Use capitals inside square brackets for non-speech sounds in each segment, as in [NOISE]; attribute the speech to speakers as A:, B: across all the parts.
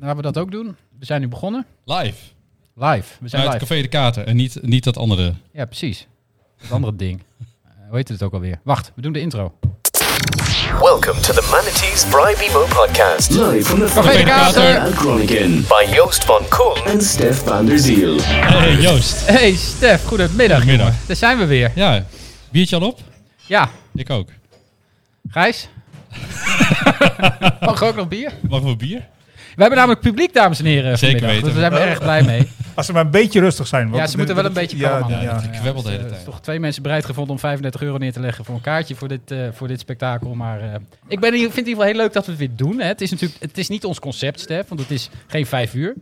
A: Laten we dat ook doen. We zijn nu begonnen.
B: Live.
A: Live. We zijn
B: Uit het
A: live.
B: Café de Kater. En niet, niet dat andere.
A: Ja, precies. Dat andere
B: [LAUGHS]
A: ding. Eh, hoe heet het ook alweer? Wacht, we doen de intro.
C: Welcome to the Manatees Bribe Emo podcast
D: Live from the
A: Café
D: Fire
A: de Kater!
D: at Groningen
C: by Joost van Koen.
D: and Stef van der Ziel.
B: Hey, Joost.
A: Hey Stef, goedemiddag.
B: Goedemiddag.
A: jongen. Daar zijn we weer.
B: [LAUGHS] Ja, biertje al op?
A: Ja,
B: Ik ook. [LAUGHS]
A: Gijs? Mag ook nog bier?
B: Mogen we bier?
A: We hebben namelijk publiek, dames en heren.
B: Zeker
A: vanmiddag.
B: weten. Oh.
A: Dus daar zijn we erg blij mee.
E: Als ze maar een beetje rustig zijn. want
A: Ja, ze moeten wel een beetje
E: ja,
A: kalm
E: ja,
A: houden.
E: ja,
B: Ik
E: ja.
B: kwebbel de hele
A: Er is
B: tijd.
A: toch twee mensen bereid gevonden om 35 euro neer te leggen voor een kaartje voor dit, eh, voor dit spektakel. Maar eh, ik ben, in- vind het in ieder geval heel leuk dat we het weer doen. Hè. Het is natuurlijk het is niet ons concept, Stef, want het is geen vijf uur.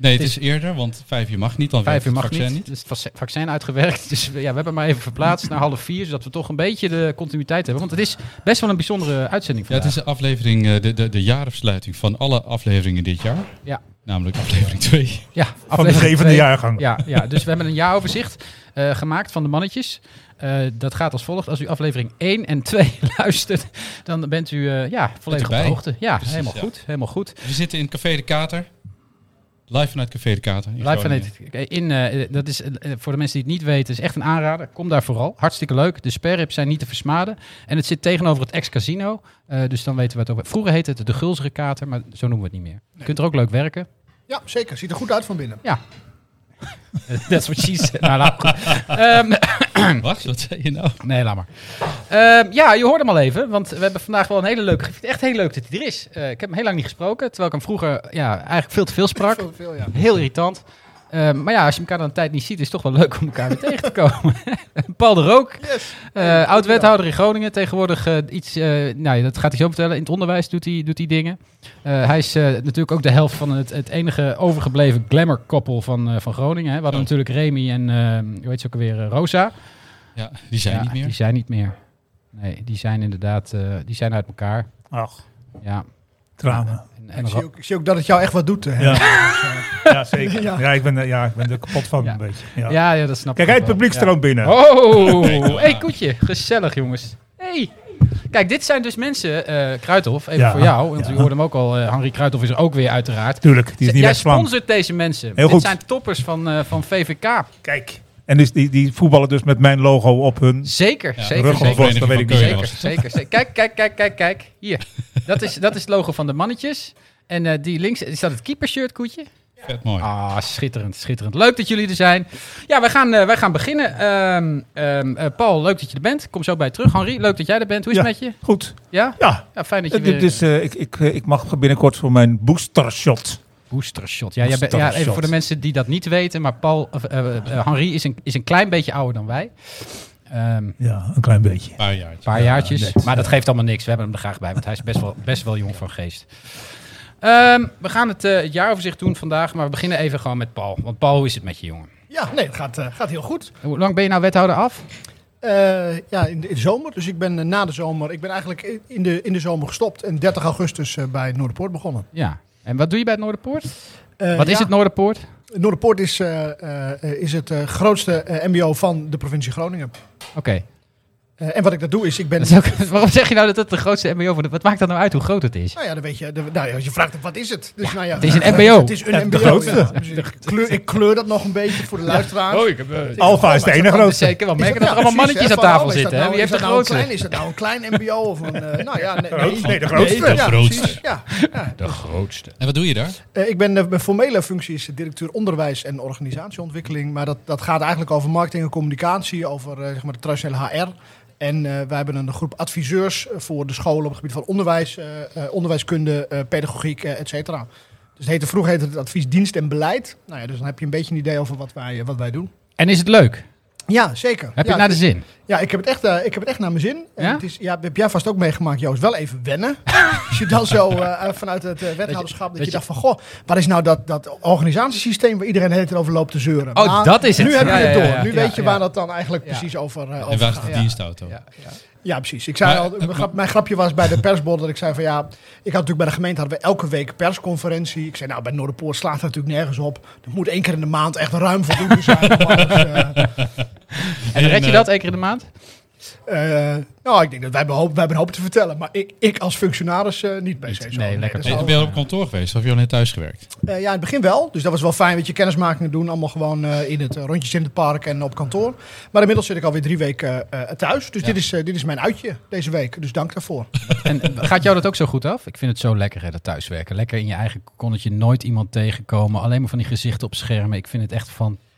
B: Nee, het is eerder, want vijf uur mag niet. Dan
A: Vijf uur
B: werkt
A: mag
B: het vaccin
A: niet. Dus het vac- vaccin uitgewerkt. [LAUGHS] Dus we- ja, we hebben maar even verplaatst naar half vier, zodat we toch een beetje de continuïteit hebben. Want het is best wel een bijzondere uitzending
B: Ja, het
A: vandaag.
B: is de aflevering, eh, de, de, de jaarafsluiting van alle afleveringen dit jaar.
A: Ja.
B: Namelijk aflevering 2.
A: Ja,
E: Van de
A: aflevering
E: zevende
A: twee.
E: jaargang.
A: Ja, ja, dus we hebben een jaaroverzicht eh, gemaakt van de mannetjes. Eh, dat gaat als volgt. Als u aflevering 1 en 2 [LAUGHS] luistert, dan bent u eh, ja, volledig op de
B: erbij.
A: hoogte. Ja,
B: Precies,
A: helemaal
B: ja.
A: goed. Helemaal goed.
B: We zitten in Café de Kater. Live vanuit Café de Kater. in
A: Live
B: Groningen.
A: vanuit in, eh, dat is eh, voor de mensen die het niet weten, is echt een aanrader. Kom daar vooral. Hartstikke leuk. De sperrips zijn niet te versmaden. En het zit tegenover het ex-casino. Eh, dus dan weten we het ook. Vroeger heette het de Gulzere Kater, maar zo noemen we het niet meer. Je kunt er ook leuk werken. [LAUGHS]
F: Ja, zeker. Ziet er goed uit van binnen.
A: That's what she said. nou, laat maar goed. Ehm,
B: Wacht, wat zei je nou?
A: Nee, laat maar. Ehm, ja, je hoorde hem al even, want we hebben vandaag wel een hele leuke... Ik vind het echt heel leuk dat hij er is. Eh, ik heb hem heel lang niet gesproken, terwijl ik hem vroeger ja, eigenlijk veel te veel sprak.
F: Veel, veel, ja.
A: Heel irritant. Ehm, maar ja, als je elkaar dan een tijd niet ziet, is het toch wel leuk om elkaar weer [LAUGHS] tegen te komen. Paul de Rook,
F: Yes.
A: eh oud-wethouder in Groningen. Tegenwoordig eh, iets, eh, nou ja, dat gaat hij zo vertellen. In het onderwijs doet hij, doet hij dingen. Eh, hij is eh, natuurlijk ook de helft van het, het enige overgebleven glamour-koppel van, eh, van Groningen. Hè. We hadden
B: Oh.
A: natuurlijk Remy en, eh hoe heet ze ook alweer, eh, Rosa.
B: Ja, die zijn
A: Ja,
B: niet meer.
A: Die zijn niet meer. Nee, die zijn inderdaad, eh, die zijn uit elkaar.
E: Ach,
A: Ja.
E: tranen.
A: En,
F: Ik,
A: en
F: zie ook, ik zie ook dat het jou echt wat doet. Hè. [LAUGHS]
E: Ja, ja zeker.
F: Ja.
E: Ja, ik ben, er- ja, ik ben er kapot van
A: Ja.
E: een beetje. Ja.
A: ja, ja, dat snap
E: Kijk,
A: ik.
E: hij
A: ook
E: het publiek
A: wel. Ja.
E: stroomt binnen.
A: Oh,
B: Kijk,
A: hey
B: ja.
A: Koetje, gezellig jongens. Hey. Kijk, dit zijn dus mensen, eh Kruithof, even
E: Ja.
A: voor jou, want
E: Ja.
A: u hoorde hem ook al, eh Henry Kruithof is er ook weer uiteraard.
E: Tuurlijk, die is niet
A: Jij
E: wegslaan.
A: sponsort deze mensen.
E: Heel
A: Dit
E: goed.
A: zijn toppers van, eh, van VVK.
E: Kijk. En dus die, die voetballen dus met mijn logo op hun...
A: Zeker,
B: Ja,
A: zeker,
E: rug of
A: zeker.
E: was, dat weet ik niet.
B: Keulen
A: Zeker,
B: was het.
A: zeker, zeker. Kijk, kijk, kijk, kijk, kijk. Hier. Dat is, dat is het logo van de mannetjes. En eh, die links, is dat het keepershirt, Koetje?
B: Vet mooi.
A: Ah, schitterend, schitterend. Leuk dat jullie er zijn. Ja, wij gaan, eh, wij gaan beginnen. Ehm, ehm, eh, Paul, leuk dat je er bent. Kom zo bij je terug. Henri, leuk dat jij er bent. Hoe is het
E: Ja.
A: met je?
E: Goed.
A: Ja? dus-
E: Ja.
A: Ja, fijn dat je weer...
E: Dit is, eh, ik, ik, eh, ik mag binnenkort voor mijn booster shot.
A: Boostershot. Ja, jij bent- ja, even
E: Boostershot.
A: voor de mensen die dat niet weten. Maar Paul, of, eh, eh, Henri is een, is een klein beetje ouder dan wij. Ehm, een
E: Ja, een klein beetje.
B: Een paar jaartjes.
A: paar jaartjes.
E: net.
A: maar dat geeft allemaal niks. We hebben hem er graag bij, want hij is best wel, best wel jong van geest. Ehm, we gaan het, eh, het jaaroverzicht doen vandaag. Maar we beginnen even gewoon met Paul. Want Paul, hoe is het met je, jongen?
F: Ja, nee, het gaat, eh, gaat heel goed.
A: Hoe lang ben je nou wethouder af?
F: Eh, ja, in de, in de zomer. Dus ik ben eh, na de zomer. Ik ben eigenlijk in- in de, in de zomer gestopt. En 30 augustus eh, bij Noorderpoort begonnen.
A: Ja. En wat doe je bij het Noorderpoort?
F: Eh,
A: Wat is
F: ja,
A: het nou? Noorderpoort?
F: Noorderpoort is, eh, eh, is het eh, grootste eh, MBO van de provincie Groningen.
A: Oké.
F: Eh, en wat ik daar doe is, ik ben.
A: Dat is ook- [LAUGHS] Waarom zeg je nou dat het de grootste MBO van de... Wat maakt dat nou uit hoe groot het is?
F: Nou ja, dan weet je. dan- nou ja, als je vraagt wat is het? Dus, nou ja,
A: het is een MBO.
F: Het is een MBO.
E: de grootste.
F: ja. Dus ik, kleur, ik kleur dat nog een beetje voor de luisteraars.
A: Oh, ik heb... eh,
E: Alfa
A: Oh,
E: is de ene grootste.
A: Zeker wel merken
F: Is
A: dat er allemaal
F: precies,
A: mannetjes
F: hè,
A: aan
F: van,
A: tafel
F: oh, is dat
A: zitten. hè?
F: nou-
A: Wie heeft
F: is
A: de
F: dat nou een
A: grootste?
F: klein- Is dat nou een klein MBO of een... eh, nou
E: [LAUGHS]
F: ja, nee,
E: Grootste.
F: nee.
E: Nee, de grootste.
F: Nee,
B: De
F: ja,
B: grootste.
F: precies, ja. Ja.
A: De grootste.
B: En wat doe je daar?
F: Eh, ik ben eh, mijn formele functie is directeur onderwijs en organisatieontwikkeling. Maar dat, dat gaat eigenlijk over marketing en communicatie, over eh, zeg maar de traditionele HR. En eh, wij hebben een groep adviseurs eh, voor de scholen op het gebied van onderwijs, eh, eh, onderwijskunde, eh, pedagogiek, eh, et cetera. Dus het heette, vroeger heette het advies dienst en beleid. Nou ja, dus dan heb je een beetje een idee over wat wij, eh, wat wij doen.
A: En is het leuk?
F: Ja, zeker.
A: Heb je
F: ja,
A: het naar de zin?
F: Ja, ik heb het echt, eh, ik heb het echt naar mijn zin. En
A: Ja?
F: Het is, ja, dat heb jij vast ook meegemaakt, Joost. Wel even
A: [LAUGHS]
F: wennen. Als je dan zo eh, eh, vanuit het eh, wethouderschap, dat,
A: dat je-
F: je dacht van... Goh, wat is nou dat, dat organisatiesysteem waar iedereen de hele tijd over loopt te zeuren?
A: Oh,
F: Maar
A: dat is het.
F: Nu heb je
A: Ja,
F: het
A: ja,
F: door.
A: ja, ja.
F: Nu weet je
A: Ja,
F: waar
A: ja.
F: dat dan eigenlijk
A: Ja.
F: precies over, eh
B: en
F: over
B: waar is
F: gaat.
B: de
F: Ja.
B: dienstauto?
A: Ja, ja.
F: Ja, precies. Ik zei
B: Maar,
F: al,
B: eh,
F: mijn
B: maar-
F: grap- mijn grapje was bij de persbord dat ik zei van ja, ik had natuurlijk bij de gemeente hadden we elke week persconferentie. Ik zei nou, bij Noorderpoort slaat dat natuurlijk nergens op. Er moet één keer
A: [LAUGHS]
F: in de maand echt ruim voldoende zijn. om alles, eh,
A: En red je
B: eh,
A: dat één keer in de maand?
F: Eh, nou, ik denk dat wij hebben, hoop, wij hebben een hoop te vertellen. Maar ik, ik als functionaris eh, niet bij
A: Niet.
F: CSO.
A: Nee, lekker.
F: dat
B: Hey,
F: zou-
B: ben je al op kantoor geweest of heb je al net thuis gewerkt?
F: Eh, ja, in het begin wel. Dus dat was wel fijn. Weet je, kennismakingen doen. Allemaal gewoon eh, in het eh, rondjes in het park en op kantoor. Maar inmiddels zit ik alweer drie weken eh, eh, thuis. Dus dit, is, eh, dit is mijn uitje deze week. Dus dank daarvoor.
A: En eh, gaat jou dat ook zo goed af? Ik vind het zo lekker, hè, dat thuiswerken. Lekker in je eigen konnetje, nooit iemand tegenkomen. Alleen maar van die gezichten op schermen. Ik vind het echt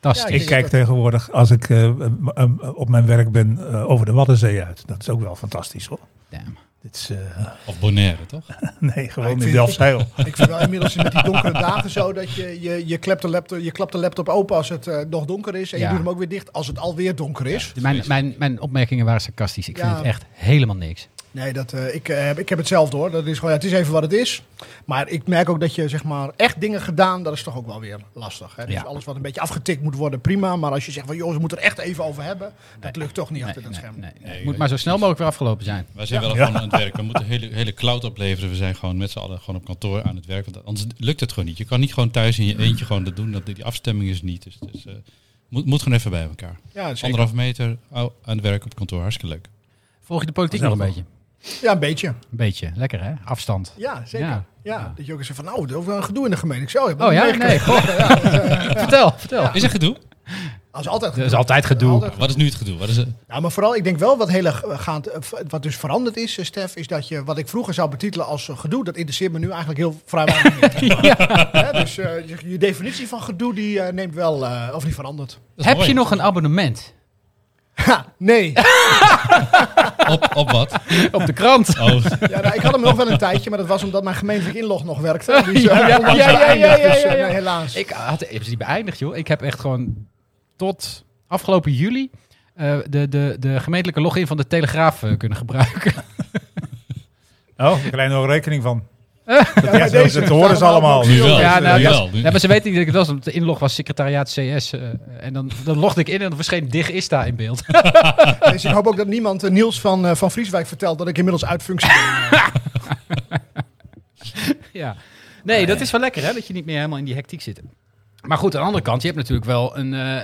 F: Ja,
A: fantastisch.
E: Ik kijk tegenwoordig, als ik eh, m- m- op mijn werk ben, eh, over de Waddenzee uit. Dat is ook wel fantastisch hoor.
A: Damn.
E: Dit is, eh,
B: Of Bonaire, toch?
E: [LAUGHS] nee,
F: ik
E: gewoon in
F: vind-
E: Delfzijl. Oh,
F: Ik vind wel inmiddels met die
A: [LAUGHS]
F: donkere dagen zo dat je, je, je, klept, de laptop, je klapt de laptop open als het eh, nog donker is. En
A: Ja.
F: je doet hem ook weer dicht als het alweer donker is.
A: Mijn, mijn, mijn opmerkingen waren sarcastisch. Ik vind
F: Ja.
A: het echt helemaal niks.
F: Nee, dat, eh, ik, eh, ik heb hetzelfde hoor. Dat is gewoon, ja, het is even wat het is. Maar ik merk ook dat je zeg maar, echt dingen gedaan, dat is toch ook wel weer lastig. Hè? Dus
A: Ja.
F: alles wat een beetje afgetikt moet worden, prima. Maar als je zegt van joh, we moeten er echt even over hebben. Dat lukt toch niet
A: Nee,
F: achter dat
A: nee,
F: scherm.
A: nee, nee.
B: Nee,
A: Het moet
B: ik-
A: maar zo snel mogelijk weer afgelopen zijn.
B: Wij zijn wel
E: Ja.
B: gewoon aan het werk. We moeten hele, hele cloud opleveren. We zijn gewoon met z'n allen gewoon op kantoor aan het werk. Want anders lukt het gewoon niet. Je kan niet gewoon thuis in je eentje gewoon dat doen. Dat, die afstemming is niet. Dus, dus eh, moet, moet gewoon even bij elkaar.
F: Ja, zeker.
B: Anderhalf meter au- aan het werk op kantoor. Hartstikke leuk.
A: Volg je de politiek nog
E: Zelf
A: een
E: wel.
A: beetje?
F: ja, een beetje.
A: Een beetje. Lekker, hè? Afstand.
F: Ja, zeker.
A: Ja.
F: Ja.
A: Ja.
F: Dat je ook eens zegt van nou, er is wel een gedoe in de gemeente. Ik zo, heb
A: Oh
F: dat
A: ja? Nee,
F: meegekregen. [LAUGHS]
A: goh. Vertel, vertel.
B: Is er gedoe?
F: Als altijd
A: Er is altijd gedoe.
F: Altijd
B: Wat is nu het gedoe? Wat is het?
F: Nou, maar vooral, ik denk wel wat heel erg eh, gaand, eh, v- wat dus veranderd is, eh, Stef, is dat je wat ik vroeger zou betitelen als eh, gedoe, dat interesseert me nu eigenlijk heel vrij
A: [LAUGHS]
F: weinig meer. Hè, dus eh, je, je definitie van gedoe die eh, neemt wel, eh, of die verandert.
B: Dat is
A: Heb
B: mooi.
A: je nog een abonnement
F: Ha, nee.
B: Op, op
A: [LAUGHS]
B: wat?
A: op de krant?
B: Oh,
F: Ja, nou, ik had hem nog wel een tijdje, maar dat was omdat mijn gemeentelijk inlog nog werkte. Die is, eh,
A: Ja, ja,
F: onlangs
A: ja, ja, ja,
F: beëindigd,
A: ja,
F: dus, eh,
A: ja, ja.
F: nee, helaas.
A: Ik had ik heb ze niet beëindigd, joh. Ik heb echt gewoon tot afgelopen juli eh, de, de, de gemeentelijke login van de Telegraaf eh, kunnen gebruiken.
E: Oh, ik krijg er nog rekening van.
F: Ja,
E: Ja,
F: bij
E: zo-
F: deze
E: dat
F: staan
E: horen ze
F: we
E: allemaal.
F: allemaal
B: nu wel.
A: Ja, nou,
B: nu
A: dat-
B: wel. Nu-
A: Nee, maar ze weten niet dat ik dat was, want de inlog was secretariaat CS. eh, en dan, dan logde ik in en dan verscheen Dig Ista in beeld. [LAUGHS]
F: Dus ik hoop ook dat niemand eh, Niels van, eh, van Vrieswijk vertelt dat ik inmiddels uit functie ben.
A: ja. Nee, dat is wel lekker hè, dat je niet meer helemaal in die hectiek zit. Maar goed, aan de andere kant, je hebt natuurlijk wel een. eh,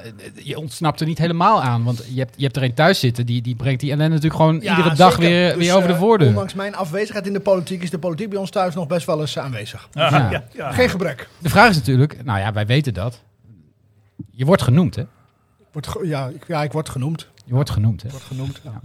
A: je ontsnapt er niet helemaal aan. Want je hebt, je hebt er een thuis zitten, die, die breekt die ellende natuurlijk gewoon
F: Ja,
A: iedere dag
F: zeker.
A: weer,
F: Dus,
A: weer over de
F: eh,
A: voordeur.
F: Ondanks mijn afwezigheid in de politiek is de politiek bij ons thuis nog best wel eens eh, aanwezig.
A: Ja.
E: Ja, ja.
F: Geen gebrek.
A: De vraag is natuurlijk, nou ja, wij weten dat. Je wordt genoemd, hè?
F: Wordt ge- ja, ik, ja, ik word genoemd.
A: Je wordt genoemd, hè?
F: Wordt genoemd. ja.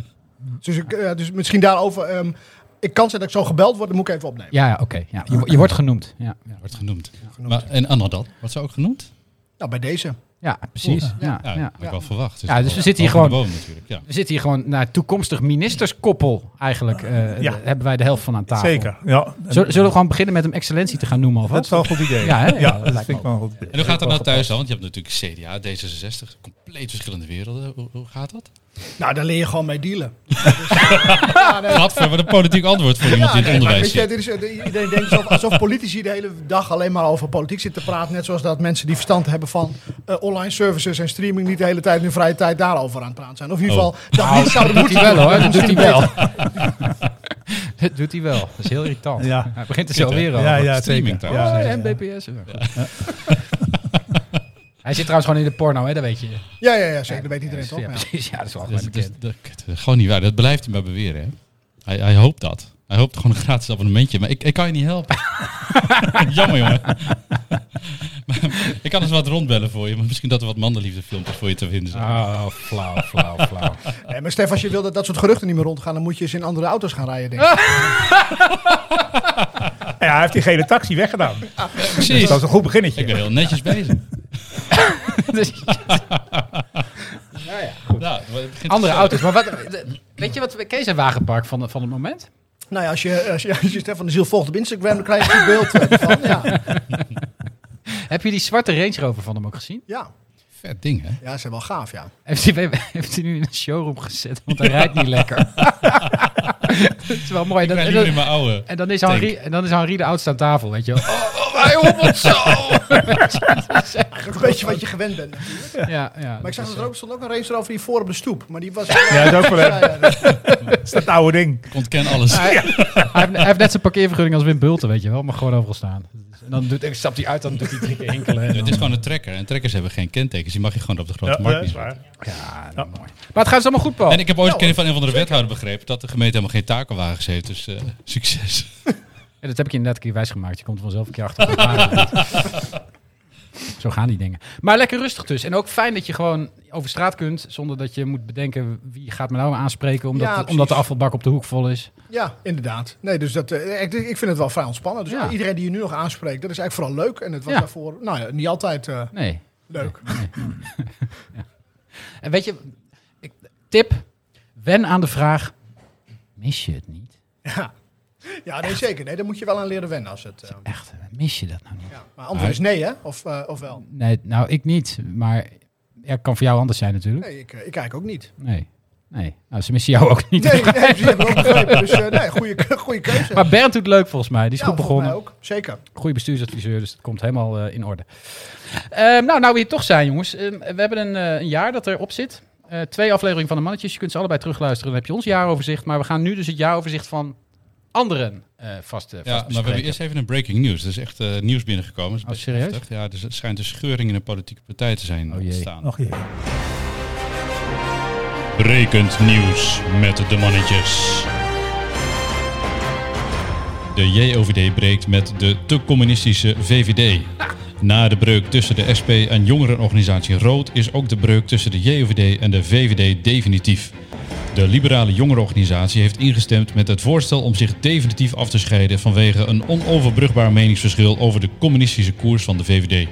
F: Dus, ik, eh, dus misschien daarover. ehm, ik kan zijn dat ik zo gebeld word, dan moet ik even opnemen.
A: Ja, ja oké. ja. je, wo- je wordt genoemd. Ja, ja.
B: Wordt genoemd. Maar, en Anna dan? Wordt ze ook genoemd?
F: Nou, bij deze.
A: ja precies. Ja,
B: Ja,
A: ja.
B: dat had ik wel verwacht.
A: Ja, dus we
B: wel-
A: zitten hier
B: boven de
A: gewoon-
B: Boom, natuurlijk. Ja.
A: We zitten hier gewoon naar toekomstig ministerskoppel eigenlijk. eh,
E: Ja.
A: daar hebben wij de helft van aan tafel.
E: Zeker. Ja. En
A: Zullen, zullen we gewoon beginnen met hem excellentie te gaan noemen alvast?
E: Dat is wel een goed idee.
A: Ja, hè? Ja, dat
E: dat
A: lijkt
E: vind
A: me
E: ik wel een goed idee.
B: En hoe gaat dat nou thuis dan? Want je hebt natuurlijk CDA, D66, compleet verschillende werelden. Hoe, hoe gaat dat?
F: Nou, daar leer je gewoon mee dealen.
B: Gadver, wat een politiek antwoord voor iemand die in
F: nee,
B: het
F: maar
B: onderwijs
F: weet je,
B: zit.
F: dit is, eh, iedereen denkt alsof, alsof politici de hele dag alleen maar over politiek zitten te praten. Net zoals dat mensen die verstand hebben van eh, online services en streaming niet de hele tijd in hun vrije tijd daarover aan het praten zijn. Of in ieder
B: Oh.
F: geval, dat niet zouden
A: Nou, doet hij wel
F: moeten doen.
A: hoor, [LAUGHS] dat doet hij
F: misschien
A: wel. [LAUGHS] dat doet hij wel, dat is heel irritant.
E: Ja.
A: Hij begint er zo
B: Goed,
A: weer
B: hè?
A: over.
E: Ja, ja,
B: Streaming
E: zeker.
B: trouwens.
E: Ja,
A: Oh,
E: ja,
A: en BPS. Ja, goed. Hij zit trouwens gewoon in de porno, hè? dat weet je.
F: Ja, ja, ja, zeker. Dat weet iedereen toch?
A: ja,
F: Ja.
A: precies. Ja, dat is wel
B: Dat,
A: allemaal
B: dat,
A: bekend.
B: dat- kut, dat is gewoon niet waar. Dat blijft hij maar beweren. Hè? Hij, hij hoopt dat. Hij hoopt gewoon een gratis abonnementje. Maar ik, ik kan je niet helpen. Jammer, jongen. [LAUGHS] maar, ik kan eens wat rondbellen voor je. Maar misschien dat er wat mandenliefde filmpjes voor je te vinden zijn.
A: Oh, flauw, flauw, flauw.
F: Nee, Eh, maar Stef, als je wil dat dat soort geruchten niet meer rondgaan, dan moet je eens in andere auto's gaan rijden,
A: Ah!
F: denk ik.
E: Ja, hij heeft die gele taxi weggedaan. Dus
B: Precies.
E: dat is een goed
B: Ik ben
E: beginnetje.
B: heel netjes bezig.
A: [LAUGHS] Dus-
B: Ja, het begint
A: andere
B: zo.
A: auto's. Maar wat, de- weet je wat we- Kees en Wagenpark van, van het moment?
F: Nou ja, als je, als je, als je Stefan de Ziel volgt op Instagram, dan krijg je een beeld
A: [LAUGHS]
F: eh, ervan. Ja,
A: Heb je die zwarte Range Rover van hem ook gezien?
F: ja.
B: Vet ding, hè?
F: ja, ze zijn wel gaaf, ja.
A: Heeft hij, heeft hij nu in een showroom gezet, want hij rijdt niet [LAUGHS] lekker. dat is wel mooi.
B: Ik
A: Dat-
B: ben
A: en,
B: liever in
A: dan,
B: mijn oude.
A: en, dan is Henri, en dan is Henri de oudste aan tafel, weet je wel. Oh, oh, hij
F: [LAUGHS]
A: hobbelt Oh. [LAUGHS] zo!
F: Een beetje wat je gewend bent. natuurlijk.
A: ja, ja.
F: Maar ik
A: dat
F: zag dat
A: is-
F: er ook stond ook een Range Rover hier voor op de stoep. Maar die was...
E: Ja, dat is ook wel
F: Ja,
E: een-
F: ja, dus- dat-
E: dat is dat oude ding.
B: Ik ontken alles.
A: hij, hij heeft, hij heeft net zijn parkeervergunning als Wim Bulten, weet je wel. Mag gewoon overal staan. Dat is- dan doet, ik stap die uit, dan doet hij drie keer hinkelen. en
B: Het is
A: dan-
B: gewoon een trekker. En trekkers hebben geen kentekens. Die mag je gewoon op de grote
E: Ja,
B: markt
E: dat is
B: neerzetten.
E: waar. Nou,
A: Ja, nou, mooi. Maar het gaat dus allemaal goed, Paul.
B: En ik heb ooit een keer van een van de wethouder begrepen dat de gemeente helemaal geen takenwagens heeft. Dus eh, [LAUGHS] succes.
A: Ja, dat heb ik je inderdaad een keer wijsgemaakt. Je komt er vanzelf een keer achter. hoe het waar
F: [LAUGHS]
A: is. Zo gaan die dingen. Maar lekker rustig dus. En ook fijn dat je gewoon over straat kunt. Zonder dat je moet bedenken wie gaat me nou aanspreken. Omdat,
F: Ja, precies.
A: omdat de afvalbak op de hoek vol is.
F: Ja, inderdaad. Nee, dus dat, eh, ik, ik vind het wel vrij ontspannen. Dus
A: Ja.
F: iedereen die je nu nog aanspreekt, dat is eigenlijk vooral leuk. En het was
A: Ja.
F: daarvoor nou ja, niet altijd eh,
A: Nee.
F: leuk.
A: En weet je, ik- tip. Wen aan de vraag. Mis je het niet?
F: Ja, ja nee, zeker. Nee, daar moet je wel aan leren wennen. Als het, eh,
A: Echt, mis je dat nou niet?
F: ja. Maar antwoord is nee, hè? Of, eh, of wel?
A: Nee, nou ik niet. Maar ja, kan voor jou anders zijn natuurlijk.
F: Nee, ik, eh, ik kijk ook niet.
A: Nee. Nee. Nou, ze missen jou ook niet.
F: Nee, nee precies, heb ik ook begrepen. Dus eh, nee, goede, goede
A: [LAUGHS]
F: keuze.
A: Maar Bernd doet leuk volgens mij. Die is
F: Ja,
A: goed
F: volgens mij
A: begonnen.
F: ook. Zeker.
A: Goede bestuursadviseur, dus dat komt helemaal eh, in orde. Ehm, nou, nou we hier toch zijn, jongens. Ehm, we hebben een, eh, een jaar dat erop zit. Eh, twee afleveringen van de mannetjes. Je kunt ze allebei terugluisteren. Dan heb je ons jaaroverzicht. Maar we gaan nu dus het jaaroverzicht van anderen eh vast, eh, vast
B: Ja, maar we hebben
A: bespreken.
B: eerst even een breaking news. Er is echt eh, nieuws binnengekomen. Dat is
A: Oh,
B: best
A: serieus?
B: heftig. Ja, dus het schijnt een scheuring in de politieke partij te zijn
A: Oh, jee.
B: ontstaan.
E: Nog hier.
B: Rekent nieuws met de mannetjes. De JOVD breekt met de te communistische VVD. Na de breuk tussen de SP en jongerenorganisatie Rood is ook de breuk tussen de JOVD en de VVD definitief. De liberale jongerenorganisatie heeft ingestemd met het voorstel om zich definitief af te scheiden vanwege een onoverbrugbaar meningsverschil over de communistische koers van de VVD.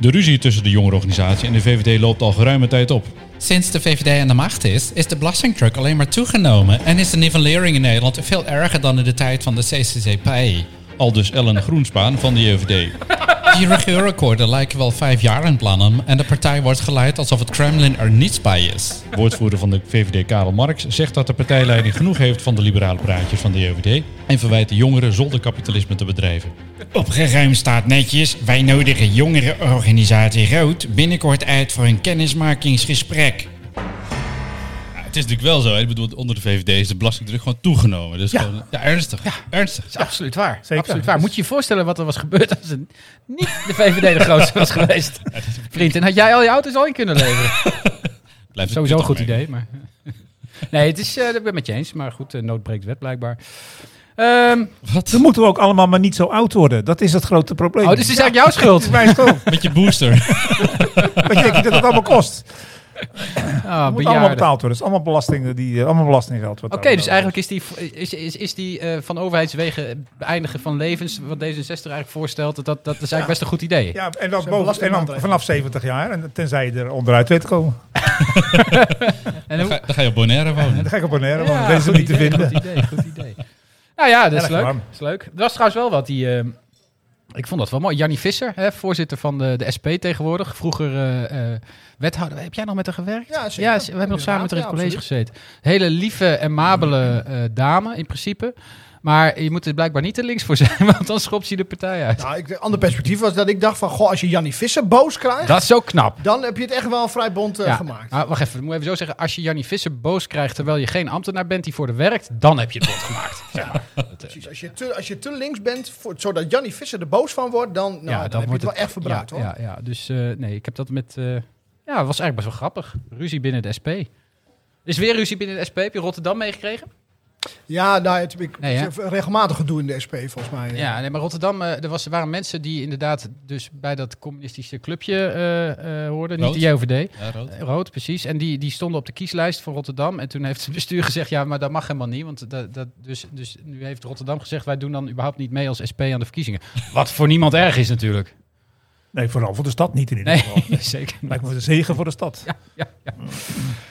B: De ruzie tussen de jongerenorganisatie en de VVD loopt al geruime tijd op.
G: Sinds de VVD aan de macht is, is de belastingdruk alleen maar toegenomen en is de nivellering in Nederland veel erger dan in de tijd van de CCCP.
B: Al dus Ellen Groenspaan van de JVD.
G: Die regeerakkoorden lijken wel vijf jaar in plannen en de partij wordt geleid alsof het Kremlin er niets bij is.
B: Woordvoerder van de VVD Karel Marx zegt dat de partijleiding genoeg heeft van de liberale praatjes van de JVD en verwijt de jongeren zonder kapitalisme te bedrijven.
H: Opgeruimd staat netjes, wij nodigen jongerenorganisatie Rood binnenkort uit voor een kennismakingsgesprek.
B: Ja, het is natuurlijk wel zo. hè. Ik bedoel, onder de VVD is de belastingdruk gewoon toegenomen. Dus
A: Ja.
B: gewoon, ja ernstig. Ernstig.
A: Dat is absoluut waar.
E: Zeker.
A: Absoluut waar. Moet je je voorstellen wat er was gebeurd als het niet de VVD de grootste was geweest? Vriend, en had jij al je auto's al in kunnen
B: [LAUGHS]
A: leveren?
B: Blijft
A: Sowieso een
B: toch
A: goed
B: mee.
A: idee, maar... [LAUGHS] Nee, het is, eh dat ben ik met je eens. Maar goed, eh, nood breekt wet blijkbaar. Ehm,
E: Dan moeten we ook allemaal maar niet zo oud worden. Dat is het grote probleem.
A: oh, dus het is eigenlijk jouw
E: Het
A: schuld.
E: is mijn schuld.
B: Met je
A: [LAUGHS]
B: booster.
E: Wat denk je dat het allemaal kost? Het
A: Ah,
E: moet allemaal
A: bejaarden.
E: betaald worden. Het is allemaal belasting, die, eh, allemaal belastinggeld.
A: Oké, dus eigenlijk is die, is, is, is die eh, van overheidswegen het beëindigen van levens, wat D66 eigenlijk voorstelt, dat, dat, dat is eigenlijk best een goed idee.
E: Ja, en dan, boven, en
F: Zo'n
E: dan
F: belastingmaatregel.
E: vanaf 70 jaar. En tenzij je er onderuit weet te komen.
A: En
B: Dan
A: hoe-
B: ga, dan ga je op Bonaire wonen.
E: Dan ga ik op Bonaire, want
A: Ja,
E: dat is er
A: goed
E: niet te
A: idee,
E: vinden.
A: Goed idee, goed idee. nou ja, dat is
E: Erg
A: leuk.
E: warm.
A: Dat is leuk. Er was trouwens wel wat die... eh, ik vond dat wel mooi. Jannie Visser, hè, voorzitter van de, de SP tegenwoordig. Vroeger eh, eh, wethouder. Heb jij nog met haar gewerkt?
F: Ja, zeker.
A: Ja, ze- we hebben nog samen met haar in het college gezeten. Hele lieve en mabele eh, dame in principe. Maar je moet er blijkbaar niet te links voor zijn, [LAUGHS] want dan schopt ze de partij uit.
F: Nou, ik, een ander perspectief was dat ik dacht van... Goh, als je Jannie Visser boos krijgt,
A: Dat is ook knap.
F: dan heb je het echt wel vrij bond eh,
A: Ja, Ah.
F: gemaakt.
A: maar wacht even, ik moet even zo zeggen. Als je Jannie Visser boos krijgt terwijl je geen ambtenaar bent die voor de werkt, dan heb je het bond gemaakt. zeg
F: Nou,
A: maar.
F: Precies. Als je te, als je te links bent, voor, zodat Jannie Visser er boos van wordt, dan, nou, dan, heb je het wel echt verbruikt,
A: ja,
F: hoor.
A: Ja, ja. dus eh, nee, ik heb dat met... eh, ja, het was eigenlijk best wel grappig. Ruzie binnen de SP. Er Is weer ruzie binnen de SP. Heb je Rotterdam meegekregen?
F: Ja, nou, het, ik,
A: Nee, hè?
F: het is regelmatig gedoe in de SP, volgens mij.
A: Ja, nee, maar Rotterdam, eh, er was, er waren mensen die inderdaad dus bij dat communistische clubje eh, eh, hoorden.
B: Rood.
A: Niet de JOVD.
B: Ja, rood.
A: Eh, Rood, precies. En die, die stonden op de kieslijst voor Rotterdam. En toen heeft het bestuur gezegd, ja, maar dat mag helemaal niet. Want dat, dat, dus, dus nu heeft Rotterdam gezegd, wij doen dan überhaupt niet mee als SP aan de verkiezingen.
E: [LAUGHS]
A: Wat voor niemand erg is natuurlijk.
E: Nee, vooral voor de stad niet in ieder
A: Nee,
E: geval.
A: [LAUGHS] zeker niet.
E: Lijkt me een zegen voor de stad.
A: Ja, ja, ja.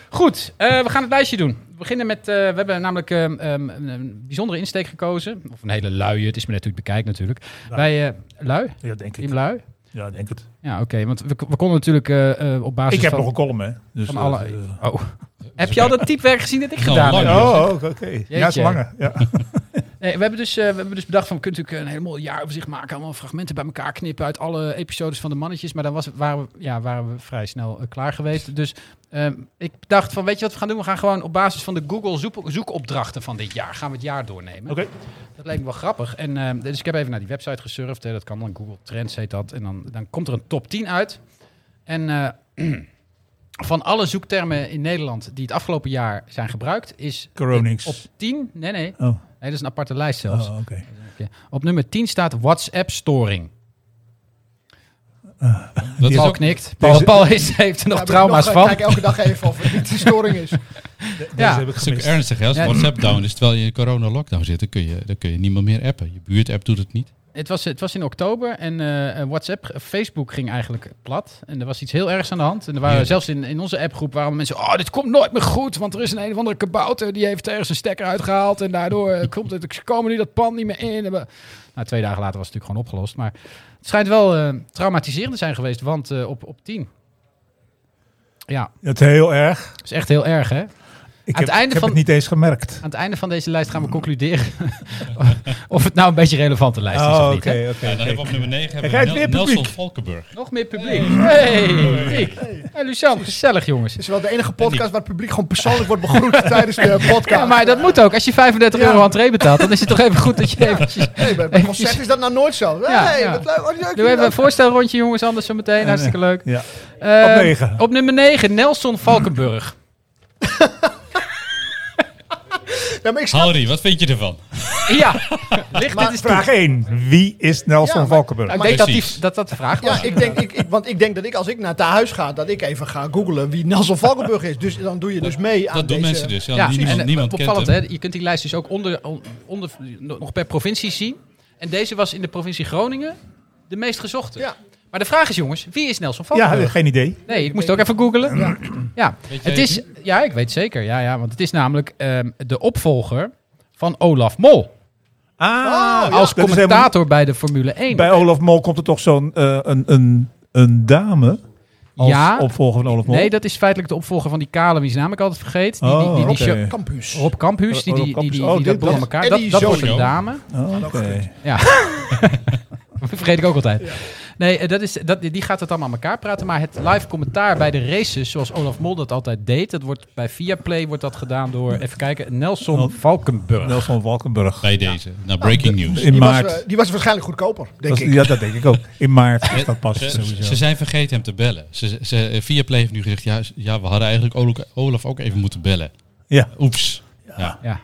A: Goed, eh, we gaan het lijstje doen. We beginnen met, eh, we hebben namelijk ehm, ehm, een, een bijzondere insteek gekozen. Of een hele luie, het is maar net hoe je het bekijkt natuurlijk.
E: Lui.
A: Wij, eh, lui?
E: Ja, denk
A: Team
E: ik.
A: lui?
E: Ja, denk het.
A: Ja, oké, want we, we konden natuurlijk eh, eh, op basis
E: Ik heb
A: van...
E: nog een column, hè. Dus,
A: van
E: eh,
A: alle,
E: eh,
A: oh. heb je al dat typewerk gezien dat ik
B: Nou,
A: gedaan
B: lang.
A: heb?
E: Oh, oké. oké. Ja, het is
A: [LAUGHS] Jeetje.
E: langer. Ja.
A: Nee, we, hebben dus, eh, we hebben dus bedacht van, we kunnen natuurlijk een helemaal jaaroverzicht maken. Allemaal fragmenten bij elkaar knippen uit alle episodes van de mannetjes. Maar dan was, waren, we, ja, waren we vrij snel eh, klaar geweest. Dus ehm, ik dacht van, weet je wat we gaan doen? We gaan gewoon op basis van de Google zoek- zoekopdrachten van dit jaar, gaan we het jaar doornemen.
E: Oké.
A: Dat leek me wel grappig. En, ehm, dus ik heb even naar die website gesurfd. Hè. Dat kan dan, Google Trends heet dat. En dan, dan komt er een top 10 uit. En eh, [CLEARS THROAT] van alle zoektermen in Nederland die het afgelopen jaar zijn gebruikt, is
E: Coronix.
A: op 10... Nee, nee.
E: Oh,
A: Nee, dat is een aparte lijst zelfs.
E: oh, oké.
A: Op nummer 10 staat WhatsApp-storing.
B: Dat is
A: Paul
B: ook
A: knikt. Paul, Paul is, [LAUGHS] heeft er nog
F: Ja,
A: trauma's
F: ik nog, eh,
A: van.
F: Kijk elke dag even of het niet een storing is.
E: Deze
A: ja.
E: heb ik
B: een stuk
E: gemist.
B: ernstig. Hè? Als
A: Ja.
B: WhatsApp down is, terwijl je in corona-lockdown zit, dan kun, je, dan kun je niemand meer appen. Je buurt-app doet het niet.
A: Het was, het was in oktober en eh, eh, WhatsApp, eh, Facebook ging eigenlijk plat. En er was iets heel ergs aan de hand. En er waren
B: Ja.
A: zelfs in, in onze appgroep waren mensen, oh, dit komt nooit meer goed, want er is een een of andere kabouter die heeft ergens een stekker uitgehaald en daardoor eh, komt het, ze komen nu dat pand niet meer in. En we- Nou, twee dagen later was het natuurlijk gewoon opgelost. Maar het schijnt wel eh, traumatiserend te zijn geweest, want eh, op, op 10. Ja,
E: Het is heel erg.
A: dat is echt heel erg, hè?
E: Ik,
A: het
E: heb,
A: einde
E: ik heb
A: van-
E: het niet eens gemerkt.
A: Aan het einde van deze lijst gaan we concluderen [LAUGHS] of het nou een beetje een relevante lijst is of
E: Oh,
A: niet. hè?
E: oké,
B: Ja, dan
E: oké.
B: hebben we op nummer 9 hebben
E: kijk,
B: we
E: weer
B: Nel- Nelson
E: publiek.
B: Valkenburg.
A: Nog meer publiek. Hey, publiek. Hey, Lucien, gezellig jongens.
F: Het is wel de enige podcast waar het publiek gewoon persoonlijk wordt begroet [LAUGHS] tijdens de podcast.
A: Ja, maar dat moet ook. Als je 35
F: Ja.
A: euro entree betaalt, dan is het toch even goed dat je eventjes...
F: Nee, bij bij concert is dat nou nooit zo.
A: Ja,
F: hey,
A: ja.
F: wat leuk. Wat leuk
A: Doe
F: hier
A: even een
F: ook.
A: voorstelrondje jongens, anders zo meteen. Hartstikke leuk.
E: Ja.
A: Eh,
E: Op negen.
A: Op nummer 9, Nelson Valkenburg.
F: Ja, maar ik snap-
B: Hallerie, wat vind je ervan?
A: Ja, ligt dit eens toe.
E: Vraag 1. Wie is Nelson
F: Ja, maar-
E: Valkenburg?
A: Ik denk dat, die,
B: Precies.
A: dat dat de vraag was.
F: Ja, ik denk, ik, ik- want ik denk dat ik als ik naar het huis ga, dat ik even ga googlen wie Nelson Valkenburg is. Dus dan doe je dus mee aan
B: Dat doen
F: deze-
B: mensen dus. Ja,
A: Ja,
B: niemand
A: en, eh,
B: niemand kent
A: opvallend,
B: hem.
A: Hè? Je kunt die lijst dus ook onder, on- onder, nog per provincie zien. En deze was in de provincie Groningen de meest gezochte.
F: Ja.
A: Maar de vraag is, jongens, wie is Nelson Valkenburg?
E: Ja, geen idee.
A: Nee, ik moest ook even googelen. Ja,
B: Weet jij
A: het is, ja ik weet zeker. Ja, ja, want het is namelijk ehm, de opvolger van Olaf Mol.
E: Ah,
A: als
E: Oh dat is helemaal-
A: commentator bij de Formule 1.
E: Bij Olaf Mol komt er toch zo'n eh, een, een, een dame als
A: Ja.
E: opvolger van Olaf Mol?
A: nee, dat is feitelijk de opvolger van die kale, wiens naam ik altijd vergeet. Die, die, die, die,
E: Oh,
B: dus.
E: oké.
F: Campus.
A: Rob Kamphuus, die, die, die, die, die,
E: Oh,
A: dat
E: dit
A: blad aan
E: was-
A: elkaar. Dat,
F: Eddie
A: dat wordt
B: Zonjo.
A: een dame.
E: Oh, oké. [LAUGHS]
A: Ja. Dat Vergeet ik ook altijd. Nee, eh, dat is, dat, die gaat het allemaal aan elkaar praten. Maar het live commentaar bij de races, zoals Olaf Mol dat altijd deed, dat wordt bij Viaplay wordt dat gedaan door, even kijken, Nelson
E: Oh.
A: Valkenburg.
E: Nelson Valkenburg.
B: Bij deze. Nou, breaking news.
E: In
F: Die was,
E: maart.
F: eh, die was waarschijnlijk goedkoper, denk
E: Dat is-
F: ik.
E: ja, dat denk ik ook. In maart is dat pas.
B: Ze,
E: sowieso.
B: ze zijn vergeten hem te bellen. Ze, ze, eh, Viaplay heeft nu gezegd, ja, ja, we hadden eigenlijk Olaf- Olaf ook even moeten bellen.
E: Ja.
B: Oeps.
A: Ja.
B: Ja,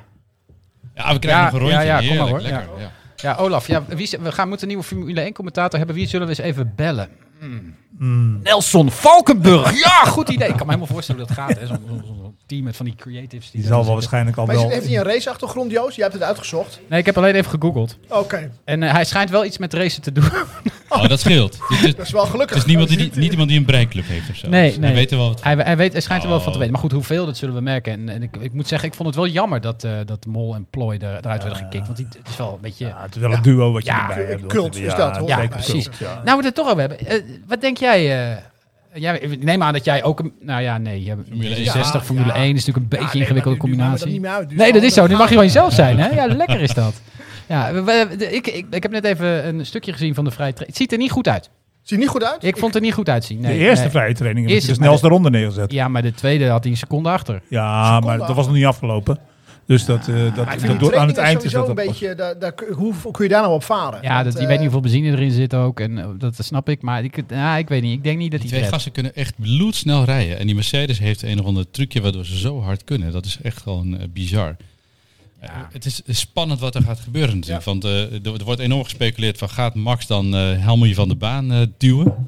B: we krijgen
A: Ja,
B: nog een rondje.
A: ja, ja, kom maar
B: Heerlijk,
A: hoor.
B: lekker. Ja.
A: ja, Olaf, ja, wie, z- we gaan, moeten een nieuwe Formule 1 commentator hebben. Wie zullen we eens even bellen? Hmm. Nelson Valkenburg. Ja, goed idee. Ik kan me helemaal voorstellen hoe dat gaat. hè. Zo'n zo'n- zo'n team met van die creatives.
E: Die
A: daar
E: zal wel
A: zitten.
E: waarschijnlijk al
F: Maar is het-
E: wel...
F: heeft hij een raceachtergrond, Joost? Jij hebt het uitgezocht.
A: Nee, ik heb alleen even gegoogeld.
F: Oké,
A: En eh, hij schijnt wel iets met racen te doen. [LAUGHS]
B: Oh, dat scheelt. Dit is-
F: dat is wel gelukkig.
B: Het is niemand die, niet iemand die een breinclub heeft of zo.
A: Nee,
B: Dus
A: nee.
B: We weten wel wat.
A: Hij, hij, weet, hij schijnt er wel van te
B: Oh.
A: weten. Maar goed, hoeveel, dat zullen we merken. En, en ik, ik moet zeggen, ik vond het wel jammer dat, eh, dat Mol en Ploy er, eruit werden gekikt. Want die, het is wel een beetje...
E: Ja, het is wel een duo wat je
A: Ja,
E: erbij hebt.
F: cult
E: hoor.
F: is dat, hoor.
E: zeker
A: ja,
E: een
A: precies.
E: cult, ja.
A: Nou, we het er toch over hebben. Eh, wat denk jij... eh, jij- ik neem aan dat jij ook... Een, nou ja, nee. Je,
B: Formule
A: 60,
B: 1.
A: Formule
F: Ja.
A: 1 is natuurlijk een beetje een ingewikkelde combinatie. Nee,
F: Nee,
A: dat is zo. Nu mag je gewoon jezelf zijn, hè? Ja, lekker is dat. Ja, we- we- de- ik, ik, ik heb net even een stukje gezien van de vrije tra- Het ziet er niet goed uit.
F: Ziet niet goed uit?
A: Ik vond het er niet goed uitzien. Nee,
E: de eerste
A: nee.
E: vrije training heb
A: Eerste,
E: je dus
A: maar
E: Nels
A: de-
E: eronder neergezet. Ja,
A: Ja, maar de tweede had hij een seconde achter.
E: maar
F: seconde
E: dat was nog niet afgelopen. Dus dat, eh, dat,
A: ik
E: dat,
A: vind die
E: door- aan het
F: Training
E: eind is dat
F: sowieso een
E: dat pas-
F: beetje... Daar, daar, hoe, hoe kun je daar nou op varen?
A: Ja, dat,
F: Want,
A: die
F: eh,
A: weet niet hoeveel benzine erin zit ook. En eh, dat snap ik. Maar ik, ja, ik weet niet. Ik denk niet dat hij
B: Die twee
A: redt.
B: gasten kunnen echt bloedsnel rijden. En die Mercedes heeft een of ander trucje waardoor ze zo hard kunnen. Dat is echt gewoon eh, bizar. Eh, het is spannend wat er gaat gebeuren natuurlijk. Want eh, er, er wordt enorm gespeculeerd van gaat Max dan eh Helmoet van de baan eh, duwen?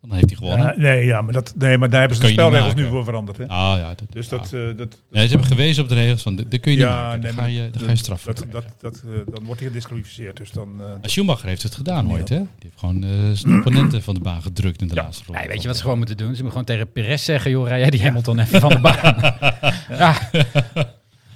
B: Dan heeft hij gewonnen.
E: Ja, Ah, nee, ja, maar dat, nee, maar daar hebben ze de
B: Kun je niet
E: spelregels nu
B: maken.
E: voor veranderd. Hè?
B: Ah ja, dat,
E: Dus dat...
B: ah.
E: eh, dat
B: Nee, ze hebben gewezen op de regels van dit dit kun je niet
E: ja,
B: maken.
E: nee,
B: Dan
E: maar
B: ga je, dan
E: dat-
B: ga je straf voor
E: dat,
B: krijgen.
E: dat, dat, eh, Dan wordt hij gedisqualificeerd. Dus dan... eh,
B: Maar Schumacher heeft het gedaan ooit, hè? Die heeft gewoon eh,
E: [CLEARS THROAT]
B: zijn opponenten van de baan gedrukt in de laatste ronde.
A: Nee, weet je wat ze gewoon moeten doen? Ze moeten gewoon tegen Perez zeggen, joh, rij jij die Hamilton even van de
B: [LAUGHS]
A: baan. ja.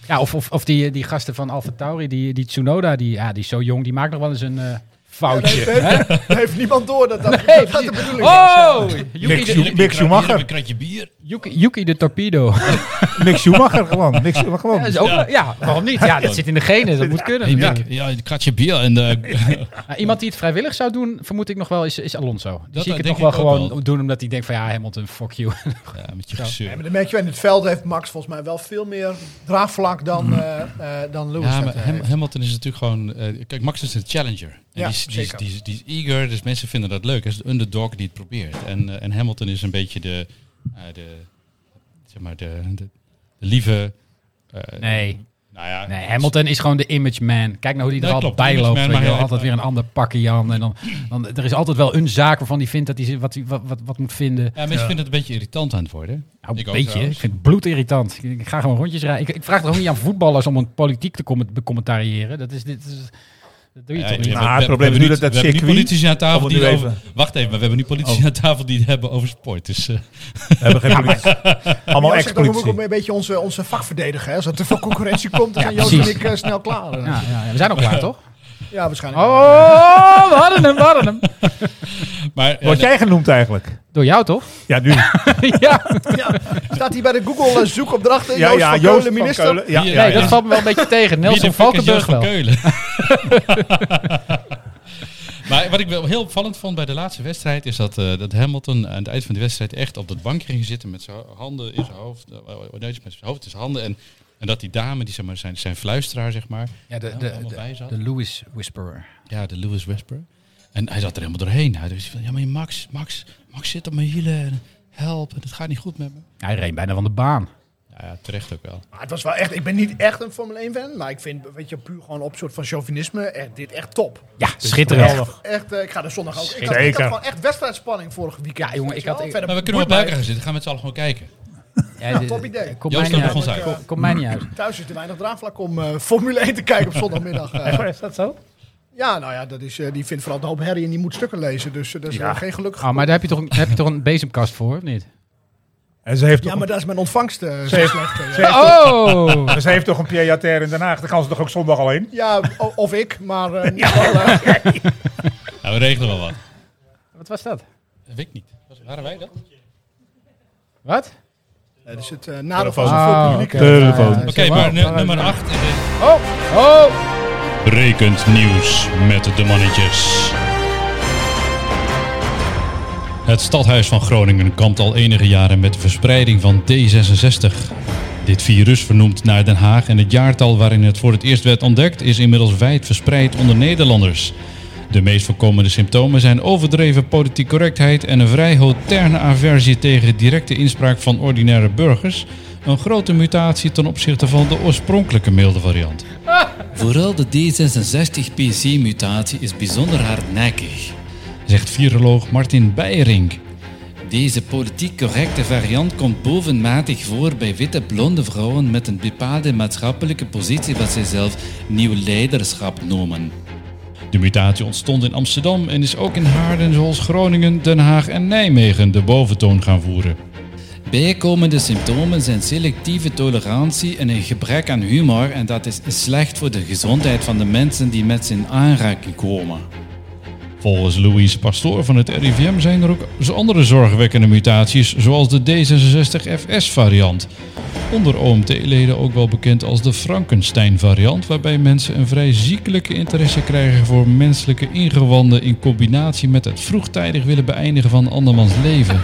A: ja, of, of, of die, die gasten van Alfa Tauri, die, die Tsunoda, die, ja, die is zo jong, die maakt nog wel eens een eh, foutje.
F: Daar heeft, daar heeft niemand door dat dat, dat, dat de bedoeling is.
A: oh, Yuki,
E: Mick Schu-
B: Hier
E: Mick
B: heb ik
E: Schumacher.
B: een kratje bier.
A: Yuki, Yuki de Torpedo.
E: [LAUGHS] Mick Schumacher gewoon. Mick Schumacher gewoon.
A: Ja, is ook, ja. waarom niet? Ja, dat zit in de genen, dat moet kunnen.
B: Hey, Mick, ja, ik krat je bier en eh, de...
A: Nou, iemand die het vrijwillig zou doen, vermoed ik nog wel, is, is Alonso. Die
B: Dat
A: zie ik het nog
B: denk
A: wel
B: ik ook
A: gewoon
B: wel.
A: doen, omdat hij denkt van ja, Hamilton, fuck you.
B: [LAUGHS] ja, met je gezeur.
F: Ja, maar dan merk je, in het veld heeft Max volgens mij wel veel meer draagvlak dan, eh, eh, dan Lewis.
B: Ja,
F: dat,
B: maar
F: eh,
B: Ham-
F: heeft.
B: Hamilton is natuurlijk gewoon... eh, kijk, Max is een challenger. En
F: Ja,
B: die, is, die, is,
F: zeker.
B: die, is, die is eager, dus mensen vinden dat leuk. Hij is de underdog die het probeert. En, eh, en Hamilton is een beetje de... eh, de zeg maar, de, de, de lieve... eh,
A: Nee.
B: Nou ja,
A: Nee, Hamilton is gewoon de image man. Kijk nou hoe die er
B: Nee,
A: altijd
B: klopt,
A: bij
B: image
A: loopt.
B: man,
A: weet
B: maar
A: je wel.
B: hij-
A: altijd weer een ander pakje aan. En dan, dan, er is altijd wel een zaak waarvan hij vindt dat hij wat, hij- wat, wat, wat moet vinden.
B: Ja, mensen vinden het een beetje irritant aan het worden.
A: Nou,
B: Ik
A: een
B: ook
A: beetje. Ik
B: trouwens.
A: vind het bloedirritant. Ik, ik ga gewoon rondjes rijden. Ik, ik vraag toch ook niet aan voetballers om een politiek te comment- becommentariëren. Dat is dit. is- dat doe je
B: Ja,
A: toch niet?
B: ja,
E: Maar
B: we-
E: het
B: we-
E: probleem
B: we hebben
E: is nu
B: niet-
E: dat dat
B: we hebben niet
E: circuit-
B: politici aan tafel
E: Allemaal
B: die
E: nu Oh.
B: het over, wacht even, maar we hebben nu politici aan tafel die het hebben over sport. Dus, eh,
E: We hebben geen politie. Allemaal
F: Joost zegt ook, we moeten
E: ex-politie.
F: ook een beetje onze, onze vak verdedigen. Hè? Als er veel concurrentie komt, dan zijn Joost
A: precies.
F: en ik eh, snel klaar. eh.
A: Ja, ja, ja, we zijn al
B: [LAUGHS]
A: klaar, toch?
F: Ja, waarschijnlijk.
A: Oh, we hadden hem, we hadden hem.
B: maar, ja,
E: Word jij genoemd eigenlijk?
A: Door jou,
B: [LAUGHS]
A: toch?
E: Ja, nu.
A: ja,
F: Ja, staat hij bij de Google eh, zoekopdrachten?
E: Ja,
F: Joost
E: ja,
F: van
E: Joost
F: Keulen,
E: van
F: minister.
E: Keulen. Ja,
B: Hier-
E: ja,
A: nee,
E: ja.
A: dat valt me wel een beetje tegen.
B: Wie
A: Nelson
B: de fuck is
A: Valkenburg
B: Joost van
A: wel. [LAUGHS]
B: Keulen? [LAUGHS] maar wat ik wel heel opvallend vond bij de laatste wedstrijd is dat, eh, dat Hamilton aan het eind van de wedstrijd echt op dat bankje ging zitten met zijn handen in zijn hoofd. eh, nee, met zijn hoofd in zijn handen. En, en dat die dame, die, zeg maar, zijn, zijn fluisteraar, zeg maar,
A: Ja, de, de,
B: allemaal bij
A: de,
B: zat.
A: de Lewis Whisperer.
B: Ja, de Lewis Whisper. En hij zat er helemaal doorheen. Hij dacht van, ja maar Max, Max, Max zit op mijn hielen. En help, het gaat niet goed met me.
A: Hij reed bijna van de baan.
B: Ja, ja, terecht ook wel.
F: Maar het was wel echt, ik ben niet echt een Formule 1 fan, maar ik vind, weet je, puur gewoon op soort van chauvinisme, echt, dit echt top.
A: Ja, schitterend.
E: Geweldig.
F: Echt, eh, ik ga er zondag ook. Ik had, ik
E: Zeker.
F: had gewoon echt wedstrijdspanning vorig weekend.
A: Ja, jongen,
F: weet
A: ik
F: je
A: had-
F: wel.
A: ik-
F: Verder
B: Maar we kunnen wel bij
F: boeit
B: elkaar gaan zitten. Gaan we met z'n allen gewoon kijken.
A: Ja, dit- eh,
F: top idee.
A: Komt
B: Joost
A: mij niet
B: loopt nog
A: uit.
B: ons uit.
A: Komt- Komt mij niet uit.
F: mij. Thuis is er weinig draagvlak om eh, Formule 1 te kijken op
E: [LAUGHS]
F: zondagmiddag. eh.
E: Is dat zo?
F: ja, nou ja, dat is, eh, die vindt vooral de hoop herrie en die moet stukken lezen, dus eh, dat is wel geen gelukkig.
A: Ah, maar daar heb je, toch een, heb je toch een bezemkast voor, of [LAUGHS] niet?
E: En ze heeft,
F: Ja,
E: toch,
F: maar daar is mijn ontvangst eh, zo
E: heeft-
F: slecht. eh.
A: Oh!
E: ze heeft toch een Pierre Jater in Den Haag? Dan kan ze toch ook zondag al heen?
F: Ja, o- of ik, maar eh, in ieder geval, eh,
B: Nou, we regelen wel wat.
A: Wat was dat?
B: Dat weet ik niet. Waren wij dat? Oké,
A: Wat?
F: eh, dus het eh, nadeel van
E: Telefoon.
F: zo'n
A: Ah,
F: veel publiek.
A: oké.
E: Telefoon.
A: Ja, ja, ja.
B: maar nu- nummer 8.
A: Oh! Oh!
B: Rekend nieuws met de mannetjes. Het stadhuis van Groningen kampt al enige jaren met de verspreiding van D66. Dit virus, vernoemd naar Den Haag en het jaartal waarin het voor het eerst werd ontdekt, is inmiddels wijd verspreid onder Nederlanders. De meest voorkomende symptomen zijn overdreven politieke correctheid en een vrij hoterne aversie tegen directe inspraak van ordinaire burgers, een grote mutatie ten opzichte van de oorspronkelijke milde variant.
G: Vooral de D66-PC-mutatie is bijzonder hardnekkig.
B: zegt viroloog Martin Beierink.
G: Deze politiek correcte variant komt bovenmatig voor bij witte blonde vrouwen met een bepaalde maatschappelijke positie wat zij zelf nieuw leiderschap noemen.
B: De mutatie ontstond in Amsterdam en is ook in Haarden, zoals Groningen, Den Haag en Nijmegen de boventoon gaan voeren.
G: Bijkomende symptomen zijn selectieve tolerantie en een gebrek aan humor en dat is slecht voor de gezondheid van de mensen die met ze in aanraking komen.
B: Volgens Louise Pastoor van het RIVM zijn er ook z- andere zorgwekkende mutaties, zoals de D66FS-variant. Onder OMT-leden ook wel bekend als de Frankenstein-variant, waarbij mensen een vrij ziekelijke interesse krijgen voor menselijke ingewanden in combinatie met het vroegtijdig willen beëindigen van andermans leven.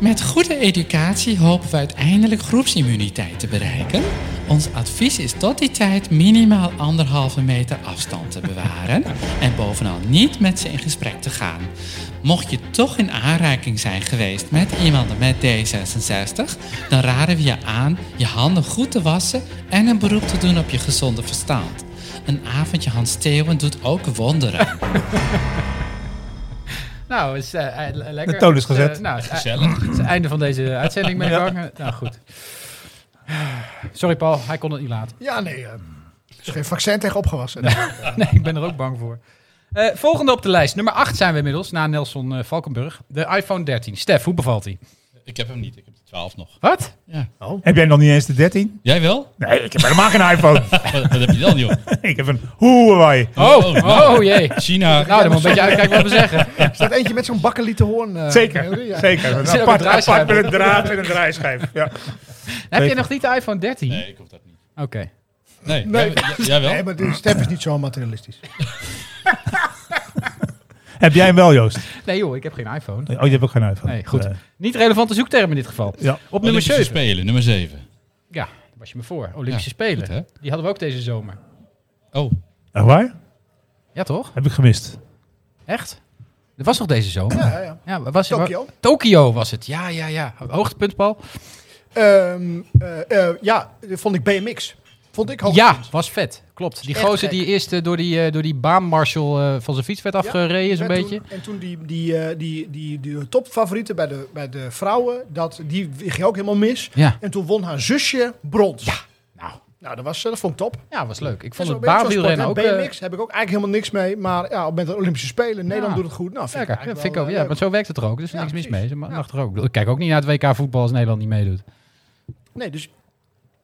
G: Met goede educatie hopen we uiteindelijk groepsimmuniteit te bereiken. Ons advies is tot die tijd minimaal anderhalve meter afstand te bewaren en bovenal niet met ze in gesprek te gaan. Mocht je toch in aanraking zijn geweest met iemand met D66, dan raden we je aan je handen goed te wassen en een beroep te doen op je gezonde verstand. Een avondje Hans Theeuwen doet ook wonderen.
A: Nou, is eh, eh, lekker.
E: De toon is gezet.
A: Eh, nou, het, is
B: Gezellig.
A: het einde van deze uitzending ben ik bang. Eh, Nou, goed. Sorry Paul, hij kon het niet laten. [LAUGHS]
F: Ja, nee. eh, er is geen vaccin tegen opgewassen.
A: Nee, ik ben er ook bang voor. Eh, volgende op de lijst. Nummer 8 zijn we inmiddels, na Nelson eh, Valkenburg. De iPhone 13. Stef, hoe bevalt hij?
B: Ik heb hem niet, ik heb de 12 nog.
A: Wat?
B: Ja.
F: Oh.
A: Oh.
E: Heb jij nog niet eens de 13?
B: Jij wel?
E: Nee, ik heb helemaal geen iPhone.
B: [LAUGHS] Wat, wat heb je dan, joh?
E: ik heb een Huawei.
A: Oh, oh,
B: nou.
A: jee.
B: China.
A: [LAUGHS] Nou, dan moet je een beetje uitkijken wat we zeggen.
F: Er staat eentje met zo'n bakkelieten hoorn. eh,
E: Zeker,
F: ja.
E: zeker. Een
A: zit ook een
E: apart,
A: draaischijf
E: apart met een draad en een draaischijf. Ja.
A: Heb je nog niet de iPhone 13?
B: Nee, ik hoef dat niet.
A: Oké.
B: Nee, Jij,
F: Nee.
B: jij- jij wel?
F: Nee, maar de step is niet zo materialistisch.
E: Heb jij hem wel, Joost?
A: Nee joh, ik heb geen iPhone.
E: Oh, je hebt ook geen iPhone.
A: Nee, goed.
E: Eh,
A: Niet relevante zoekterm in dit geval.
E: ja.
A: Op nummer
B: Olympische
A: 7.
B: Spelen, nummer 7.
A: Ja, daar was je me voor. Olympische
B: Ja,
A: Spelen.
B: goed, hè?
A: Die hadden we ook deze zomer.
B: Oh,
E: Echt waar?
A: Ja toch?
E: Heb ik gemist.
A: Echt? Dat was nog deze zomer?
F: Ja, ja.
A: [LAUGHS] Ja, was,
F: Tokio.
A: Tokio was het. Ja, ja, ja. Hoogtepunt, Paul?
F: Ehm, eh, eh, ja, vond ik BMX. Vond ik hoog.
A: Ja, was vet. Klopt. Die
F: Echt
A: gozer
F: gek.
A: die eerst eh, door die, eh, door die baanmarshal eh, van zijn fiets werd afgereden, zo'n
F: En
A: beetje.
F: Toen, en toen die, die, eh, die, die, die, topfavorieten bij de, bij de vrouwen, dat, die ging ook helemaal mis.
A: Ja.
F: En toen won haar zusje brons. Ja.
A: Nou,
F: Nou, dat, was, eh, dat vond ik top.
A: ja, was leuk. Ik vond
F: Zo
A: het
F: ben ik zo'n
A: baanwielrennen ook...
F: sport,
A: eh,
F: hè. BMX heb ik ook eigenlijk helemaal niks mee. Maar ja, met de Olympische Spelen,
A: Ja.
F: Nederland doet het goed. Nou, vind
A: Lekker,
F: ik
A: ja,
F: eigenlijk
A: vind ik
F: wel,
A: ook.
F: eh,
A: Ja,
F: leuk.
A: want zo werkt het er ook. Dus er is
F: Ja,
A: niks mis
F: precies.
A: mee. Ze ma-
F: Ja.
A: mag er ook. Ik bedoel, Ik kijk ook niet naar het WK voetbal als Nederland niet meedoet.
F: Nee, dus...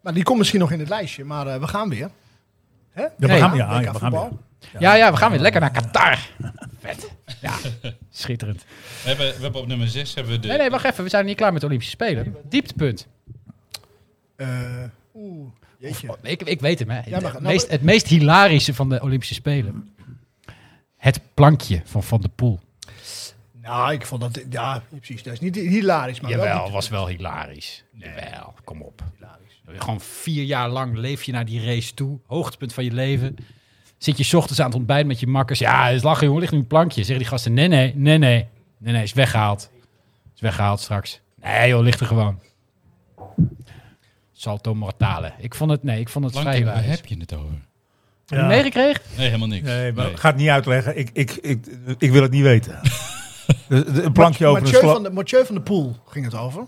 F: Maar die komt misschien nog in het lijstje, maar eh, we gaan weer. Hè?
E: Ja, we
A: Nee.
E: gaan, ja,
F: WK
E: ja, we gaan
F: voetbal.
E: weer.
A: Ja, ja, we gaan weer lekker naar Qatar. [LAUGHS] Vet. Ja, schitterend.
B: we hebben, we hebben op nummer 6 hebben we de...
A: Nee, nee, wacht even. We zijn niet klaar met de Olympische Spelen. Dieptepunt.
F: Eh, Oeh, jeetje.
A: Oh, Ik, ik weet hem, hè.
F: Ja, maar- nou,
A: het, meest, het meest hilarische van de Olympische Spelen. Het plankje van Van der Poel.
F: Nou, ik vond dat... Ja, precies. Oh, Dat is niet hilarisch, maar wel...
A: Jawel, was wel hilarisch. Jawel, kom op. Gewoon vier jaar lang leef je naar die race toe. Hoogtepunt van je leven. Zit je 's ochtends aan het ontbijt met je makkers. Ja, het is lachen, jongen. Ligt nu een plankje. Zeggen die gasten, nee, nee, nee, nee. Nee, nee, is weggehaald. Is weggehaald straks. Nee, joh, ligt er gewoon. Salto mortale. Ik vond het, nee, ik vond het
B: Lang
A: vrij
B: denk ik, waar
A: wijs. Heb
B: heb je het over?
A: je
E: Ja.
A: het meegekregen?
B: Nee, helemaal niks.
E: Nee, maar
B: Nee.
E: ga het niet uitleggen. Ik, ik, ik, ik wil het niet
A: [LAUGHS]
E: weten. Dus Een plankje over een
F: Mathieu van,
E: sloot.
F: de, Mathieu van der Poel ging het over.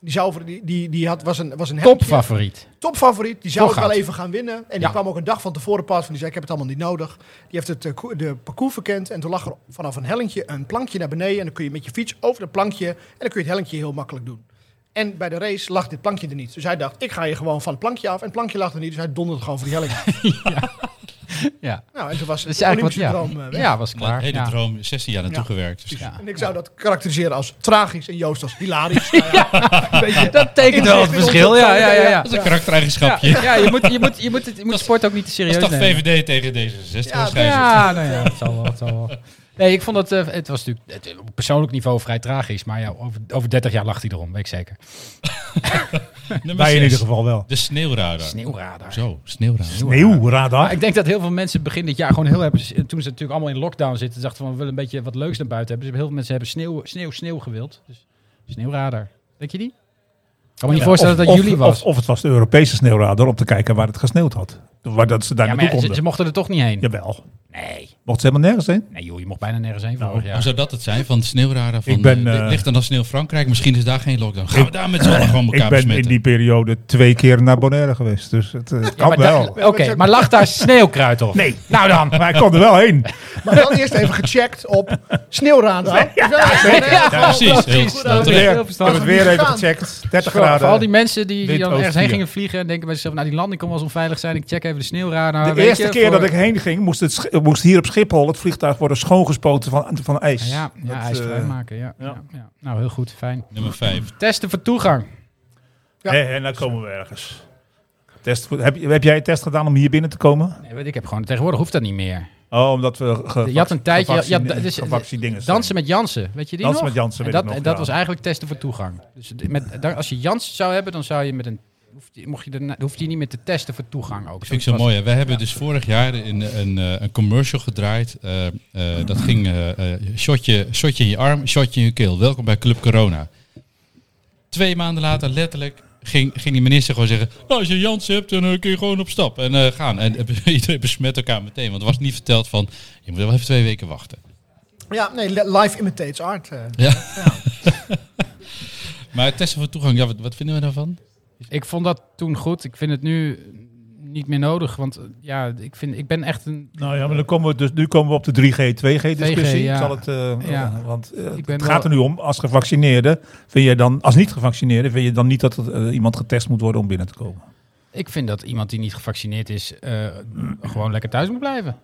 F: Die, zou over, die, die, die had, was een, was een hemdje.
A: Topfavoriet.
F: topfavoriet. Die zou
A: Toch
F: het wel
A: gaat.
F: even gaan winnen. En die
A: Ja.
F: kwam ook een dag van tevoren pas. Van die zei: Ik heb het allemaal niet nodig. Die heeft het eh, ko- de parcours verkend. En toen lag er vanaf een hellentje een plankje naar beneden. En dan kun je met je fiets over dat plankje. En dan kun je het hellentje heel makkelijk doen. En bij de race lag dit plankje er niet. Dus hij dacht: Ik ga hier gewoon van het plankje af. En het plankje lag er niet. Dus hij donderde gewoon voor
A: [LAUGHS]
F: die helling. af.
A: Ja,
F: nou, en toen was
A: dat is
F: het Olympische
A: eigenlijk wat, ja.
F: droom eh, weg.
A: ja, was
B: Maar
A: klaar.
B: de hele
A: ja.
B: droom, 16 jaar naartoe
F: Ja.
B: gewerkt. Dus ja.
F: En ik zou dat karakteriseren als tragisch. En Joost als
A: [LAUGHS]
F: hilarisch. Nou ja, een beetje-
A: Dat tekent wel het verschil. Ja, ja, ja. ja.
B: Dat is een karaktereigenschapje.
A: Ja, ja, je moet, je moet, je moet, het- je moet sport ook niet te
B: Dat
A: serieus
B: is toch
A: nemen.
B: VVD tegen D66
F: Ja,
B: waarschijnlijk.
A: Ja, nou ja, het zal wel, het zal wel. Nee, ik vond het, eh, het was natuurlijk het, op persoonlijk niveau vrij tragisch, maar ja, over, over 30 jaar lacht hij erom, weet ik zeker.
B: Nummer
E: Wij in
B: zes,
E: ieder geval wel.
B: De sneeuwradar.
A: Sneeuwradar.
B: Zo, sneeuwradar.
E: Sneeuw,
A: Maar
E: radar.
A: ik denk dat heel veel mensen begin dit jaar gewoon heel erg, toen ze natuurlijk allemaal in lockdown zitten, dachten van we willen een beetje wat leuks naar buiten hebben. Dus heel veel mensen hebben sneeuw, sneeuw, sneeuw gewild. Dus sneeuwradar. Denk je die? Ik kan me niet voorstellen dat dat jullie was.
E: Of, of het was de Europese sneeuwradar om te kijken waar het gesneeuwd had. Waar dat ze daar
A: ja, maar
E: naartoe
A: ja, ze,
E: konden.
A: ze mochten er toch niet heen.
E: Jawel.
A: Nee.
E: Mocht ze helemaal nergens heen?
A: Nee joh, je mocht bijna nergens heen vorig
B: Hoe
A: jaar.
B: zou dat het zijn van de sneeuwradar? Van,
E: Ik ben,
B: eh,
E: eh,
B: ligt dan als sneeuw Frankrijk? Misschien is daar geen lockdown. Gaan we daar met z'n allen gewoon elkaar
E: Ik ben in
B: besmetten?
E: die periode twee keer naar Bonaire geweest. Dus het, eh, kan
A: Maar
E: wel.
A: daar- Oké, maar lag
E: [LAUGHS]
A: daar sneeuwkruid op?
E: Nee.
A: Nou dan.
E: Maar ik kon er wel heen.
F: Maar dan eerst even gecheckt
A: [LAUGHS]
F: op sneeuwradar. Ja, ja,
B: Ja, precies. Heel, heel
A: Dat is
B: terecht.
A: heel
E: ik heb
A: verstandig.
E: het weer even
F: Gaan.
E: gecheckt. 30
A: Voor, voor al die
E: graden.
A: mensen die, die
E: Wind
A: dan
E: oost
A: ergens heen
E: vier.
A: gingen vliegen en denken bij zichzelf, nou die landing kan wel eens onveilig zijn, ik check even de sneeuwradar.
E: De
A: weet
E: eerste
A: je,
E: keer
A: voor-
E: dat ik heen ging, moest, het, sch- moest hier op Schiphol het vliegtuig worden schoongespoten van, van ijs.
A: Ja, ja
E: Dat,
A: hij is
E: eh,
A: vrij maken, ja, ja. ja. Nou, heel goed, fijn.
B: Nummer 5.
A: Testen voor toegang.
F: Ja.
E: Hé, En dan nou komen we ergens. Test, heb, je- heb jij een test gedaan om hier binnen te komen?
A: Nee, weet ik heb gewoon, tegenwoordig hoeft dat niet meer.
E: Oh, omdat we ge,
A: Je had een tijdje, ja,
E: gevaccine-
A: dat is-
E: gevaccineerd zijn.
A: Dansen met Jansen, weet je die
E: Dansen
A: nog?
E: met Jansen,
A: en
E: weet
A: dat,
E: ik nog,
A: en dat
E: ja.
A: was eigenlijk testen voor toegang. Dus d- met, daar- als je Jansen zou hebben, dan zou je met een, hoef je, mocht je, daarna- hoef je niet meer te testen voor toegang ook.
B: Vind ik zo
A: was-
B: mooi. Hè? Wij hebben dus vorig jaar in eh, een, eh, een commercial gedraaid. Eh, eh, dat ging eh, eh, shotje, shotje in je arm, shotje in je keel. Welkom bij Club Corona. Twee maanden later, letterlijk, ging, ging die minister gewoon zeggen... Nou, als je Jans hebt, dan eh, kun je gewoon op stap en eh, gaan. En eh, [LAUGHS] iedereen besmet elkaar meteen. Want er was niet verteld van, je moet wel even twee weken wachten.
F: nee, li- life imitates art. eh.
B: Maar testen voor toegang, ja, wat, wat vinden we daarvan?
A: Ik vond dat toen goed. Ik vind het nu niet meer nodig. Want eh, ja, ik, vind, ik ben echt een...
E: Nou ja, maar dan komen we dus, nu komen we op de 3G, 2G discussie.
A: 2G, ja.
E: Ik zal het, eh,
A: Ja.
E: Want eh,
A: Ik ben
E: het
A: wel-
E: gaat er nu om, als gevaccineerde, vind je dan, als niet gevaccineerde, vind je dan niet dat er, eh, iemand getest moet worden om binnen te komen?
A: Ik vind dat iemand die niet gevaccineerd is, eh, gewoon lekker thuis moet blijven.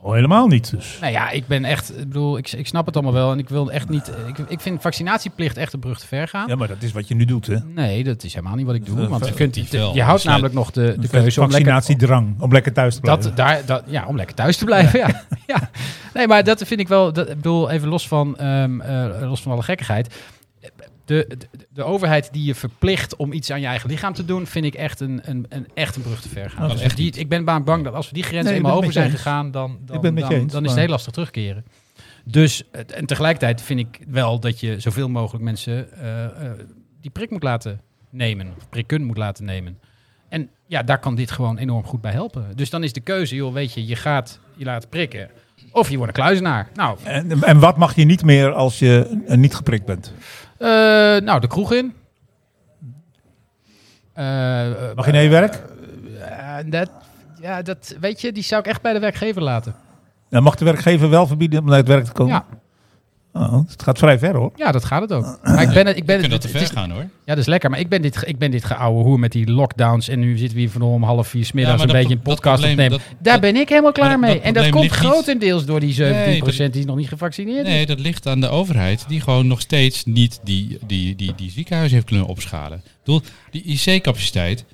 E: Oh, helemaal niet dus.
A: Nou ja, ik ben echt... Ik bedoel, ik, ik snap het allemaal wel. En ik wil echt niet... Ik, ik vind vaccinatieplicht echt een brug te ver gaan.
E: Ja, maar dat is wat je nu doet, hè?
A: Nee, dat is helemaal niet wat ik doe.
E: Eh,
A: want
E: je
B: kunt die wel
A: je houdt
B: besluiten.
A: namelijk nog de, de
E: De
A: keuze om lekker,
E: vaccinatiedrang, om lekker thuis te blijven.
A: dat, daar, dat, ja, om lekker thuis te blijven. Ja. Ja. [LAUGHS] Nee, maar dat vind ik wel. Dat, ik bedoel, even los van, ehm, eh, los van alle gekkigheid. De, de, de overheid die je verplicht om iets aan je eigen lichaam te doen, vind ik echt een, een, een, echt een brug te ver gaan.
E: Oh, Dat
A: Dus
E: is echt
A: die, ik ben baan bang dat als we die grens
E: Nee, ik
A: eenmaal
E: ben
A: over
E: het met
A: zijn
E: je eens.
A: gegaan, dan, dan,
E: Ik ben het met je
A: dan,
E: eens,
A: dan is het
E: maar-
A: heel lastig terugkeren. Dus, het- en tegelijkertijd vind ik wel dat je zoveel mogelijk mensen eh, eh, die prik moet laten nemen, of prikken moet laten nemen. En ja, daar kan dit gewoon enorm goed bij helpen. Dus dan is de keuze, joh, weet je, je gaat je laten prikken. Of je wordt een kluizenaar. Nou,
E: En, en wat mag je niet meer als je eh, niet geprikt bent?
A: eh, nou de kroeg in. Eh, eh,
E: Mag je naar je werk?
A: eh, dat, ja, dat, weet je, die zou ik echt bij de werkgever laten.
E: Dan mag de werkgever wel verbieden om naar het werk te komen?
A: Ja.
E: Oh, het gaat vrij ver, hoor.
A: Ja, dat gaat het ook. Maar ik ben, het- ik ben,
B: Ik vind
A: het-
B: dat te
A: het
B: ver
A: is-
B: gaan hoor.
A: Ja, dat is lekker. Maar ik ben dit, ge- ik ben dit geouwe hoer met die lockdowns. En nu zitten we hier van om half vier 's middags
B: Ja,
A: een
B: maar dat
A: beetje een
B: pro- dat
A: podcast
B: probleem,
A: opnemen.
B: dat-
A: Daar
B: dat-
A: ben ik helemaal klaar
B: dat-
A: mee.
B: dat
A: en dat
B: probleem
A: komt
B: ligt niet-
A: grotendeels door die 17%
B: Nee,
A: die nog niet gevaccineerd is.
B: Nee, dat ligt aan de overheid die gewoon nog steeds niet die, die, die, die ziekenhuizen heeft kunnen opschalen. Ik bedoel, die IC-capaciteit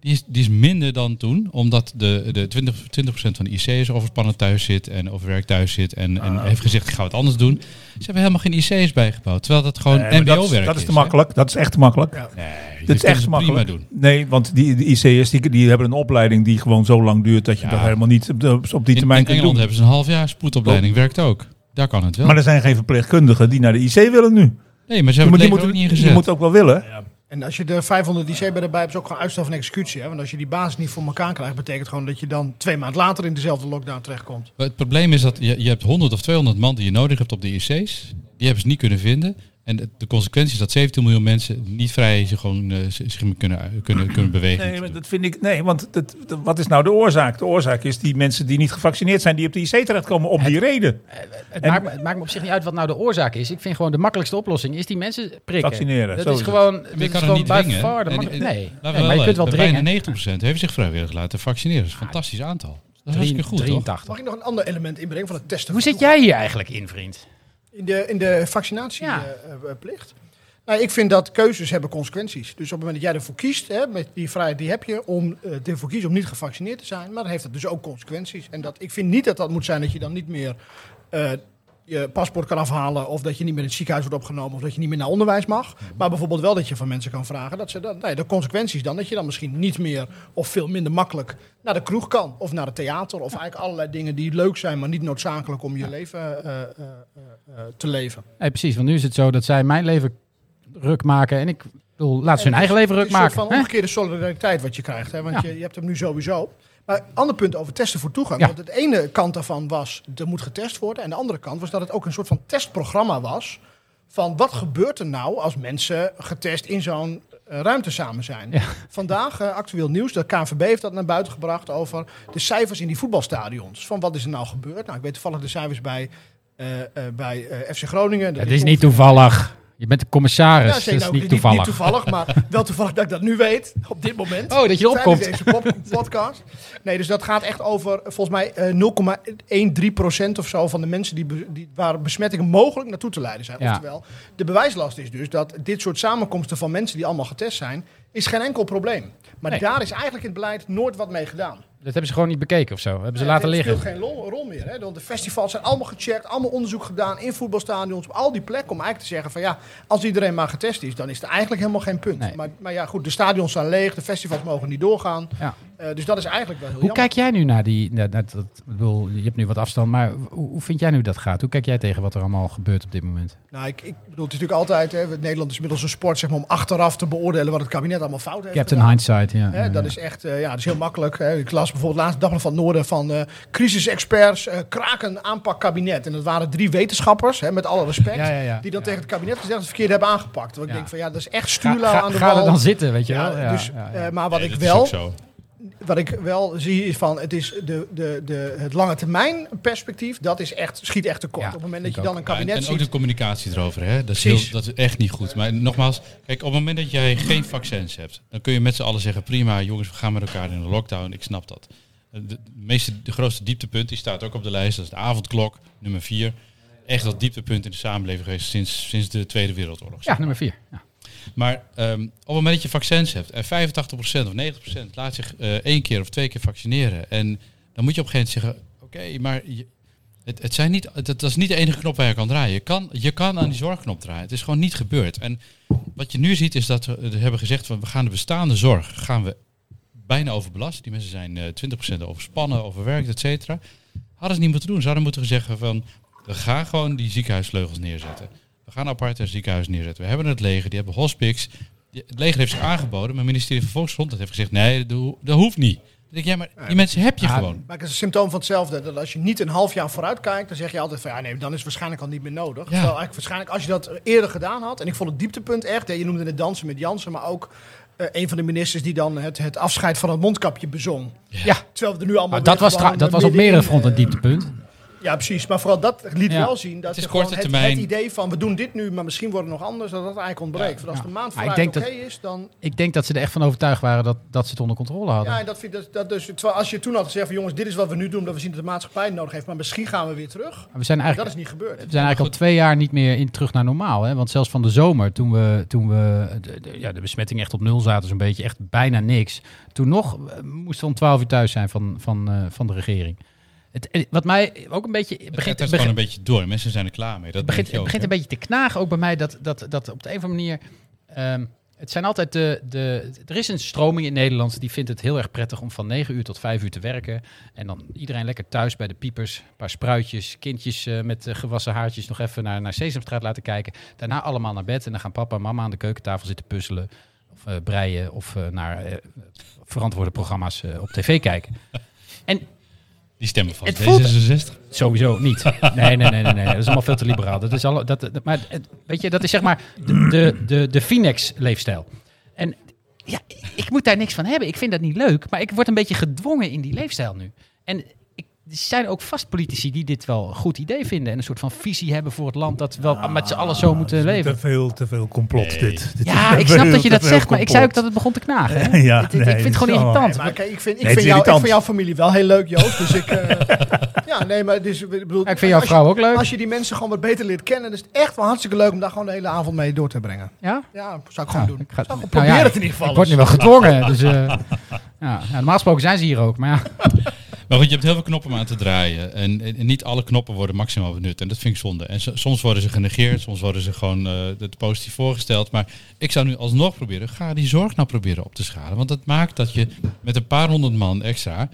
B: die is, die is minder dan toen, omdat de, de 20, 20% van de IC's overspannen thuis zit en overwerkt thuis zit en,
E: Ah.
B: en heeft gezegd ik ga het anders doen. Ze hebben helemaal geen IC's bijgebouwd, terwijl dat gewoon
E: Nee, maar dat, is,
B: MBO-werk is.
E: dat is te
B: hè?
E: makkelijk. Dat is echt te makkelijk.
B: Nee,
E: Dat is echt
B: kunnen ze
E: makkelijk.
B: prima doen.
E: Nee, want die, die IC'ers die, die hebben een opleiding die gewoon zo lang duurt dat je
B: Ja.
E: dat helemaal niet op, de- op die
B: In, in
E: termijn kunt
B: Engeland
E: doen.
B: hebben ze een half jaar spoedopleiding, werkt ook. Daar kan het wel.
E: Maar er zijn geen verpleegkundigen die naar de IC willen nu.
B: nee, maar ze
E: Je
B: hebben
E: moet, je,
B: het moet, ook
E: moet,
B: niet
E: je
B: ingezet.
E: moet ook wel willen.
F: En als je de 500 die bij erbij hebt, is ook gewoon uitstel van executie. Hè? Want als je die basis niet voor elkaar krijgt, betekent gewoon dat je dan twee maanden later in dezelfde lockdown terechtkomt.
B: Maar Het probleem is dat je, je hebt 100 of 200 man die je nodig hebt op de IC's. Die hebben ze niet kunnen vinden. En de, de consequentie is dat 17 miljoen mensen niet vrij zich gewoon eh, z- zich kunnen, kunnen, kunnen bewegen.
E: Nee, maar dat vind ik. Nee, want dat, dat- wat is nou de oorzaak? De oorzaak is die mensen die niet gevaccineerd zijn, die op de IC terechtkomen om die reden.
A: Het,
E: En-
A: maakt me, het maakt me op zich niet uit wat nou de oorzaak is. Ik vind gewoon de makkelijkste oplossing is die mensen prikken.
E: Vaccineren,
A: Dat
E: zo
A: is
E: is het.
A: gewoon, dat
B: Maar je
A: is
B: kan het
A: gewoon
B: niet
A: by
B: dwingen.
A: far de
B: En-
A: makkelijk-
B: en-
A: nee.
B: Laten we
A: Nee, maar je
B: wel
A: kunt wel
B: weten,
A: dringen.
B: Bijna 90% heeft zich vrijwillig laten vaccineren. Dat is een fantastisch aantal. Dat is hartstikke goed, toch?
A: 83.
F: Mag ik nog een ander element inbrengen van het testen?
A: Hoe zit jij hier eigenlijk in, vriend?
F: In de, in de vaccinatieplicht.
A: Ja.
F: nou, ik vind dat keuzes hebben consequenties. Dus op het moment dat jij ervoor kiest, hè, met die vrijheid die heb je, om eh, ervoor kiest om niet gevaccineerd te zijn, maar dan heeft dat dus ook consequenties. En dat, ik vind niet dat dat moet zijn dat je dan niet meer eh, je paspoort kan afhalen, of dat je niet meer in het ziekenhuis wordt opgenomen, of dat je niet meer naar onderwijs mag. Maar bijvoorbeeld wel dat je van mensen kan vragen dat ze dan, nee, de consequenties dan, dat je dan misschien niet meer of veel minder makkelijk naar de kroeg kan, of naar het theater, of eigenlijk allerlei dingen die leuk zijn, maar niet noodzakelijk om je leven eh, eh, eh, eh, te leven.
A: Nee, precies, want nu is het zo dat zij mijn leven ruk maken en ik bedoel, laten ze hun eigen leven ruk
F: Het is een
A: maken.
F: soort van
A: hè?
F: omgekeerde solidariteit wat je krijgt. Hè? Want
A: Ja.
F: je, je hebt hem nu sowieso. Maar ander punt over testen voor toegang.
A: Ja.
F: Want het ene kant daarvan was, er moet getest worden. En de andere kant was dat het ook een soort van testprogramma was. Van wat gebeurt er nou als mensen getest in zo'n eh, ruimte samen zijn?
A: Ja.
F: Vandaag eh, actueel nieuws, de KNVB heeft dat naar buiten gebracht over de cijfers in die voetbalstadions. Van wat is er nou gebeurd? Nou, ik weet toevallig de cijfers bij, eh, eh, bij eh, FC Groningen.
A: Het is niet toevallig. Je bent de commissaris,
F: Ja,
A: dat
F: zeker.
A: is
F: Nou,
A: dus niet toevallig.
F: Niet toevallig,
A: [LAUGHS]
F: maar wel toevallig dat ik dat nu weet, op dit moment.
A: Oh, dat je erop komt.
F: Tijdens deze pod- podcast. Nee, dus dat gaat echt over, eh, volgens mij, eh, 0,13% of zo van de mensen die, be- die, waar besmettingen mogelijk naartoe te leiden zijn.
A: Ja.
F: Oftewel, de bewijslast is dus dat dit soort samenkomsten van mensen die allemaal getest zijn, is geen enkel probleem. Maar
A: Nee.
F: daar is eigenlijk in het beleid nooit wat mee gedaan.
A: Dat hebben ze gewoon niet bekeken of zo. Hebben ze
F: Nee,
A: laten
F: dit
A: liggen.
F: speelt geen lol- rol meer. Hè? Want de festivals zijn allemaal gecheckt, allemaal onderzoek gedaan in voetbalstadions, op al die plekken. Om eigenlijk te zeggen van ja, als iedereen maar getest is, dan is er eigenlijk helemaal geen punt.
A: Nee.
F: Maar, maar ja, goed, de stadions zijn leeg, de festivals mogen niet doorgaan.
A: Ja.
F: Eh, dus dat is eigenlijk wel heel
A: Hoe
F: jammer.
A: kijk jij nu naar die... naar- naar dat, ik bedoel, je hebt nu wat afstand, maar hoe, hoe vind jij nu dat gaat? Hoe kijk jij tegen wat er allemaal gebeurt op dit moment?
F: Nou, ik, ik bedoel het is natuurlijk altijd, hè, Nederland is inmiddels een sport zeg maar, om achteraf te beoordelen wat het kabinet allemaal fout heeft gedaan.
A: Captain Hindsight, ja.
F: Hè, dat is echt eh, ja, dat is heel makkelijk. Hè. Ik las bijvoorbeeld laatst Dagblad van het Noorden van eh crisisexperts, eh, kraken aanpak kabinet. En dat waren drie wetenschappers, hè, met alle respect,
A: Ja, ja, ja.
F: die dan
A: Ja.
F: tegen het kabinet gezegd dat ze het verkeerd hebben aangepakt. Want
A: Ja.
F: ik denk van ja, dat is echt
A: Ga,
F: stuurlauw
A: ga-
F: aan de
A: ga er
F: bal.
A: dan zitten, weet je
F: Ja,
A: wel. Ja,
F: dus,
A: ja, ja.
F: eh, maar wat
B: Nee,
F: ik
B: dat is
F: wel,
B: ook zo.
F: wat ik wel zie is van, het is de, de, de, het lange termijn perspectief, dat is echt, schiet echt tekort.
A: Ja,
F: op het moment
A: ik
F: dat je
A: ook.
F: dan een
B: Ja, en-
F: kabinet
B: en, ook
F: ziet,
B: de communicatie erover, hè? Dat, is heel-
F: Precies.
B: dat is echt niet goed. Maar nogmaals, kijk, op het moment dat jij geen vaccins hebt, dan kun je met z'n allen zeggen: prima, jongens, we gaan met elkaar in de lockdown. Ik snap dat. Eh, De, de meeste, de grootste dieptepunt, die staat ook op de lijst, dat is de avondklok, nummer vier. Echt dat dieptepunt in de samenleving geweest sinds, sinds de Tweede Wereldoorlog.
A: Ja, nummer vier. Ja.
B: Maar ehm, op het moment dat je vaccins hebt en 85% of 90% laat zich eh, één keer of twee keer vaccineren. En dan moet je op een gegeven moment zeggen, oké, maar je, het, het zijn niet, het, dat is niet de enige knop waar je kan draaien. Je kan, je kan aan die zorgknop draaien. Het is gewoon niet gebeurd. En wat je nu ziet is dat we eh, hebben gezegd, van, we gaan de bestaande zorg gaan we bijna overbelast. Die mensen zijn eh 20% overspannen, overwerkt, et cetera. Hadden ze niet moeten doen. Ze hadden moeten zeggen van, we gaan gewoon die ziekenhuisvleugels neerzetten. We gaan apart een ziekenhuis neerzetten. We hebben het leger, die hebben hospice. Die- Het leger heeft zich aangeboden, maar het ministerie van Volksgezondheid heeft gezegd, nee, dat ho- dat hoeft niet. Dan denk ik, ja, maar die mensen heb je gewoon.
F: maar het is een symptoom van hetzelfde. Dat als je niet een half jaar vooruit kijkt, dan zeg je altijd van, ja nee, dan is het waarschijnlijk al niet meer nodig. Terwijl eigenlijk waarschijnlijk als je dat eerder gedaan had, en ik vond het dieptepunt echt, hè, je noemde het dansen met Jansen, maar ook eh, een van de ministers die dan het, het afscheid van het mondkapje bezong.
A: Ja.
F: Terwijl we er nu allemaal
A: Maar
F: weer
A: dat was,
F: gewoon
A: tra- dat was op
F: middenin,
A: meerdere fronten
F: eh,
A: een dieptepunt.
F: Ja, precies. Maar vooral dat liet
A: Ja.
F: wel zien dat
B: Het is
F: je gewoon
B: korte
F: het,
B: termijn.
F: het idee van we doen dit nu, maar misschien wordt het nog anders, dat dat eigenlijk ontbreekt. Want als
A: Ja.
F: de maand
A: Maar ik
F: vooruit
A: denk
F: oké
A: dat-
F: is, dan...
A: Ik denk dat ze er echt van overtuigd waren dat, dat ze het onder controle hadden.
F: Ja, en dat vind ik dat, dat dus, terwijl als je toen had gezegd van jongens, dit is wat we nu doen, dat we zien dat de maatschappij het nodig heeft, maar misschien gaan we weer terug.
A: Maar we zijn
F: Dat
A: eigenlijk,
F: is niet gebeurd.
A: we zijn eigenlijk al twee jaar niet meer in, terug naar normaal. Hè? Want zelfs van de zomer, toen we, toen we de, de- ja, de besmetting echt op nul zaten, zo'n beetje, echt bijna niks. Toen nog eh, moesten we om twaalf uur thuis zijn van, van, eh, van de regering. Het, eh, wat mij ook een beetje
B: Het gaat
A: begint,
B: gewoon
A: begint,
B: een beetje door. Mensen zijn er klaar mee.
A: begint,
B: Dat merk je
A: het
B: ook,
A: begint
B: hè?
A: een beetje te knagen, ook bij mij, dat, dat, dat op de een of andere manier... ehm, het zijn altijd de, de... Er is een stroming in Nederland die vindt het heel erg prettig om van 9 uur tot 5 uur te werken. En dan iedereen lekker thuis bij de piepers. Een paar spruitjes, kindjes eh, met eh, gewassen haartjes nog even naar, naar Sesamstraat laten kijken. Daarna allemaal naar bed en dan gaan papa en mama aan de keukentafel zitten puzzelen. Of eh, breien of eh, naar eh, verantwoorde programma's eh, op tv kijken. En
B: Die stemmen van
A: Het voelt-
B: D66.
A: Sowieso niet. [LAUGHS] Nee, nee, nee, nee, nee. Dat is allemaal veel te liberaal. Dat is al, dat, dat- maar het- weet je, dat is zeg maar de, de, de, de Phoenix-leefstijl. En ja, ik moet daar niks van hebben. Ik vind dat niet leuk. Maar ik word een beetje gedwongen in die leefstijl nu. En ik, er zijn ook vast politici die dit wel een goed idee vinden. En een soort van visie hebben voor het land dat we wel
E: Ah,
A: met z'n allen zo moeten
E: Te
A: leven.
E: veel, te veel complot dit. Dit
A: Ja,
E: is
A: ik
E: te
A: snap
E: veel,
A: dat je
E: te
A: dat
E: veel
A: zegt, maar ik zei ook dat
E: complot.
A: het begon te knagen. hè?
E: [LAUGHS] Ja,
A: Dit- dit-
E: nee,
A: ik vind het gewoon
E: dit is allemaal-
A: irritant.
F: Maar kijk, ik vind, ik,
E: Nee, het
F: vind,
E: is
F: jou, ik
E: irritant.
F: vind jouw familie wel heel leuk, Joost. Dus ik. eh,
B: [LAUGHS]
F: ja, nee, maar dus, ik bedoel.
A: Ja, ik vind jouw
F: als
A: vrouw
F: je-
A: ook leuk.
F: Als je die mensen gewoon wat beter leert kennen, is het echt wel hartstikke leuk om daar gewoon de hele avond mee door te brengen.
A: Ja?
F: Ja, zou ik gewoon doen.
A: Ik ga
F: Zou
A: nou
F: ik probeer
A: ja,
F: het in ieder geval.
A: Ik word nu
F: eens.
A: wel
F: [LAUGHS]
A: gedwongen. Dus, eh, ja, ja, normaal gesproken zijn ze hier ook. Maar ja,
B: Maar goed, je hebt heel veel knoppen om aan te draaien. En, en niet alle knoppen worden maximaal benut. En dat vind ik zonde. En so- soms worden ze genegeerd, soms worden ze gewoon eh, het positief voorgesteld. Maar ik zou nu alsnog proberen, ga die zorg nou proberen op te schalen. Want dat maakt dat je met een paar honderd man extra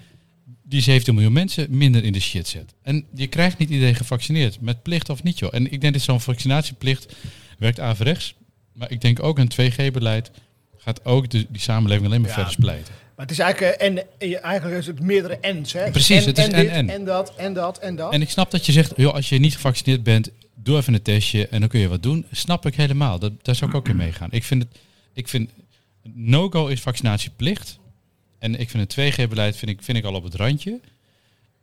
B: die 17 miljoen mensen minder in de shit zet. En je krijgt niet iedereen gevaccineerd, met plicht of niet joh. En ik denk dat zo'n vaccinatieplicht werkt averechts. Maar ik denk ook een 2G-beleid gaat ook de, die samenleving alleen maar verder splijten.
F: Maar het is eigenlijk, eh, en, eh, eigenlijk is het meerdere N's. Hè?
B: Precies,
F: en,
B: het is
F: en,
B: en,
F: dit,
B: en.
F: en dat, en dat, en dat.
B: En ik snap dat je zegt, joh, als je niet gevaccineerd bent, doe even een testje en dan kun je wat doen. Snap ik helemaal. Dat, daar zou ik ook in meegaan. Ik vind, het, ik vind no-go is vaccinatieplicht. En ik vind het 2G-beleid vind ik, vind ik al op het randje.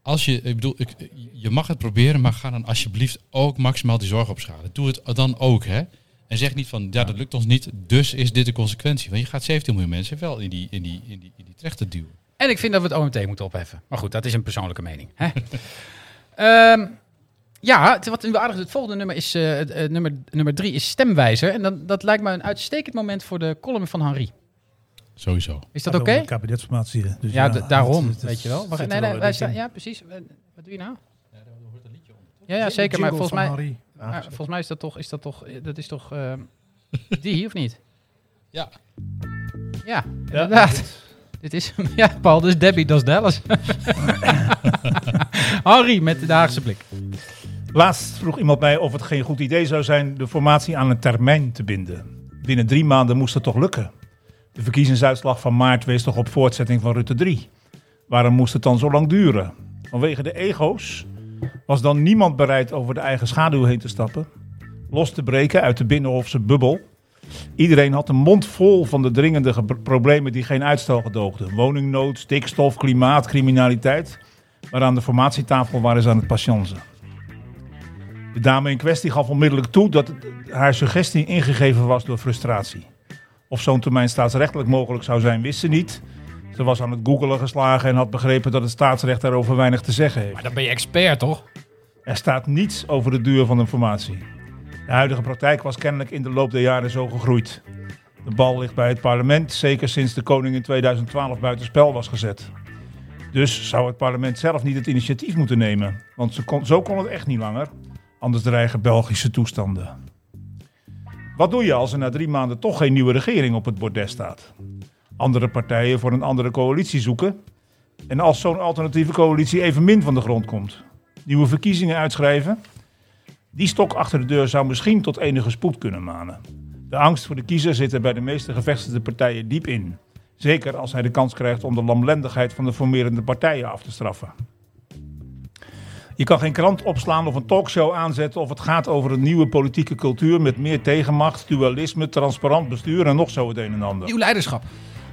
B: Als je, ik bedoel, ik, je mag het proberen, maar ga dan alsjeblieft ook maximaal die zorg opschalen. Doe het dan ook, hè. En zeg niet van, ja, dat lukt ons niet, dus is dit de consequentie. Want je gaat 17 miljoen mensen wel in die, in die, in die, in die trechter duwen.
A: En ik vind dat we het OMT moeten opheffen. Maar goed, dat is een persoonlijke mening.
F: [LAUGHS]
A: Hè? Ehm, ja, het- wat nu aardig is, het volgende nummer, is, eh, het, eh, nummer, nummer drie is stemwijzer. En dan, dat lijkt me een uitstekend moment voor de column van Henri.
B: Sowieso.
A: Is dat
E: Ja,
A: oké?
E: door de Kabinetsformatie. Dus
A: Ja, d- daarom,
E: Ah, het- het-
A: weet je wel. Wacht,
E: zit
A: nee,
E: er
A: nee,
E: wel
A: wij
E: in.
A: staan, ja, precies. Eh, Wat doe je nou? Ja, ja, zeker. Maar volgens mij, maar volgens mij is dat toch, is dat toch, eh, dat is toch ehm, [LAUGHS] die, of niet?
B: Ja.
A: Ja, inderdaad. Dit is [LAUGHS] hem. Ja, Paul, dus Debbie, dat is Dallas. [LAUGHS] Henri met de Haagse blik.
E: Laatst vroeg iemand mij of het geen goed idee zou zijn de formatie aan een termijn te binden. Binnen drie maanden moest het toch lukken? De verkiezingsuitslag van maart wees toch op voortzetting van Rutte 3. Waarom moest het dan zo lang duren? Vanwege de ego's? Was dan niemand bereid over de eigen schaduw heen te stappen? Los te breken uit de binnenhofse bubbel? Iedereen had een mond vol van de dringende ge- problemen die geen uitstel gedoogden. Woningnood, stikstof, klimaat, criminaliteit. Maar aan de formatietafel waren ze aan het patiënzen. De dame in kwestie gaf onmiddellijk toe dat het- haar suggestie ingegeven was door frustratie. Of zo'n termijn staatsrechtelijk mogelijk zou zijn, wist ze niet. Ze was aan het googelen geslagen en had begrepen dat het staatsrecht daarover weinig te zeggen heeft.
A: Maar dan ben je expert, toch?
E: Er staat niets over de duur van de formatie. De huidige praktijk was kennelijk in de loop der jaren zo gegroeid. De bal ligt bij het parlement, zeker sinds de koning in 2012 buitenspel was gezet. Dus zou het parlement zelf niet het initiatief moeten nemen, want ze kon- zo kon het echt niet langer. Anders dreigen Belgische toestanden. Wat doe je als er na drie maanden toch geen nieuwe regering op het bordes staat? Andere partijen voor een andere coalitie zoeken? En als zo'n alternatieve coalitie evenmin van de grond komt? nieuwe verkiezingen uitschrijven. Die stok achter de deur zou misschien tot enige spoed kunnen manen. De angst voor de kiezer zit er bij de meeste gevestigde partijen diep in. Zeker als hij de kans krijgt om de lamlendigheid van de formerende partijen af te straffen. Je kan geen krant opslaan of een talkshow aanzetten of het gaat over een nieuwe politieke cultuur met meer tegenmacht, dualisme, transparant bestuur en nog zo het een en ander.
A: Nieuw leiderschap.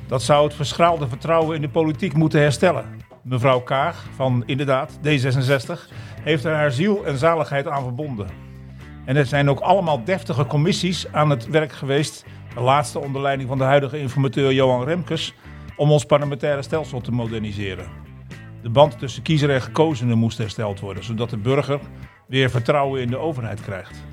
E: Dat zou het verschraalde vertrouwen in de politiek moeten herstellen. Mevrouw Kaag van inderdaad D66 heeft er haar ziel en zaligheid aan verbonden. En er zijn ook allemaal deftige commissies aan het werk geweest. De laatste onder leiding van de huidige informateur Johan Remkes. om ons parlementaire stelsel te moderniseren. De band tussen kiezer en gekozenen moest hersteld worden. zodat de burger weer vertrouwen in de overheid krijgt.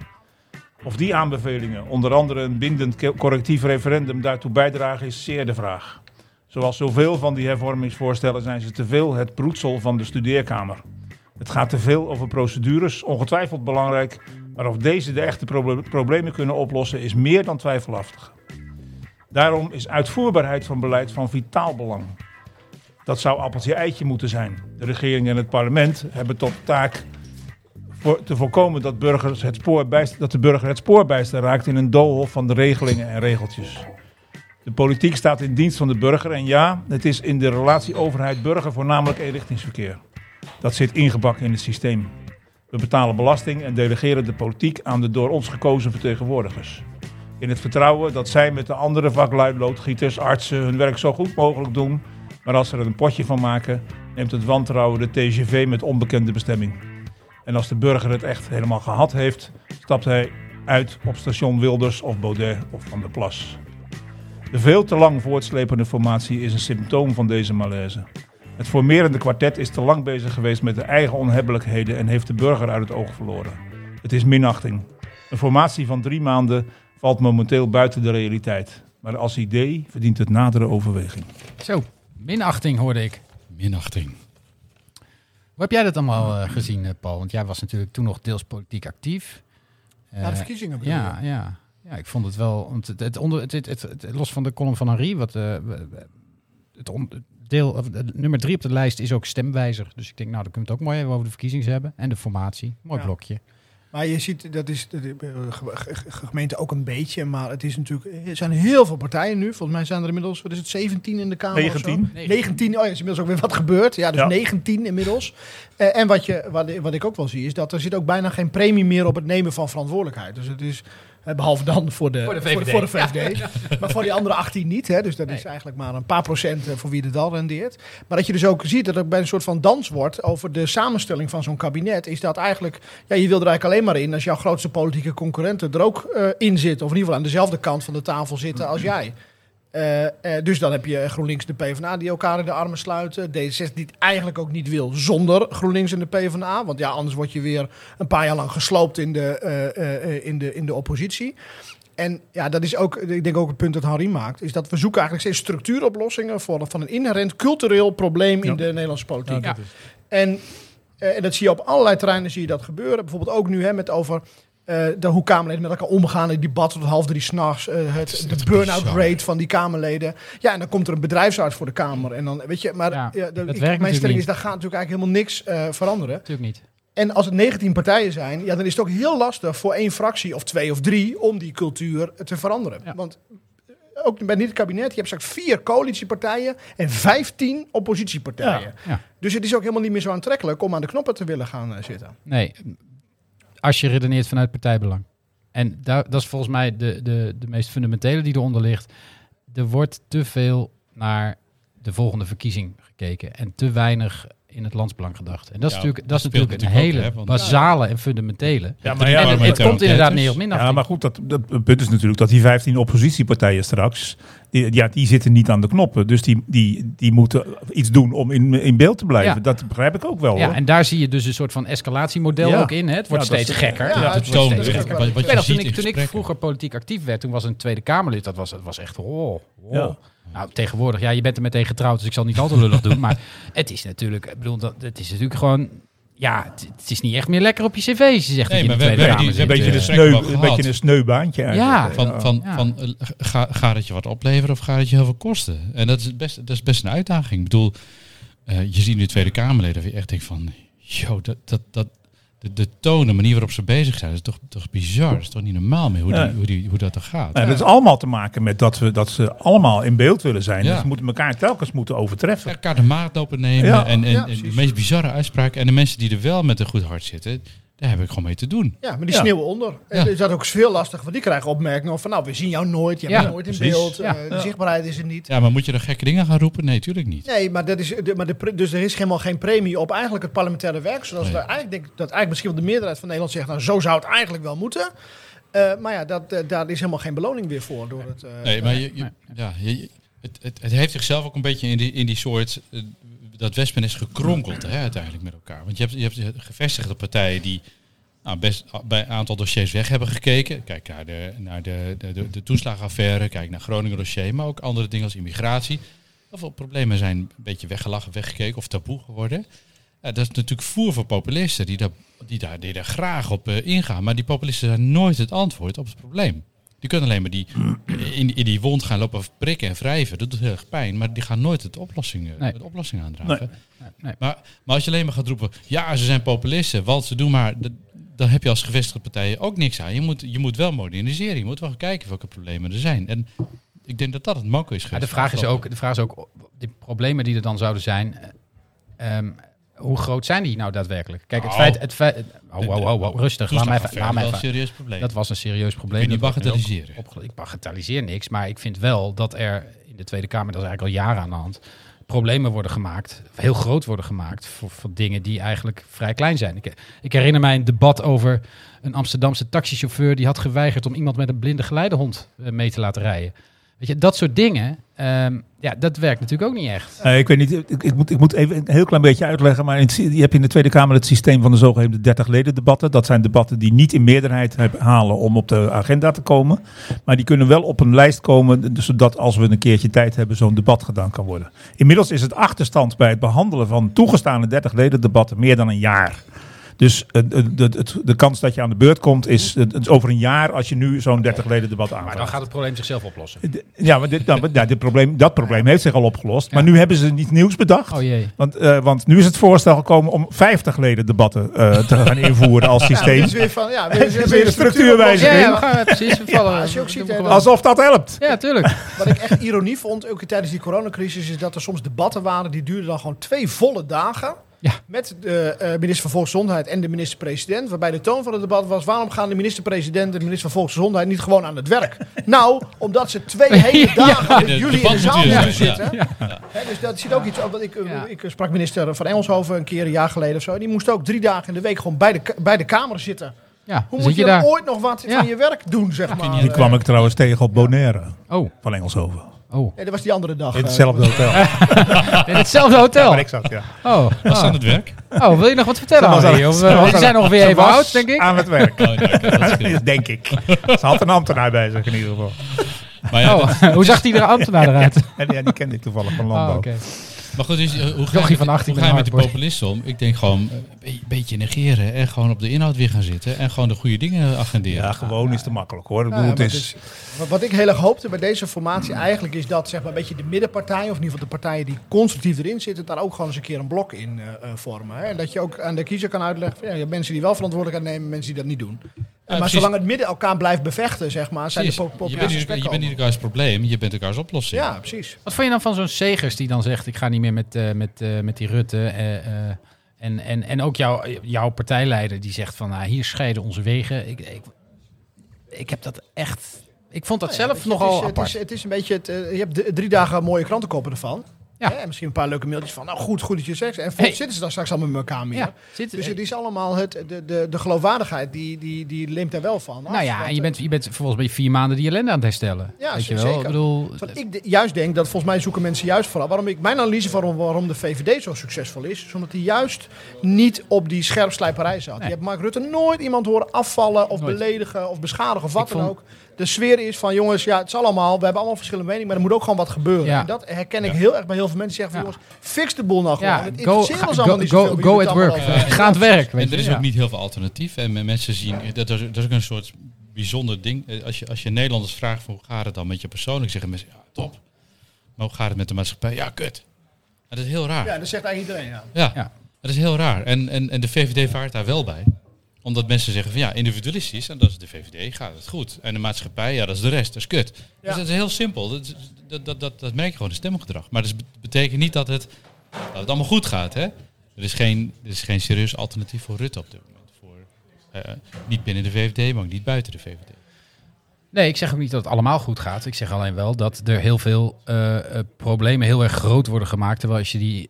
E: Of die aanbevelingen, onder andere een bindend ke- correctief referendum, daartoe bijdragen, is zeer de vraag. Zoals zoveel van die hervormingsvoorstellen zijn ze te veel het broedsel van de studeerkamer. Het gaat te veel over procedures, ongetwijfeld belangrijk, maar of deze de echte proble- problemen kunnen oplossen is meer dan twijfelachtig. Daarom is uitvoerbaarheid van beleid van vitaal belang. Dat zou appeltje-eitje moeten zijn. De regering en het parlement hebben tot taak voor, te voorkomen dat, burgers het spoor bijst, dat de burger het spoor bijster raakt in een doolhof van de regelingen en regeltjes. De politiek staat in dienst van de burger en ja, het is in de relatie overheid-burger voornamelijk eenrichtingsverkeer. Dat zit ingebakken in het systeem. We betalen belasting en delegeren de politiek aan de door ons gekozen vertegenwoordigers. In het vertrouwen dat zij met de andere vaklui, loodgieters, artsen hun werk zo goed mogelijk doen. Maar als ze er een potje van maken, neemt het wantrouwen de TGV met onbekende bestemming. En als de burger het echt helemaal gehad heeft, stapt hij uit op station Wilders of Baudet of Van der Plas. De veel te lang voortslepende formatie is een symptoom van deze malaise. Het formerende kwartet is te lang bezig geweest met de eigen onhebbelijkheden en heeft de burger uit het oog verloren. Het is minachting. Een formatie van drie maanden valt momenteel buiten de realiteit. Maar als idee verdient het nadere overweging.
A: Zo, minachting hoorde ik.
B: Minachting.
A: Hoe heb jij dat allemaal eh, gezien, eh, Paul? Want jij was natuurlijk toen nog deels politiek actief.
F: Na de
A: Eh,
F: verkiezingen bedoel
A: Ja, ja. ja, ik vond het wel. Want het, het onder, het, het, het- het- los van de column van Henri, wat eh, we- we- het on- het deel, of het nummer drie op de lijst is ook stemwijzer. Dus ik denk, nou, dan kunnen we het ook mooi even over de verkiezingen hebben. En de formatie. Mooi
F: Ja.
A: blokje.
F: Maar je ziet, dat is de, de- de ge- ge- gemeente ook een beetje. Maar het is natuurlijk, eh, er zijn heel veel partijen nu. Volgens mij zijn er inmiddels, wat is het, 17 in de Kamer
E: 19.
F: of zo? 19. Oh ja, is inmiddels ook weer wat gebeurd. Ja, dus
E: Ja.
F: 19 inmiddels. Eh, en wat, je, wat, wat ik ook wel zie, is dat er zit ook bijna geen premie meer op het nemen van verantwoordelijkheid. Dus het is, eh, behalve dan voor de, voor de VVD. Voor de, VVD. [LAUGHS] Maar voor die andere 18 niet. Hè? Dus dat is eigenlijk maar een paar procent eh, voor wie het al rendeert. Maar dat je dus ook ziet dat er bij een soort van dans wordt over de samenstelling van zo'n kabinet. Is dat eigenlijk, ja, je wil er eigenlijk alleen maar in als jouw grootste politieke concurrenten er ook eh, in zitten. Of in ieder geval aan dezelfde kant van de tafel zitten [CLEARS THROAT] als jij. Eh, eh, dus dan heb je GroenLinks en de PvdA die elkaar in de armen sluiten. D66 die het eigenlijk ook niet wil zonder GroenLinks en de PvdA. Want ja, anders word je weer een paar jaar lang gesloopt in de, eh, eh, eh, in de, in de oppositie. En ja, dat is ook, ik denk ook het punt dat Harry maakt, is dat we zoeken eigenlijk steeds structuuroplossingen voor van een inherent cultureel probleem in de Nederlandse politiek.
A: Ja,
F: En, eh, en dat zie je op allerlei terreinen zie je dat gebeuren. Bijvoorbeeld ook nu hè, met over eh, de, hoe Kamerleden met elkaar omgaan in debat tot half drie s'nachts. eh het, de burn-out rate van die Kamerleden. Ja, en dan komt er een bedrijfsarts voor de Kamer. En dan, weet je, maar
A: Ja,
F: ja,
A: dat
F: de-
A: werkt
F: ik-
A: natuurlijk
F: mijn stelling
A: niet.
F: is, daar gaat natuurlijk eigenlijk helemaal niks eh, veranderen.
A: Natuurlijk niet.
F: En als het 19 partijen zijn, ja, dan is het ook heel lastig voor één fractie of twee of drie om die cultuur te veranderen.
A: Ja.
F: Want eh, ook bij niet het kabinet, je hebt straks vier coalitiepartijen en 15 oppositiepartijen.
A: Ja. Ja.
F: Dus het is ook helemaal niet meer zo aantrekkelijk om aan de knoppen te willen gaan eh, zitten.
A: Nee. Als je redeneert vanuit partijbelang. En daar, dat is volgens mij de, de, de meest fundamentele die eronder ligt. Er wordt te veel naar de volgende verkiezing gekeken en te weinig in het landsbelang gedacht. En dat is
B: Ja,
A: natuurlijk, dat
B: dat
A: is
B: speelt
A: natuurlijk een hele
B: natuurlijk ook, hè, want-
A: basale en fundamentele.
E: Ja, maar
B: drie
E: ja,
A: en het,
E: maar-
B: parameters
A: het komt inderdaad
B: enquêtes.
A: neer op minachting.
E: Ja, maar goed, dat, dat het punt is natuurlijk dat die 15 oppositiepartijen straks, die, ja, die zitten niet aan de knoppen. Dus die, die, die moeten iets doen om in, in beeld te blijven.
A: Ja.
E: Dat begrijp ik ook wel.
A: Ja,
E: hoor.
A: en daar zie je dus een soort van escalatiemodel
E: Ja.
A: ook in. Hè? Het wordt
E: Ja, dat
A: steeds
E: is-
A: gekker.
F: ja,
A: het
B: de
A: wordt
B: toon,
A: steeds
B: hè.
A: gekker.
B: Wat- wat
A: Ik
B: je
A: weet nog, toen
B: ziet
A: ik,
B: in
A: toen ik
B: gesprekken.
A: vroeger politiek actief werd, toen was een Tweede Kamerlid, dat was, dat was echt... Oh, oh.
E: Ja.
A: Nou, tegenwoordig, ja, je bent er meteen getrouwd, dus ik zal niet al te lullig doen. Maar [LAUGHS] het is natuurlijk, ik bedoel, dat, het is natuurlijk gewoon... Ja, het, het is niet echt meer lekker op je cv, als je zegt dat
B: Nee,
A: je in
B: maar
A: de
B: we-
A: Tweede
B: we-
A: Kamer
B: die-
A: zit.
E: een, beetje
B: eh,
E: een,
B: gesprek
E: sneu,
B: wel
E: een
B: gehad.
E: beetje een sneubaantje
A: Ja.
E: eigenlijk.
B: Van, van,
A: Ja.
B: van eh, ga, gaat het je wat opleveren of gaat het je heel veel kosten? En dat is best, dat is best een uitdaging. Ik bedoel, eh, je ziet nu Tweede Kamerleden dat je echt denkt van... Yo, dat, dat, dat, de, de toon, de manier waarop ze bezig zijn, is toch, toch bizar. Dat is toch niet normaal meer hoe, die-
E: Nee.
B: hoe, die, hoe dat dan gaat.
E: Nou, dat is allemaal te maken met dat, we, dat ze allemaal in beeld willen zijn.
B: Ja.
E: Dus ze moeten elkaar telkens moeten overtreffen.
B: elkaar de maat opennemen
E: Ja,
B: en, en,
F: ja,
B: en de
F: precies.
B: meest bizarre uitspraken. En de mensen die er wel met een goed hart zitten, daar heb ik gewoon mee te doen.
F: Ja, maar die
E: Ja.
F: sneeuwen onder. En
B: Ja.
F: dus dat is ook veel lastig, want die krijgen opmerkingen van... nou, we zien jou nooit, je
A: Ja,
F: bent nooit in
E: precies.
F: beeld,
A: Ja.
F: eh, de zichtbaarheid is er niet.
B: Ja, maar moet je dan gekke dingen gaan roepen? Nee, tuurlijk niet.
F: Nee, maar, dat is, de- maar de, pre- dus er is helemaal geen premie op eigenlijk het parlementaire werk. Zoals we eigenlijk denk ik dat eigenlijk misschien wel de meerderheid van Nederland zegt... nou, zo zou het eigenlijk wel moeten. Eh, maar ja, dat, eh, daar is helemaal geen beloning weer voor. Door het, eh,
B: Nee, maar je, je- ja, je- je- het, het, het heeft zichzelf ook een beetje in die, in die soort... eh, dat wespen is gekronkeld hè, uiteindelijk met elkaar. Want je hebt, je hebt gevestigde partijen die nou, best a- bij een aantal dossiers weg hebben gekeken. Kijk naar de, naar de, de, de, de toeslagenaffaire, kijk naar Groningen dossier... maar ook andere dingen als immigratie. Heel veel problemen zijn een beetje weggelachen, weggekeken of taboe geworden. Ja, dat is natuurlijk voer voor populisten die daar, die daar, die daar graag op eh, ingaan. Maar die populisten zijn nooit het antwoord op het probleem. Die kunnen alleen maar die, eh, in, in die wond gaan lopen prikken en wrijven. Dat doet heel erg pijn, maar die gaan nooit het oplossing, eh,
A: Nee.
B: het oplossing aandragen.
A: nee.
B: Maar, maar als je alleen maar gaat roepen, ja, ze zijn populisten, want ze doen maar... dat- dan heb je als gevestigde partijen ook niks aan. Je moet, je moet wel moderniseren. Je moet wel kijken welke problemen er zijn. En ik denk dat dat het manco is geweest.
A: Maar Nou, de vraag is ook, de vraag is ook de problemen die er dan zouden zijn... eh, ehm, hoe groot zijn die nou daadwerkelijk? Kijk, het
B: Oh.
A: feit... Het feit oh, wow, wow, wow, rustig, laat mij even... Laat mij
B: wel een
A: even
B: serieus probleem.
A: Dat was een serieus probleem.
B: Kun je niet
A: Dat wordt nu ook
B: bagatelliseren?
A: opge- Ik bagatelliseer niks, maar ik vind wel dat er in de Tweede Kamer, dat is eigenlijk al jaren aan de hand, problemen worden gemaakt, heel groot worden gemaakt voor, voor dingen die eigenlijk vrij klein zijn. Ik, ik herinner mij een debat over een Amsterdamse taxichauffeur die had geweigerd om iemand met een blinde geleidehond eh, mee te laten rijden. Weet je, dat soort dingen, ehm, ja, dat werkt natuurlijk ook niet echt.
E: Eh, ik weet niet, ik, ik, moet, ik moet even een heel klein beetje uitleggen, maar in het sy- je hebt in de Tweede Kamer het systeem van de zogeheten 30 leden debatten. Dat zijn debatten die niet in meerderheid heb- halen om op de agenda te komen, maar die kunnen wel op een lijst komen, dus zodat als we een keertje tijd hebben, zo'n debat gedaan kan worden. Inmiddels is het achterstand bij het behandelen van toegestane 30 leden debatten meer dan een jaar. Dus eh, de, de, het- de kans dat je aan de beurt komt is, eh, het is over een jaar als je nu zo'n 30 leden debat aanvraagt.
A: Maar dan gaat het probleem zichzelf oplossen.
E: D- Ja, maar dit, nou, maar- nou, dit probleem, dat probleem heeft zich al opgelost. Maar nu hebben ze niet nieuws bedacht.
A: Oh jee.
E: Want, eh, want nu is het voorstel gekomen om 50 leden debatten eh, te gaan invoeren als
F: ja, dit
E: systeem.
F: is weer
E: [LAUGHS]
F: van, ja,
E: Dit is weer een structuurwijziging.
A: Ja, ja, we gaan precies. We vallen,
F: als je ook ziet, hè, dat-
E: Alsof dat helpt.
A: Ja, tuurlijk.
F: Wat ik echt ironie vond, ook tijdens die coronacrisis, is dat er soms debatten waren die duurden dan gewoon twee volle dagen.
A: Ja.
F: Met de eh, minister van Volksgezondheid en de minister-president. Waarbij de toon van het debat was: waarom gaan de minister-president en de minister van Volksgezondheid niet gewoon aan het
A: [LAUGHS]
F: werk? nou, omdat ze twee hele dagen met
B: de
F: jullie in de zaal
B: debatmatuur,
F: moeten
B: ja.
F: zitten. Hè, dus dat zit ook iets op. Want ik, eh,
A: Ja.
F: ik sprak minister van Engelshoven een keer een jaar geleden of zo. En die moest ook drie dagen in de week gewoon bij de, ka- bij de Kamer zitten.
A: Ja,
F: Hoe
A: zit
F: moet je,
A: je daar?
F: dan ooit nog wat
A: Ja.
F: van je werk doen, zeg maar?
E: Die
F: Eh,
E: kwam ik trouwens tegen op Bonaire
A: Oh,
E: van Engelshoven.
A: oh.
F: Nee, dat was die andere dag.
E: In
F: eh,
E: hetzelfde hotel
A: In hetzelfde hotel.
E: waar ik zat. Ja.
A: Oh,
B: Was
A: oh.
B: aan het werk?
A: Oh, wil je nog wat vertellen,
E: Ze was
A: Harry?
E: aan-
A: Of,
E: ze
A: eh,
E: was
A: we
E: aan-
A: zijn ongeveer
E: ze
A: even
E: was
A: oud, denk ik.
E: Aan het
A: [LAUGHS]
E: werk,
B: Oh, ja, dat scheelt.
E: [LAUGHS] denk ik. Ze had een ambtenaar bij zich in ieder geval.
B: maar, ja, dat-
A: Oh, hoe zag die er ambtenaar eruit?
E: En ja, die kende ik toevallig van landbouw.
A: Oh, oké.
B: maar goed, dus, eh, hoe ga
A: Jochie
B: je,
A: van 18
B: hoe ga je
A: met
B: met
A: een
B: de
A: hardboard.
B: populisten om? Ik denk gewoon eh, een be- beetje negeren en gewoon op de inhoud weer gaan zitten. En gewoon de goede dingen agenderen.
E: Ja, gewoon is te makkelijk hoor. Ik
F: Ja,
E: bedoel, het
F: maar
A: dus,
E: is,
F: het is- wat- wat ik heel erg hoopte bij deze formatie eigenlijk is dat zeg maar, een beetje de middenpartijen, of in ieder geval de partijen die constructief erin zitten, daar ook gewoon eens een keer een blok in eh, eh, vormen. Hè? En dat je ook aan de kiezer kan uitleggen, van, ja, je hebt mensen die wel verantwoordelijkheid nemen, mensen die dat niet doen. En maar
B: precies.
F: zolang het midden elkaar blijft bevechten, zeg maar, zijn
B: Precies.
F: de pop-
B: je,
F: populaire
B: bent niet,
F: gesprekken
B: je bent niet
F: over.
B: elkaars probleem, je bent elkaars oplossing.
F: Ja, precies.
A: Wat vond je dan van zo'n Segers die dan zegt... ik ga niet meer met, eh, met, eh, met die Rutte... eh, eh, en, en, en ook jouw jouw partijleider die zegt van... nou, hier scheiden onze wegen. Ik, ik, ik heb dat echt... Ik vond dat
F: Ja,
A: zelf
F: weet je,
A: nogal
F: het is,
A: apart.
F: Het is, het is een beetje, het, eh, je hebt d- drie dagen mooie krantenkoppen ervan.
A: Ja.
F: Ja. En misschien een paar leuke mailtjes van, nou goed, goed dat je het zegt. En vol
A: Hey.
F: zitten ze dan straks allemaal met elkaar meer.
A: ja, zit, eh,
F: Dus het is allemaal het, de, de, de geloofwaardigheid, die, die, die limt daar wel van. af.
A: nou ja,
F: Want,
A: en je
F: eh,
A: bent, je bent vervolgens bij vier maanden die ellende aan het herstellen.
F: Ja,
A: weet je wel?
F: zeker.
A: Ik bedoel,
F: Van, ik de- juist denk dat volgens mij zoeken mensen juist vooral. Waarom ik mijn analyse van waarom de VVD zo succesvol is, is omdat hij juist niet op die scherpslijperij zat. Je hebt Mark Rutte nooit iemand horen afvallen of
A: Nooit.
F: beledigen of beschadigen of wat
A: Ik
F: dan
A: vond-
F: ook. De sfeer is van jongens, ja, het is allemaal, we hebben allemaal verschillende meningen, maar er moet ook gewoon wat gebeuren.
A: Ja.
F: En dat herken ik heel erg bij heel veel mensen die zeggen van
A: Ja.
F: jongens, fix de boel nou gewoon.
A: ja,
F: het
A: go,
F: interesseert
A: ga-
F: ons
A: go,
F: allemaal niet zoveel
A: go,
F: wie
A: go
F: het
A: at
F: allemaal
A: work.
F: over heeft.
A: Ga aan het werk. Weet
B: En er
A: je.
B: is
A: Ja.
B: ook niet heel veel alternatief. En men- mensen zien, eh, dat is, dat is ook een soort bijzonder ding. Eh, Als je, als je Nederlanders vraagt, van, hoe gaat het dan met je persoonlijk? Zeggen mensen, ja, top. Maar hoe gaat het met de maatschappij? Ja, kut. Dat is heel raar.
F: Ja, dat zegt eigenlijk iedereen. Ja.
B: Ja,
A: Ja.
B: dat is heel raar. En, en, en de VVD vaart daar wel bij. Omdat mensen zeggen van ja, individualistisch, en dat is de VVD, gaat het goed. En de maatschappij, ja, dat is de rest, dat is kut. Dus dat is heel simpel. Dat, is- dat, dat, dat, dat merk je gewoon in stemgedrag. Maar dat is- betekent niet dat het, dat het allemaal goed gaat. Hè? Er, is geen, er is geen serieus alternatief voor Rutte op dit moment. Voor, eh, niet binnen de VVD, maar ook niet buiten de VVD.
A: Nee, ik zeg ook niet dat het allemaal goed gaat. Ik zeg alleen wel dat er heel veel eh, eh, problemen heel erg groot worden gemaakt. Terwijl als je die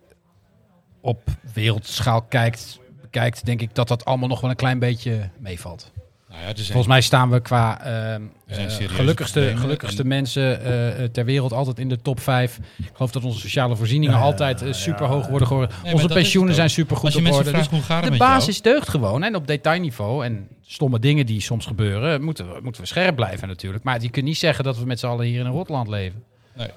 A: op wereldschaal kijkt, kijkt, denk ik dat dat allemaal nog wel een klein beetje meevalt.
B: Nou ja, er zijn,
A: Volgens mij staan we qua ehm,
B: zijn
A: eh,
B: serieuze
A: gelukkigste,
B: problemen
A: gelukkigste
B: en-
A: mensen eh, eh, ter wereld altijd in de top 5. Ik geloof dat onze sociale voorzieningen altijd eh, superhoog worden geworden.
B: maar
A: onze
B: dat is
A: pensioenen
B: het ook.
A: zijn supergoed
B: als je
A: op
B: mensen
A: orde. Dus
B: vraagt hoe gaat het
A: de
B: met jou?
A: basis deugt gewoon. En op detailniveau en stomme dingen die soms gebeuren, moeten we, moeten we scherp blijven natuurlijk. Maar je kunt niet zeggen dat we met z'n allen hier in een rotland leven.
B: Nee.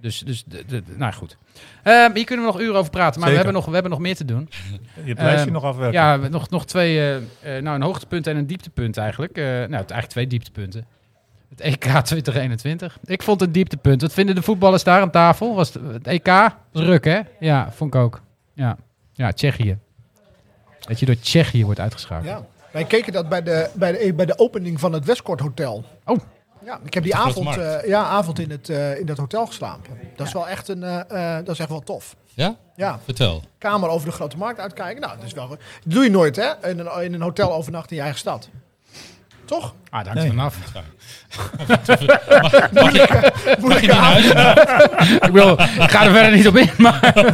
A: Dus, dus de, de- de- nou goed. Ehm, hier kunnen we nog uren over praten, maar we
E: Zeker.
A: hebben, nog, we hebben nog meer te doen.
E: Je hebt het lijstje
A: Ehm,
E: nog afwerken.
A: Ja, we- nog, nog twee, eh, eh, nou een hoogtepunt en een dieptepunt eigenlijk. Eh, nou, het- eigenlijk twee dieptepunten. Het E EK 2021. Ik vond het een dieptepunt. Wat vinden de voetballers daar aan tafel? Was het, het EK was ruk, hè? Ja, vond ik ook. Ja, ja Tsjechië. Dat je door Tsjechië wordt uitgeschakeld.
F: Ja. Wij keken dat bij de, bij de, bij de opening van het Westcourt Hotel.
A: Oh.
F: Ja, ik heb die
B: grote
F: avond,
B: markt.
F: eh, ja, avond in, het, eh, in dat hotel geslapen. Dat is wel echt, een, eh, eh, dat is echt wel tof.
B: Ja?
F: Ja,
B: Vertel.
F: kamer over de grote markt uitkijken. Nou, dat is wel goed. Dat doe je nooit, hè? In een, in een hotel overnachten in je eigen stad. Toch?
A: Ah, daar hangt
E: Nee.
A: het vanaf. [LAUGHS]
B: Mag je niet naar huis?
A: ik, wil, ik ga er verder niet op [LAUGHS] in, maar...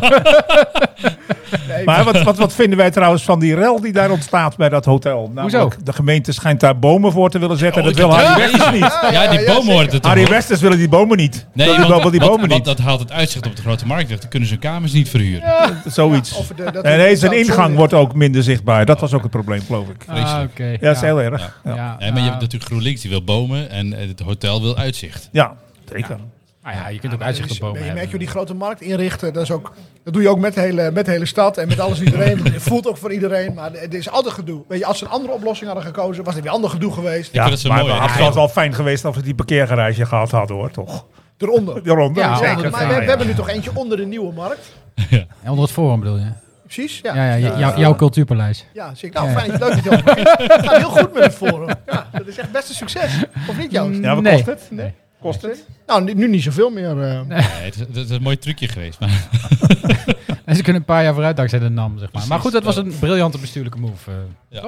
F: Nee,
E: Maar wat, wat, wat vinden wij trouwens van die rel die daar ontstaat bij dat hotel?
A: Hoezo?
E: De gemeente schijnt daar bomen voor te willen zetten.
B: Oh,
E: dat
B: ik
E: wil
B: heb
E: Harry
B: dat
E: Westers
B: gelezen.
E: niet.
B: Ja, die
F: ja,
B: bomen hoorden het
E: Harry Westers willen die bomen niet.
B: Nee,
E: dat
B: want,
E: wil wel die
B: want-
E: bomen
B: want
E: niet.
B: dat haalt het uitzicht op de grote markt weg. Dan kunnen ze hun kamers niet verhuren.
E: Zoiets.
F: of de- dat-
E: en nee, zijn
F: dat-
E: ingang wordt ook minder zichtbaar. Dat was ook het probleem, geloof ik. Ja,
A: Ah,
B: Vreselijk.
A: oké.
E: dat is heel erg. Ja,
A: Ja,
E: ja.
A: ja,
B: Nee, maar je hebt
A: ah,
B: natuurlijk GroenLinks, die wil bomen en eh, het hotel wil uitzicht.
E: zeker.
A: ah ja, je kunt ook uitzicht op
F: Je
A: bomen
F: merkt
A: hebben.
F: je die grote markt inrichten. Dat, is ook, dat doe je ook met de, hele, met de hele stad en met alles en iedereen.
E: [LAUGHS]
F: Het voelt ook voor iedereen, maar er is altijd gedoe. Weet je, als ze een andere oplossing hadden gekozen, was er weer ander gedoe geweest.
B: vind het zo
E: maar
B: mooi,
E: het
B: hè?
E: was
B: Ja.
E: wel fijn geweest als we die parkeergarage gehad hadden, hoor, toch? [LAUGHS]
F: Eronder.
E: Daaronder.
A: Ja,
F: Ja,
E: zeker.
F: maar we,
E: Ja,
F: we
E: ja.
F: hebben nu toch eentje onder de nieuwe markt.
A: Ja, Onder het forum bedoel je?
F: Precies,
A: Ja,
F: ja.
A: ja, jou- jouw cultuurpaleis.
F: Ja, zie ik. Nou, fijn. Leuk dat je dat begint. Het gaat heel goed met het forum. Ja, dat is echt best een succes. Of niet, Joost?
E: Ja, wat
A: Nee.
E: kost het? Nee. Kost het?
F: Nou, nu, nu niet zoveel meer. eh.
B: Nee, het, is, het is een mooi trucje geweest.
E: [LAUGHS]
B: Maar
A: En ze kunnen een paar jaar vooruit dankzij de NAM, zeg maar.
B: Precies,
A: Maar goed, dat was
B: ja.
A: een briljante bestuurlijke move. eh.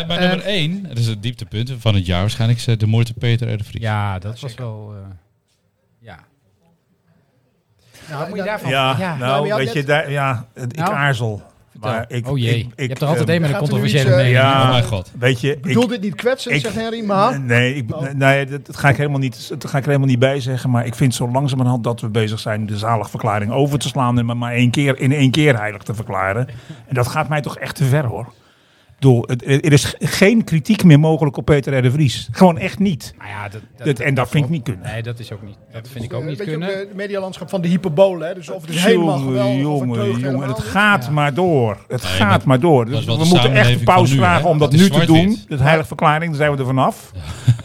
B: eh, bij nummer één, dat is het dieptepunt van het jaar waarschijnlijk, is eh, de moord op Peter R. de Vries.
A: ja, dat was wel... eh, ja.
F: Nou,
A: Wat moet je
F: dat-
A: daarvan
E: Ja,
A: Ja.
F: Nou,
E: nou,
F: maar je
E: weet
F: had
E: je,
F: net-
E: daar, ja, het- ik
A: Nou?
E: aarzel.
A: Vertel.
E: Maar ik,
A: oh jee,
E: ik-
A: je
E: ik,
A: hebt er altijd
E: ehm,
A: één met een
F: gaat er nu
A: controversiële
F: iets, eh,
A: mening.
E: ja.
B: Oh mijn god.
E: Weet je,
F: Ik bedoel dit niet kwetsen,
E: ik-
F: zegt Henry, maar...
E: Nee, ik,
F: Oh.
E: nee dat, dat ga ik helemaal niet, dat ga ik er helemaal niet bij zeggen. Maar ik vind zo langzamerhand dat we bezig zijn de zaligverklaring over te slaan. En maar, maar één keer, in één keer heilig te verklaren. En dat gaat mij toch echt te ver hoor. Ik bedoel, het, er is ge- geen kritiek meer mogelijk op Peter R. de Vries. Gewoon echt niet.
A: Nou ja, dat, dat,
E: Dat, en dat vind ik niet kunnen.
A: Nee, dat is ook niet. Dat vind ik ook
F: Een
A: niet
F: beetje
A: kunnen.
F: op de medialandschap van de hyperbolen. Hè? Dus of het is helemaal geweldig, of het deugt
E: jongen, jongen, het
F: helemaal
E: gaat maar door. Het
B: Nee,
E: gaat
B: maar
E: maar door. Dus
B: is wel
E: we
B: de
E: moeten echt
B: samenleving
E: een pauze
B: van nu, hè?
E: vragen om dat
B: Het is
E: nu te
B: zwart-wit.
E: doen. Dat heilige verklaring, daar zijn we er vanaf.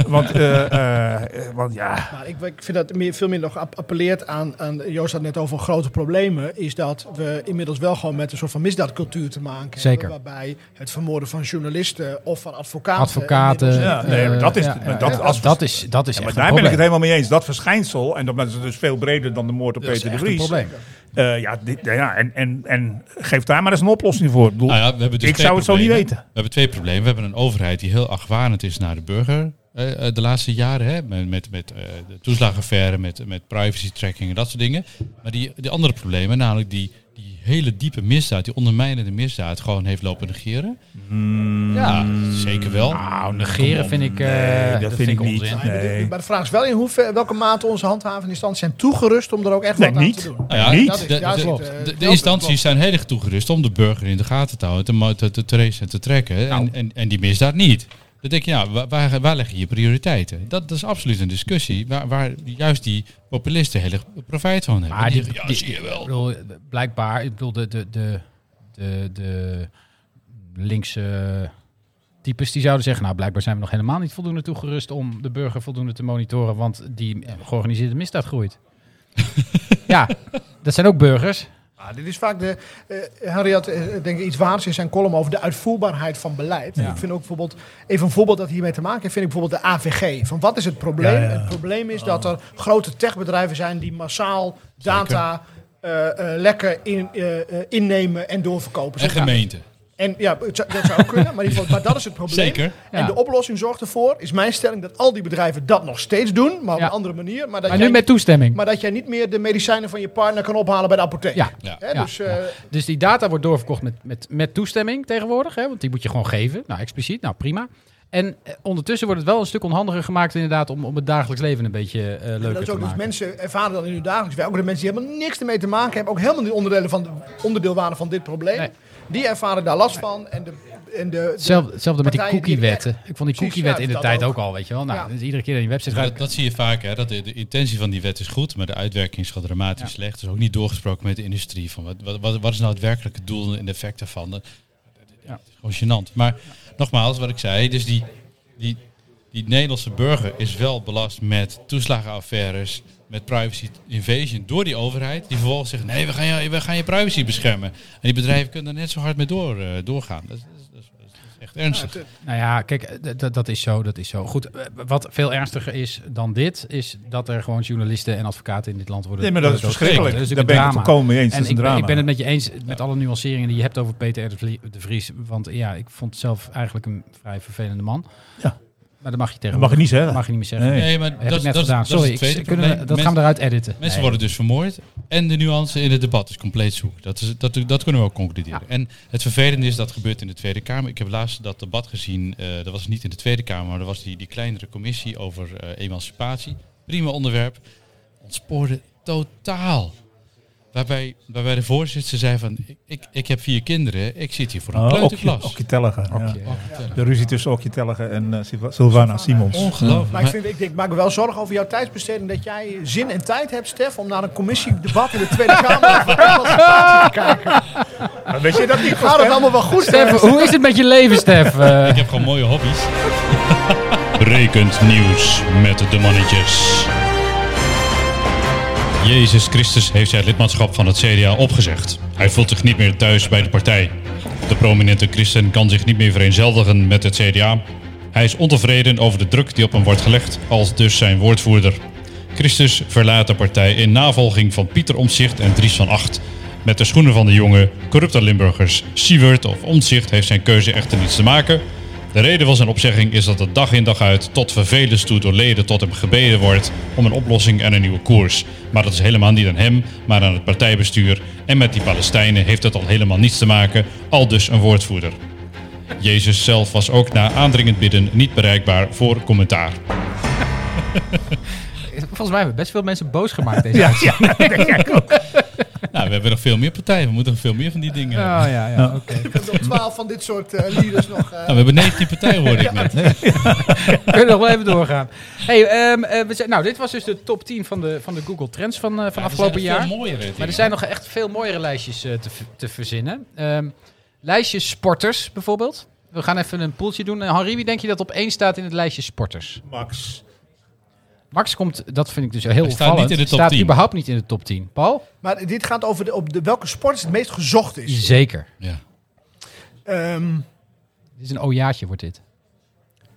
E: Want, eh, eh, eh, want ja,
F: Maar Nou, ik, ik vind dat meer, veel minder nog appelleert aan, aan... Joost had net over grote problemen. Is dat we inmiddels wel gewoon met een soort van misdaadcultuur te maken hebben.
A: Zeker.
F: Waarbij het vermoorden van journalisten of van advocaten...
A: Advocaten.
F: inmiddels-
E: Ja, nee, maar dat is-
A: eh,
E: maar dat-
A: ja,
E: als-
A: dat is, dat is
E: Ja, maar
A: echt een
E: daar ben ik
A: probleem.
E: het helemaal mee eens. Dat verschijnsel, en dat is dus veel breder dan de moord op Peter de
A: echt een
E: Vries.
A: probleem.
E: Eh, ja, dit, ja en, en, en geef daar maar eens een oplossing voor. Ik bedoel,
B: Nou ja, we hebben dus
E: ik
B: twee
E: zou het zo niet
B: problemen.
E: weten.
B: We hebben twee problemen. We hebben een overheid die heel argwanend is naar de burger. eh, eh, de laatste jaren, hè, met, met, met eh, de toeslagenaffaire, met, met privacy tracking en dat soort dingen. Maar die, die andere problemen, namelijk die, die hele diepe misdaad, die ondermijnende misdaad, gewoon heeft lopen negeren.
E: Hmm.
B: Ja, zeker wel.
E: Ah.
A: Nou, negeren vind ik, eh,
E: dat vind ik niet.
A: onzin.
E: Nee.
F: Maar de vraag is wel in hoever, welke mate onze handhavende instanties zijn toegerust om er ook echt
E: Nee,
F: wat aan
E: niet.
F: te doen.
B: Nou ja,
E: Niet?
F: Dat is-
B: de,
F: ja,
B: de-
F: klopt.
B: de-
F: Eh,
B: de
F: dat
B: instanties
F: klopt.
B: zijn heilig toegerust om de burger in de gaten te houden, te, mo- te, te tracen en te trekken. hè. En, en, en die misdaad niet. Dan denk je, ja, wa- waar, waar leg je je prioriteiten? Dat, dat is absoluut een discussie waar, waar juist die populisten heel erg profijt van hebben.
A: Maar
B: Die
A: die-
B: zeggen, ja,
A: die-
B: zie je
A: Ik
B: wel.
A: bedoel, blijkbaar, ik bedoel, de, de, de, de, de linkse types die zouden zeggen, nou blijkbaar zijn we nog helemaal niet voldoende toegerust om de burger voldoende te monitoren, want die georganiseerde misdaad groeit. ja, dat zijn ook burgers.
F: Ah, dit is vaak de. eh Harriet, eh, denk ik, iets waars in zijn column over de uitvoerbaarheid van beleid. Ik vind ook bijvoorbeeld. Even een voorbeeld dat hiermee te maken heeft, vind ik bijvoorbeeld de AVG. Van wat is het probleem?
E: Ja, ja.
F: Het probleem is dat
A: Oh.
F: er grote techbedrijven zijn die massaal data. eh, eh, lekker in, eh, eh, innemen en doorverkopen.
B: En
F: Zeg maar.
B: gemeenten.
F: En ja, het zou- dat zou ook kunnen, maar, in ieder geval, maar dat is het probleem.
B: Zeker.
F: En
A: Ja.
F: de oplossing zorgt ervoor, is mijn stelling, dat al die bedrijven dat nog steeds doen, maar op
A: Ja.
F: een andere manier. Maar dat,
A: Maar
F: jij,
A: nu met toestemming.
F: maar dat jij niet meer de medicijnen van je partner kan ophalen bij de apotheek.
A: ja.
B: Ja.
F: Hè,
A: Ja.
F: dus, eh,
A: Dus die data wordt doorverkocht met, met, met toestemming tegenwoordig. Hè? Want die moet je gewoon geven. Nou, expliciet. Nou, prima. En eh, ondertussen wordt het wel een stuk onhandiger gemaakt inderdaad... om, om het dagelijks leven een beetje eh, leuker
F: dat is
A: te
F: ook, dus
A: maken.
F: mensen ervaren dan in hun dagelijks werk. Ook de mensen die helemaal niks ermee te maken hebben. Ook helemaal niet onderdelen van, onderdeel waren van dit probleem.
A: Nee.
F: Die ervaren daar last van. En de, en de, de-
A: Hetzelfde, hetzelfde met die
F: partijen die
A: cookiewetten. Ik vond die
F: Precies,
A: cookiewet
F: ja,
A: in de
F: dat
A: tijd
F: ook.
A: ook al, weet je wel. Nou,
F: Ja.
A: dus iedere keer dat je website
B: Ja,
A: gaat...
B: dat, dat zie je vaak, hè, dat de, de intentie van die wet is goed, maar de uitwerking is gewoon dramatisch slecht. Dus ook niet doorgesproken met de industrie. Van wat, wat- wat, wat is nou het werkelijke doel en de effecten van? Dat- Ja, het is gewoon gênant. Maar nogmaals, wat ik zei, dus die, die, die Nederlandse burger is wel belast met toeslagenaffaires, met privacy invasion door die overheid. Die vervolgens zegt, nee, we gaan je, we gaan je privacy beschermen. En die bedrijven kunnen er net zo hard mee door, eh, doorgaan. Dat, is- dat is- dat is- dat is echt ernstig.
A: Nou ja, kijk, eh, d- dat- dat is zo, dat is zo. Goed, eh, wat veel ernstiger is dan dit... is dat er gewoon journalisten en advocaten in dit land worden...
E: Nee, maar dat is
A: worden
E: verschrikkelijk.
A: doodgeschoten.
E: Daar ben ik het
A: drama.
E: volkomen mee eens. Dat
A: En
E: is een
A: ik, ben-
E: drama.
A: ik ben het met je eens met alle nuanceringen die je hebt over Peter R. de Vlie- de Vries. Want ja, ik vond het zelf eigenlijk een vrij vervelende man.
E: Ja.
A: Maar dat mag je tegen.
E: Dat mag je niet zeggen.
A: Mag je niet meer zeggen.
E: Nee.
B: Nee, maar
A: Heb
B: dat,
A: ik
B: is-
A: net
B: dat, is-
A: gedaan.
B: dat is
A: Sorry,
B: het tweede
A: ik, kunnen we-
B: probleem.
A: dat gaan we eruit editen.
B: Mensen
A: Nee.
B: worden dus vermoord. En de nuance in het debat is compleet zoek. Dat, is, dat, dat kunnen we ook concluderen. En het vervelende is dat gebeurt in de Tweede Kamer. Ik heb laatst dat debat gezien. eh, dat was niet in de Tweede Kamer, maar dat was die, die kleinere commissie over eh, emancipatie. Prima onderwerp. Ontspoorde totaal. Waarbij, waarbij de voorzitter zei van, ik- ik, ik heb vier kinderen, ik zit hier voor een
E: Oh,
B: kleuterklas.
E: Okje- Okje Telligen, ja.
A: Ja.
E: De ruzie tussen Okje Telligen en eh, Silva- Sylvana Simons.
B: Ongelooflijk.
F: Maar ik, vind, ik, ik maak me wel zorgen over jouw tijdsbesteding. Dat jij zin en tijd hebt, Stef, om naar een commissiedebat in de Tweede
A: [LAUGHS]
F: Kamer over emancipatie te kijken.
E: Maar Ah, Weet je dat niet?
F: Gaat het allemaal wel goed, Stef?
A: Stef, hoe is het met je leven,
B: [LAUGHS]
A: Stef? Eh,
B: Ik heb gewoon mooie [LAUGHS] hobby's. Rekent nieuws met de mannetjes. Jezus Christus heeft zijn lidmaatschap van het CDA opgezegd. Hij voelt zich niet meer thuis bij de partij. De prominente christen kan zich niet meer vereenzeldigen met het CDA. Hij is ontevreden over de druk die op hem wordt gelegd, als dus zijn woordvoerder. Christus verlaat de partij in navolging van Pieter Omtzigt en Dries van Acht. Met de schoenen van de jonge, corrupte Limburgers. Siewert of Omtzigt heeft zijn keuze echter niets te maken. De reden van zijn opzegging is dat het dag in dag uit tot vervelens toe door leden tot hem gebeden wordt om een oplossing en een nieuwe koers. Maar dat is helemaal niet aan hem, maar aan het partijbestuur. En met die Palestijnen heeft dat al helemaal niets te maken, al dus een woordvoerder. Jezus zelf was ook na aandringend bidden niet bereikbaar voor commentaar.
A: volgens mij hebben we best veel mensen boos gemaakt deze
E: [LAUGHS] Ja, ja, dat denk ik ook.
B: Nou, we hebben nog veel meer partijen, we moeten nog veel meer van die dingen hebben.
A: Oh, ja, ja, oké.
F: Ik heb nog twaalf van dit soort eh, leaders nog. eh,
B: Nou, we hebben 19 partijen, hoorde ik net.
A: We [LAUGHS] kunnen nog wel even doorgaan. Hey, ehm, eh, we zijn, nou, dit was dus de top 10 van de, van de Google Trends van, eh, van afgelopen jaar. Maar er zijn nog echt veel mooiere lijstjes eh, te, v- te verzinnen. Ehm lijstje sporters bijvoorbeeld. We gaan even een poeltje doen. Eh, Henri, wie denk je dat op één staat in het lijstje sporters?
E: Max.
A: Max komt, dat vind ik dus heel
B: Hij staat
A: opvallend,
B: niet in de top
A: staat
B: 10.
A: überhaupt niet in de top 10. Paul?
F: Maar dit gaat over de, op de, welke sport het meest gezocht is.
A: Zeker.
B: Ja.
F: Ehm,
A: Dit is een ojaatje wordt dit.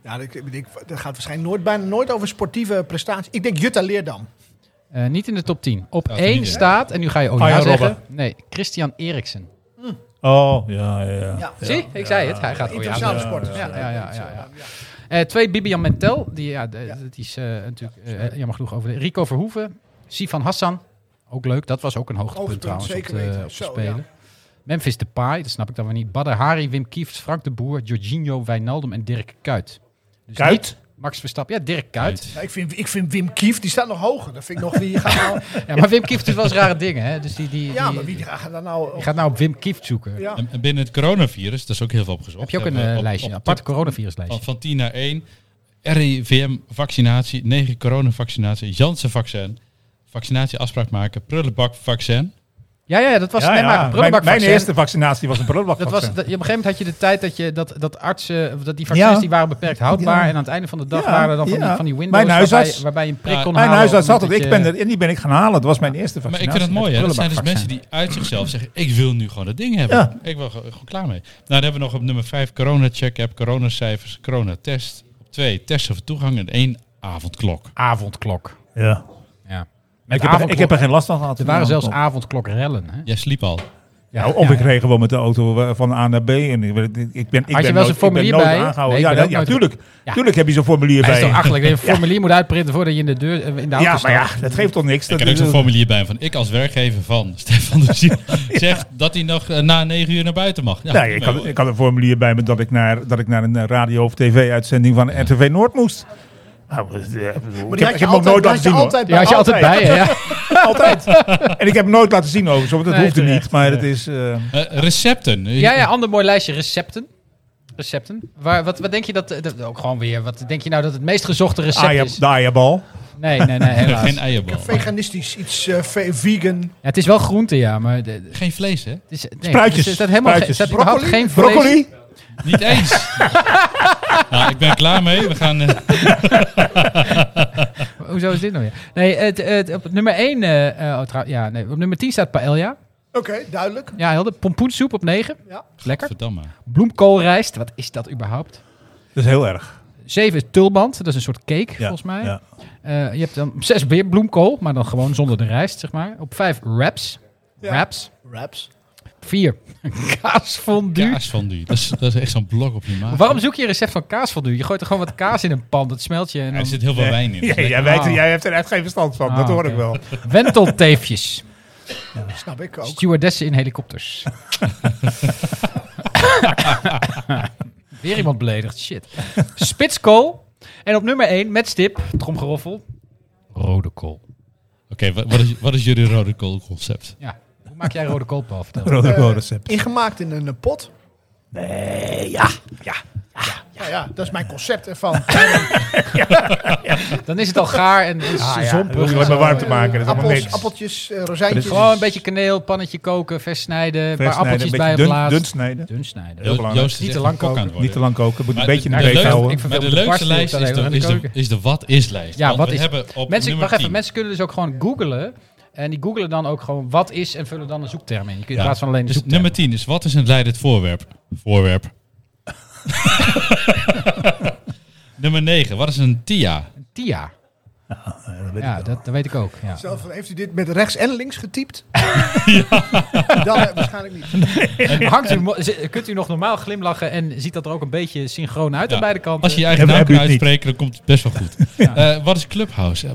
F: ja, ik- ik- ik- dat gaat waarschijnlijk nooit, bijna nooit over sportieve prestaties. Ik denk Jutta Leerdam.
A: Eh, niet in de top 10. Op
B: Staat er
A: één
B: niet in.
A: staat, en nu ga je oja
E: Arjen
A: zeggen.
E: Robben.
A: Nee, Christian Eriksen.
E: Oh, ja, ja, ja.
F: Ja.
A: Zie, ik zei het. Hij gaat oja
F: Internationale
A: zeggen.
F: sporters.
A: Ja, ja, ja, ja, ja. Eh, twee, Bibian Mentel. Die, ja, de- die is eh, natuurlijk eh, jammer genoeg over. de- Rico Verhoeven. Sifan Hassan. Ook leuk. Dat was ook een hoogtepunt,
F: Hoogtepunt,
A: trouwens
F: zeker
A: op, de,
F: weten.
A: op de
F: Zo,
A: Spelen.
F: ja.
A: Memphis Depay, dat snap ik dan weer niet. Badr Hari, Wim Kieft, Frank de Boer, Jorginho, Wijnaldum en Dirk Kuyt. Dus
E: Kuyt?
A: niet Max Verstappen. Ja, Dirk Kuyt.
F: Ja, ik, vind, ik vind Wim Kief, die staat nog hoger. Dat vind ik nog wie. Gaat
E: [LAUGHS]
F: nou,
A: Ja, maar Wim Kieft doet wel eens rare dingen. Hè? Dus die, die,
F: ja,
A: die-
F: maar wie gaat daar nou.
A: die gaat nou op Wim Kieft zoeken.
F: Ja.
B: En, en binnen het coronavirus, daar is ook heel veel opgezocht.
A: Heb je ook een
B: Hebben we
A: eh,
B: op-
A: lijstje,
B: op
A: een
B: de
A: apart
B: top
A: coronaviruslijstje?
B: Van, van 10 naar 1. RIVM-vaccinatie, 9 coronavaccinatie, Janssen-vaccin, vaccinatieafspraak maken, prullenbak-vaccin.
A: Ja, ja, dat was
E: Ja,
A: nee,
E: ja.
A: maar
E: Mijn-
A: prullenbakvaccin.
E: Mijn eerste vaccinatie was een
A: Dat was, dat,
E: prullenbakvaccin.
A: op een gegeven moment had je de tijd dat, je, dat, dat artsen, of dat die vaccins
E: Ja.
A: die waren beperkt houdbaar.
E: Ja.
A: En aan het einde van de dag
E: Ja,
A: waren er dan van,
E: ja.
A: die, van die windows
E: Mijn
A: waarbij,
E: huisarts-
A: waarbij je een prik
B: Ja.
A: kon
E: Mijn
A: halen,
E: huisarts had dat.
A: omdat
E: Ik
A: je-
E: ben er, en die ben ik gaan halen. Dat was mijn eerste
B: Maar
E: vaccinatie.
B: ik vind het mooi, hè? Dat zijn dus mensen
A: prullenbakvaccin.
B: die uit zichzelf zeggen: Ik wil nu gewoon dat ding hebben.
E: Ja.
B: Ik ben gewoon gewoon klaar mee. Nou, dan hebben we nog op nummer 5 corona-check-app, coronacijfers, coronatest. Op 2 testen voor toegang en 1 avondklok.
A: Avondklok.
E: Ja.
A: Ja.
E: Ik heb, er, ik heb er geen last van gehad.
A: er waren zelfs avondklokrellen. Hè?
B: Jij sliep al.
E: Ja, of ik reed gewoon met de auto eh, van A naar B. En ik ben, ik ben, ik ben
A: wel eens een
E: nooit- ik ben
A: formulier
E: nooit
A: bij?
E: aangehouden.
A: Nee, ik
E: ja,
A: ben
E: dat-
A: ook
E: ja,
A: nooit-
E: tuurlijk,
A: Ja.
E: tuurlijk heb je zo'n formulier
A: Hij is
E: bij.
A: toch achterlijk dat je een
E: Ja.
A: formulier moet uitprinten voordat je in de, deur, eh, in de auto
E: Ja, maar
A: stapt.
E: ja, dat geeft toch niks.
B: Ik
E: Dat,
B: heb ook zo'n
E: dat-
B: formulier bij van ik als werkgever van [LAUGHS] Stefan de Ziel zegt dat hij nog eh, na 9 uur naar buiten mag. Ja,
E: Nee, ik
B: maar-
E: had, ik had een formulier bij me dat ik naar, dat ik naar een eh, radio- of tv-uitzending van RTV Noord moest. Nou, eh, ik
F: Maar
E: heb- ik
F: die had je
E: heb hem ook
F: altijd,
E: nooit
F: die
E: laten
F: had je
E: zien. hoor.
F: altijd
A: Die had je altijd bij je, ja.
E: Altijd. [LAUGHS] En ik heb hem nooit laten zien overigens, want dat
A: Nee,
E: hoefde
A: terecht.
E: niet. Maar het is... eh,
B: Eh, recepten.
A: Ja, ja, ander mooi lijstje recepten. Recepten. Waar, wat, wat denk je dat, dat- Ook gewoon weer. Wat denk je nou dat het meest gezochte recept
E: Aja-
A: is?
E: Diabal.
A: Nee, nee, nee, helaas.
B: Eh, Geen eierbal.
F: Veganistisch, iets eh, ve- vegan.
A: Ja, het is wel groente, ja, maar... de- de-
B: Geen vlees, hè?
A: het dus is, nee,
E: Spruitjes,
A: Er staat helemaal geen-
E: spruitjes.
A: er staat überhaupt geen vlees.
E: Broccoli?
B: Niet eens. nou, ik ben klaar mee. We gaan. eh,
A: Hoezo is dit nou weer? Nee, het, het, op nummer 1... ja, nee, op nummer 10 staat paella.
F: Oké, duidelijk.
A: Ja, helder. Pompoensoep op 9.
F: Ja.
A: Lekker.
B: Verdamme.
A: Bloemkoolrijst. Wat is dat überhaupt?
E: Dat is heel erg.
A: 7 is tulband. Dat is een soort cake, volgens mij.
E: Ja.
A: Eh, je hebt dan op 6 weer bloemkool. Maar dan gewoon zonder de rijst, zeg maar. Op 5 wraps.
F: Ja.
A: Wraps.
F: Raps.
A: 4 [LAUGHS] kaasfondue.
B: Kaas van die. Dat is, dat is echt zo'n blok op je maag.
A: Waarom zoek je een recept van kaasfondue? Je gooit er gewoon wat kaas in een pan. Dat smelt je. En
B: Ja, er
A: dan...
B: zit heel veel wijn in.
E: Ja,
B: Dus
E: jij, weet, jij hebt er echt geen verstand van,
A: Ah,
E: dat hoor
A: oké.
E: ik wel.
A: Wentelteefjes.
F: Snap ik ook.
A: Stewardessen in helikopters. Weer iemand beledigd, shit. Spitskool. En op nummer 1, met stip, tromgeroffel. Rode kool.
B: Oké, wa- wat, is, wat is jullie rode kool concept?
A: Ja, hoe maak jij rode kool, Paul? Vertel.
E: Rode recept.
F: Ingemaakt in een eh, pot. Nee, ja. Ja. Ja, ja, dat is mijn concept
E: [LAUGHS]
F: ervan.
A: Dan is het al gaar en is
E: Ah, ja, dat hoef
A: zompig. en
E: je alleen maar
A: zo.
E: warm te maken, dat is allemaal
F: Appels,
E: niks.
F: appeltjes, eh, rozijntjes.
A: Gewoon een beetje kaneel, pannetje koken, versnijden, een paar
E: Versnijden,
A: appeltjes bij op
E: dun,
A: laatst.
E: dun snijden.
A: Dun snijden.
E: Heel belangrijk.
B: Joost is
A: Niet te
B: echt
A: lang
B: een kok
A: koken.
B: aan het worden.
E: Niet te lang koken, moet een
B: Maar
E: beetje in
B: de-
E: de
B: de
E: beet
B: leukste-
E: houden.
A: ik
B: Maar
A: verveel
B: de
A: me de
B: leukste
A: barsten
B: lijst
A: op
B: is
A: de
B: de,
A: hele
B: is de,
A: keuken.
B: is de wat-is-lijst.
A: Ja,
B: Want
A: wat
B: we
A: is
B: hebben op
A: mensen,
B: nummer
A: wacht even,
B: 10.
A: mensen kunnen dus ook gewoon googlen. En die googlen dan ook gewoon wat is en vullen dan een zoekterm in. Je kunt in
B: Ja.
A: plaats van alleen de
B: dus
A: zoekterm.
B: nummer 10 is wat is een leidend voorwerp?
A: [LAUGHS]
B: Voorwerp. nummer 9, wat is een TIA?
A: Tia.
E: weet
A: Ja, dat, dat weet ik ook. Ja.
F: Zelf, heeft u dit met rechts en links
E: [LAUGHS]
F: getypt? Dan eh, waarschijnlijk niet.
A: En [LAUGHS] hangt u, mo- z- kunt u nog normaal glimlachen en ziet dat er ook een beetje synchroon uit
B: Ja.
A: aan beide kanten?
B: Als je je eigen
E: Heb-
B: naam
E: heb je
B: kan
E: het niet?
B: uitspreken, dan komt het best wel
E: [LAUGHS]
B: goed. Eh, wat is Clubhouse? Ja,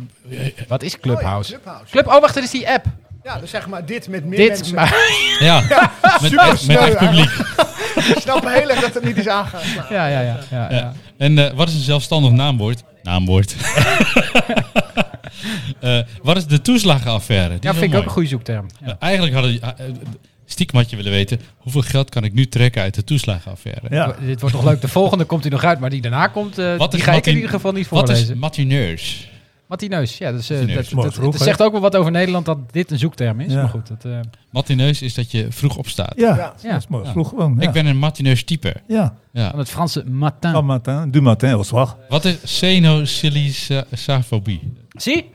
A: Wat is
F: Oh ja,
A: Clubhouse?
F: Clubhouse.
A: Club, oh wacht, dat is die app.
F: Ja, dus zeg maar dit met meer
A: Dit,
F: mensen.
A: maar, [LAUGHS]
B: Ja, met, echt, met
F: sneu
B: echt publiek.
F: [LAUGHS] Ik snap heel erg dat het niet is aangeslagen.
A: ja, ja, ja, ja,
B: Ja.
A: ja.
B: En eh, wat is een zelfstandig naamwoord?
E: [LAUGHS]
B: Naamwoord. Eh, wat is de toeslagenaffaire? Die
A: Ja,
B: is
A: vind ik
B: wel
A: ook een
B: mooi.
A: goede zoekterm. Ja.
B: Eh, Eigenlijk hadden die- eh, eh, stiekem had je willen weten... hoeveel geld kan ik nu trekken uit de toeslagenaffaire?
E: Ja.
A: Dit wordt nog leuk. De volgende komt hij nog uit, maar die daarna komt, eh,
B: Wat
A: die
B: is
A: ga ik in
B: Martin-
A: ieder geval niet
B: Wat is
A: voorlezen.
B: matineurs?
A: Matineus, ja, dus, eh,
B: Matineus,
A: dat,
E: mooi
A: dat-
E: vroeg,
A: dat
E: hè?
A: zegt ook wel wat over Nederland dat dit een zoekterm is.
E: Ja.
A: Maar goed, dat, eh,
B: Matineus is dat je vroeg opstaat.
E: Ja,
F: Ja.
E: dat is mooi. Vroeg gewoon. Ja.
B: Ik ben een matineus type.
E: ja.
B: Ja.
A: van het Franse matin.
E: Bon matin, du matin, au soir.
B: Wat is xenosylisafobie?
A: Zie?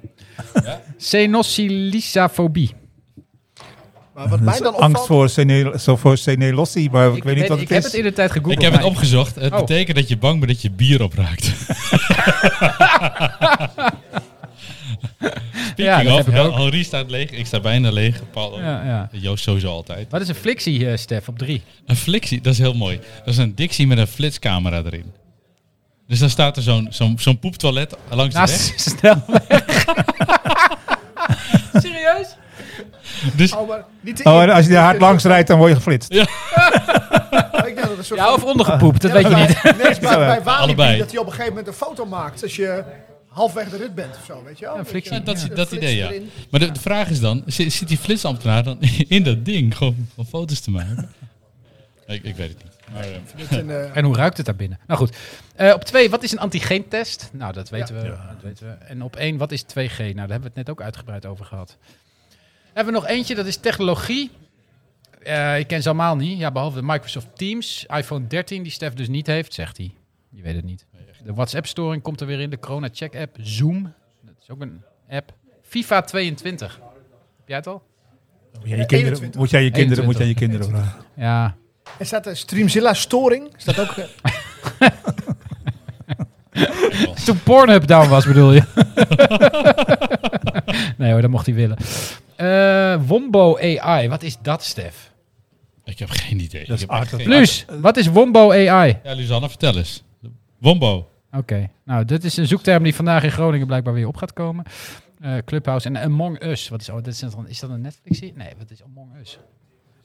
A: Senosylisafobie.
F: Maar wat mij dan opvalt...
E: Angst voor Sene- zo voor Senelossi, maar ik, weet niet wat
A: ik
E: het
A: heb
E: is.
A: het in de tijd gegoogeld.
B: Ik heb het
A: maar-
B: opgezocht. Het
A: Oh.
B: betekent dat je bang bent dat je bier
A: [LAUGHS]
B: opraakt.
A: Ja,
B: King
A: dat
B: of,
A: heb ik ook.
B: Henri staat leeg. Ik sta bijna leeg. Paul ook.
A: Ja, ja.
B: Joost sowieso altijd.
A: Wat is een flixie, eh, Stef, op drie?
B: Een flixie, dat is heel mooi. Dat is een Dixie met een flitscamera erin. Dus dan staat er zo'n zo'n zo'n poeptoilet langs de weg.
A: Naast snel.
G: Serieus?
B: Dus
F: Oh, maar niet te
E: Oh, en
F: eer-
E: als je er hard langs rijdt, dan word je geflitst.
F: Oh, ik denk dat het een soort
A: Ja,
F: van-
A: of ondergepoept, dat
F: Ja,
A: weet je
F: maar
A: niet.
F: bij- [LAUGHS] Nee, is bij, bij Walibi
B: Allebei.
F: dat hij op een gegeven moment een foto maakt als je halfweg de rit bent of zo, weet je wel?
A: Ja,
F: Dat je-
A: frictie.
B: Ja, dat, is-
F: Een
B: dat
F: flits
B: idee, ja.
F: erin.
B: Maar de, de vraag is dan, zit, zit die flitsambtenaar dan [LAUGHS] in dat ding gewoon om foto's te maken? ik, ik weet het niet. Maar, eh,
F: En, eh,
A: En hoe ruikt het daar binnen? Nou goed. Eh, op twee, wat is een antigeentest? Nou, dat weten, we, dat weten we. En op één, wat is 2G? Nou, daar hebben we het net ook uitgebreid over gehad. Hebben we nog eentje, dat is technologie. Eh, ik ken ze allemaal niet. Ja, behalve de Microsoft Teams, iPhone 13, die Stef dus niet heeft, zegt hij. Je weet het niet. De WhatsApp-storing komt er weer in. De Corona Check app. Zoom. Dat is ook een app. FIFA 22. Heb jij het al?
E: Moet jij je kinderen, moet jij je kinderen, moet jij je kinderen vragen.
A: Ja.
F: en staat eh, er Streamzilla storing? Is dat ook... eh,
A: Toen Pornhub down was, bedoel je? nee hoor, dat mocht hij willen. Eh, Wombo AI, wat is dat, Stef?
B: ik heb geen idee.
E: Dat is
B: ik heb echt
E: aardig.
B: geen-
A: Plus, wat is Wombo AI? Oké,
B: Ja, Luzanne, vertel eens. Wombo.
A: nou, dit is een zoekterm die vandaag in Groningen blijkbaar weer op gaat komen. Eh, Clubhouse en Among Us. Wat is, oh, dit is, dan- is dat een netflix serie Nee, wat is Among Us?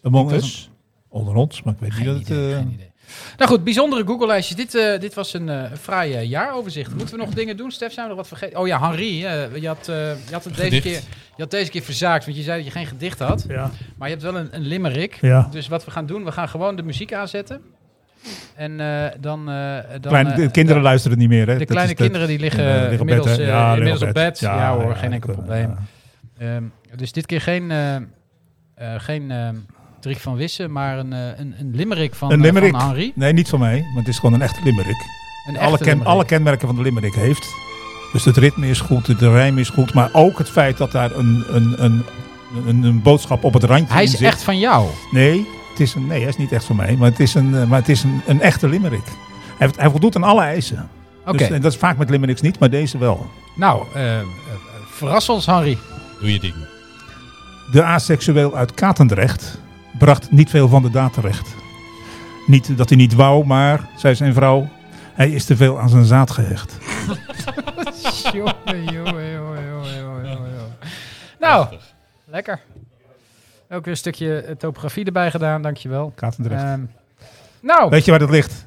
E: Among Us? Onder ons, maar ik weet niet
A: Geen
E: dat het...
A: idee,
E: eh,
A: geen idee. Nou goed, bijzondere Google-lijstjes. Dit, eh, dit was een eh, fraai eh, jaaroverzicht. Moeten we nog dingen doen, Stef? Zijn we nog wat vergeten? Oh ja, Henri, eh, je, had, eh, je, had het deze
B: Gedicht.
A: keer, je had deze keer verzaakt, want je zei dat je geen gedicht had.
E: Ja.
A: Maar je hebt wel een, een limerick.
E: Ja.
A: Dus wat we gaan doen, we gaan gewoon de muziek aanzetten. En eh, dan... eh, dan
E: Kleine,
A: eh,
E: de kinderen luisteren niet meer, hè?
A: de
E: Dat
A: kleine
E: is de-
A: kinderen die liggen,
E: Ja, liggen op
A: inmiddels,
E: bed, hè?
A: eh,
E: Ja, liggen
A: inmiddels op bed. Ja, hoor,
E: ja,
A: geen enkel
E: dat, eh,
A: probleem.
E: ja.
A: Ehm, dus dit keer geen, eh eh, geen ehm Driek van Wissen, maar een, eh, een, een limerick van,
E: Een
A: eh,
E: limerick.
A: van Henri.
E: Nee, niet van mij, want het is gewoon een echte limerick.
A: Een
E: Alle,
A: echte
E: ken-
A: limerick.
E: alle kenmerken van de limerick heeft. Dus het ritme is goed, de rijm is goed, maar ook het feit dat daar een, een, een, een, een boodschap op het randje
A: Hij
E: in
A: is
E: zit. Dus
A: echt van jou.
E: Nee, het is een, nee, hij is niet echt van mij, maar het is een, eh, maar het is een, een echte limerick. Hij, heeft- hij voldoet aan alle eisen.
A: Oké,
E: Dus, en dat is vaak met limericks niet, maar deze wel.
A: nou, ehm, eh, verras ons, Henri.
B: Doe je ding.
E: De aseksueel uit Katendrecht bracht niet veel van de daad terecht. Niet dat hij niet wou, maar, zei zijn vrouw, hij is te veel aan zijn zaad gehecht.
A: [LAUGHS] Jongen, jongen, jongen, jongen, jongen, jongen. Nou, lekker. Ook weer een stukje eh, topografie erbij gedaan, dankjewel.
E: Katendrecht.
A: Ehm nou,
E: Weet je waar dat ligt?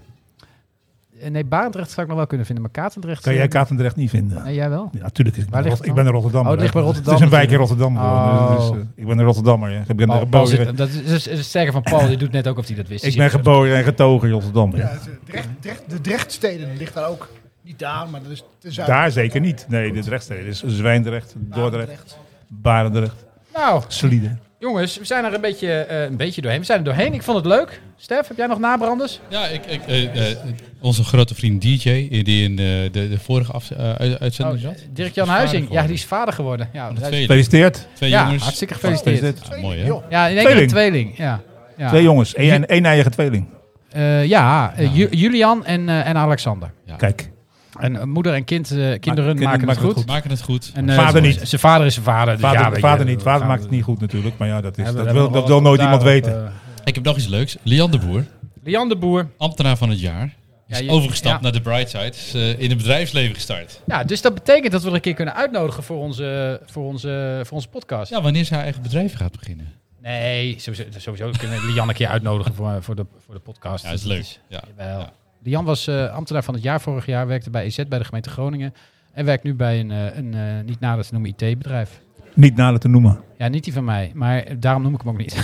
A: eh, nee, Barendrecht zou ik nog wel kunnen vinden, maar Katendrecht...
E: Kan
A: eh,
E: jij Katendrecht niet vinden?
A: Nee, jij wel?
E: Ja, natuurlijk. Ik,
A: Waar ligt
E: ben, Rot-
A: het
E: ik
A: dan?
E: ben een Rotterdammer.
A: Oh, het ligt bij Rotterdam
E: Het is een wijk in
A: natuurlijk.
E: Rotterdam. geworden, dus,
A: Oh.
E: eh, ik ben een Rotterdammer. ja. Ik ben, eh,
A: Paul, Oh, Paul
E: geboren,
A: zit- dat is, is, is sterker van Paul, die doet net ook of hij dat wist.
E: ik ben geboren en getogen in Rotterdam. ja.
F: ja, het, eh, Drecht- Drecht- de Drechtsteden ligt daar ook. Niet daar, maar dat is ten zuiden.
E: Daar zeker niet. Nee, dit rechtstreeks is Zwijndrecht, Dordrecht,
F: Drecht.
E: Barendrecht,
A: Nou,
E: Slieden.
A: jongens, we zijn er een beetje, eh, een beetje doorheen. We zijn er doorheen, ik vond het leuk. Stef, heb jij nog nabranders?
B: Ja, ik, ik, eh, eh, onze grote vriend DJ, eh, die in eh, de, de vorige af, eh, uit-
A: Oh,
B: uitzending zat.
A: Dirk-Jan
B: Is vader
A: Huizing. Ja,
B: geworden.
A: die is vader geworden. Ja, hij is-
B: Twee,
E: Gefeliciteerd.
B: twee
A: ja,
B: jongens.
A: hartstikke
E: Gefeliciteerd.
A: gefeliciteerd.
B: Ah, mooi, hè?
F: Joh.
A: Ja, in één keer een
E: Tweeling.
A: tweeling. Ja, ja.
E: Twee jongens, één en één eigen tweeling.
A: Eh, ja, eh, Ju- Julian en, eh, en Alexander.
E: Kijk,
A: En eh, moeder en kind, eh, kinderen
E: kinderen
A: maken het
E: maken
A: goed.
E: het
B: We Maken het goed.
A: En, eh,
E: Vader
A: z-
E: niet.
A: z- Zijn vader is zijn vader. dus ja,
E: vader,
A: weet je,
E: vader niet.
A: eh,
E: Vader maakt het niet goed natuurlijk, maar ja, dat, is,
A: hebben we
E: dat,
A: hebben
E: wil,
A: we nog
E: dat wil nooit
A: wat
E: iemand
A: daarop,
E: weten.
A: eh.
B: Ik heb nog iets leuks. Lian de Boer,
A: Lian de Boer.
B: ambtenaar van het jaar, is
A: Ja, je-
B: overgestapt
A: ja.
B: naar de Bright Side. Is, eh, in het bedrijfsleven gestart.
A: Ja, dus dat betekent dat we er een keer kunnen uitnodigen voor onze, voor onze, voor onze podcast.
B: Ja, wanneer zijn eigen bedrijf gaat beginnen.
A: Nee, sowieso, sowieso kunnen we Lian een keer uitnodigen voor, voor, de, voor de podcast.
B: Ja, dat is leuk. Ja.
A: Jawel.
B: Ja.
A: Lian was eh, ambtenaar van het jaar vorig jaar, werkte bij EZ bij de gemeente Groningen. En werkt nu bij een, eh, een eh, niet nader te noemen IT-bedrijf.
E: Niet nader te noemen.
A: Ja, niet die van mij, maar daarom noem ik hem ook niet.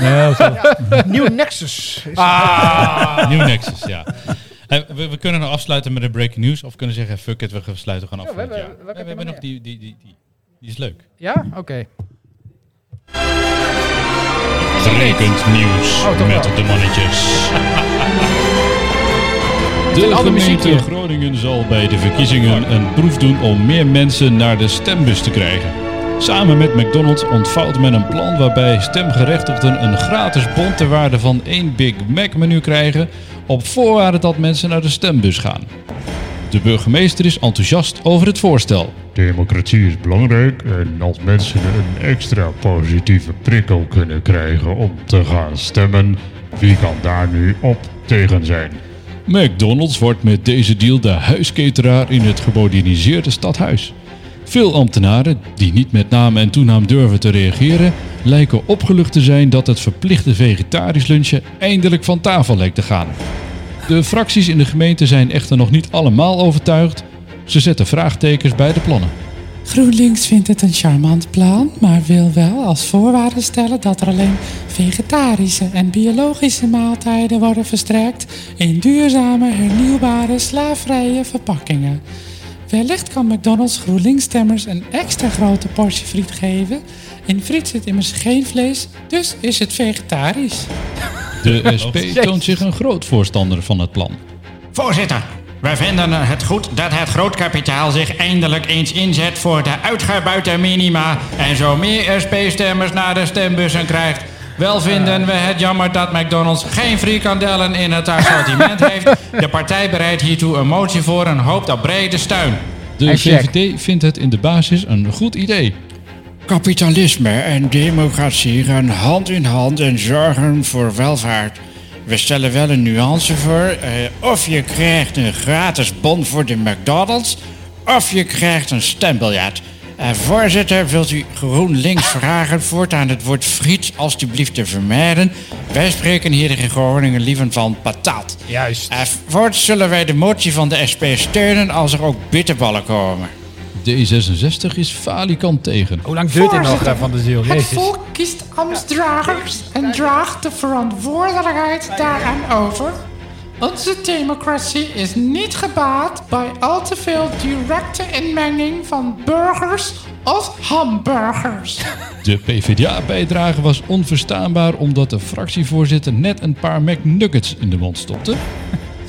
F: Nieuw Nexus. Is
B: Nieuw Nexus, ja. Eh, we, we kunnen nou afsluiten met een breaking news. Of kunnen zeggen, fuck it, we sluiten gewoon af
A: Ja, we
B: voor het
A: hebben-
B: jaar.
A: welke
B: Nee,
A: heb je
B: We hebben
A: nog
B: nog die, die, die, die. Die is leuk.
A: Ja? Oké.
B: Rekend nieuws
A: Oh, toch
B: met
A: wel.
B: de
A: [LAUGHS]
B: mannetjes.
A: een
B: De
A: andere muziek
B: gemeente
A: hier.
B: Groningen zal bij de verkiezingen een proef doen om meer mensen naar de stembus te krijgen. Samen met McDonald's ontvouwt men een plan waarbij stemgerechtigden een gratis bon ter waarde van één Big Mac menu krijgen op voorwaarde dat mensen naar de stembus gaan. De burgemeester is enthousiast over het voorstel.
I: Democratie is belangrijk en als mensen een extra positieve prikkel kunnen krijgen om te gaan stemmen, wie kan daar nu op tegen zijn?
B: McDonald's wordt met deze deal de huisketeraar in het gemoderniseerde stadhuis. Veel ambtenaren, die niet met naam en toenaam durven te reageren, lijken opgelucht te zijn dat het verplichte vegetarisch lunchen eindelijk van tafel leek te gaan. De fracties in de gemeente zijn echter nog niet allemaal overtuigd. Ze zetten vraagtekens bij de plannen.
G: GroenLinks vindt het een charmant plan, maar wil wel als voorwaarde stellen dat er alleen vegetarische en biologische maaltijden worden verstrekt in duurzame, hernieuwbare, slaafvrije verpakkingen. Wellicht kan McDonald's GroenLinks-stemmers een extra grote portie friet geven. In friet zit immers geen vlees, dus is het vegetarisch.
B: De SP toont zich een groot voorstander van het plan.
J: Voorzitter, wij vinden het goed dat het grootkapitaal zich eindelijk eens inzet voor de uitgebuite minima en zo meer SP-stemmers naar de stembussen krijgt. Wel vinden we het jammer dat McDonald's geen frikandellen in het assortiment heeft. De partij bereidt hiertoe een motie voor en hoopt op brede steun.
B: De
A: Hey, Jack.
B: VVD vindt het in de basis een goed idee.
J: Kapitalisme en democratie gaan hand in hand en zorgen voor welvaart. We stellen wel een nuance voor. eh, of je krijgt een gratis bon voor de McDonald's, of je krijgt een stembiljart. Eh, voorzitter, wilt u GroenLinks vragen voortaan het woord friet alstublieft te vermijden? Wij spreken hier in Groningen liever van patat.
A: Juist.
J: Eh, voorts zullen wij de motie van de SP steunen als er ook bitterballen komen.
B: D66 is falikant tegen.
A: Hoe lang duurt dit nog eh, van de ziel?
G: Het
A: Jezus.
G: volk kiest ambtsdragers en draagt de verantwoordelijkheid daaraan over. Onze democratie is niet gebaat bij al te veel directe inmenging van burgers of hamburgers.
B: De PvdA-bijdrage was onverstaanbaar omdat de fractievoorzitter net een paar McNuggets in de mond stopte.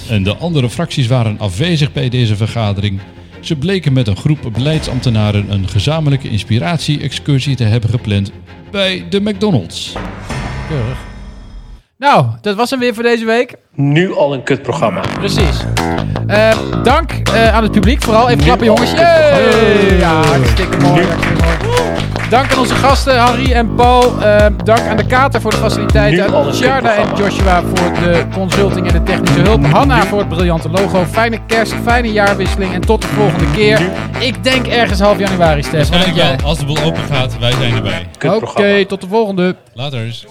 B: En de andere fracties waren afwezig bij deze vergadering. Ze bleken met een groep beleidsambtenaren een gezamenlijke inspiratie-excursie te hebben gepland bij de McDonald's.
A: Nou, dat was hem weer voor deze week.
K: Nu al een kutprogramma.
A: Precies. Eh, dank eh, aan het publiek. Vooral even klappen, jongens. Yay! Ja, hartstikke mooi. hartstikke mooi. Dank aan onze gasten, Harry en Paul. Eh, dank aan de kater voor de faciliteiten.
K: Nu al een
A: Sharda en
K: programma.
A: Joshua voor de consulting en de technische hulp. Hanna voor het briljante logo. Fijne kerst, fijne jaarwisseling en tot de volgende keer. Ik denk ergens half januari, Stef. Wat denk
L: Waarschijnlijk
A: jij?
L: wel, als de boel open gaat, wij zijn erbij.
A: Oké,
K: Kutprogramma.
A: tot de volgende.
L: Laters.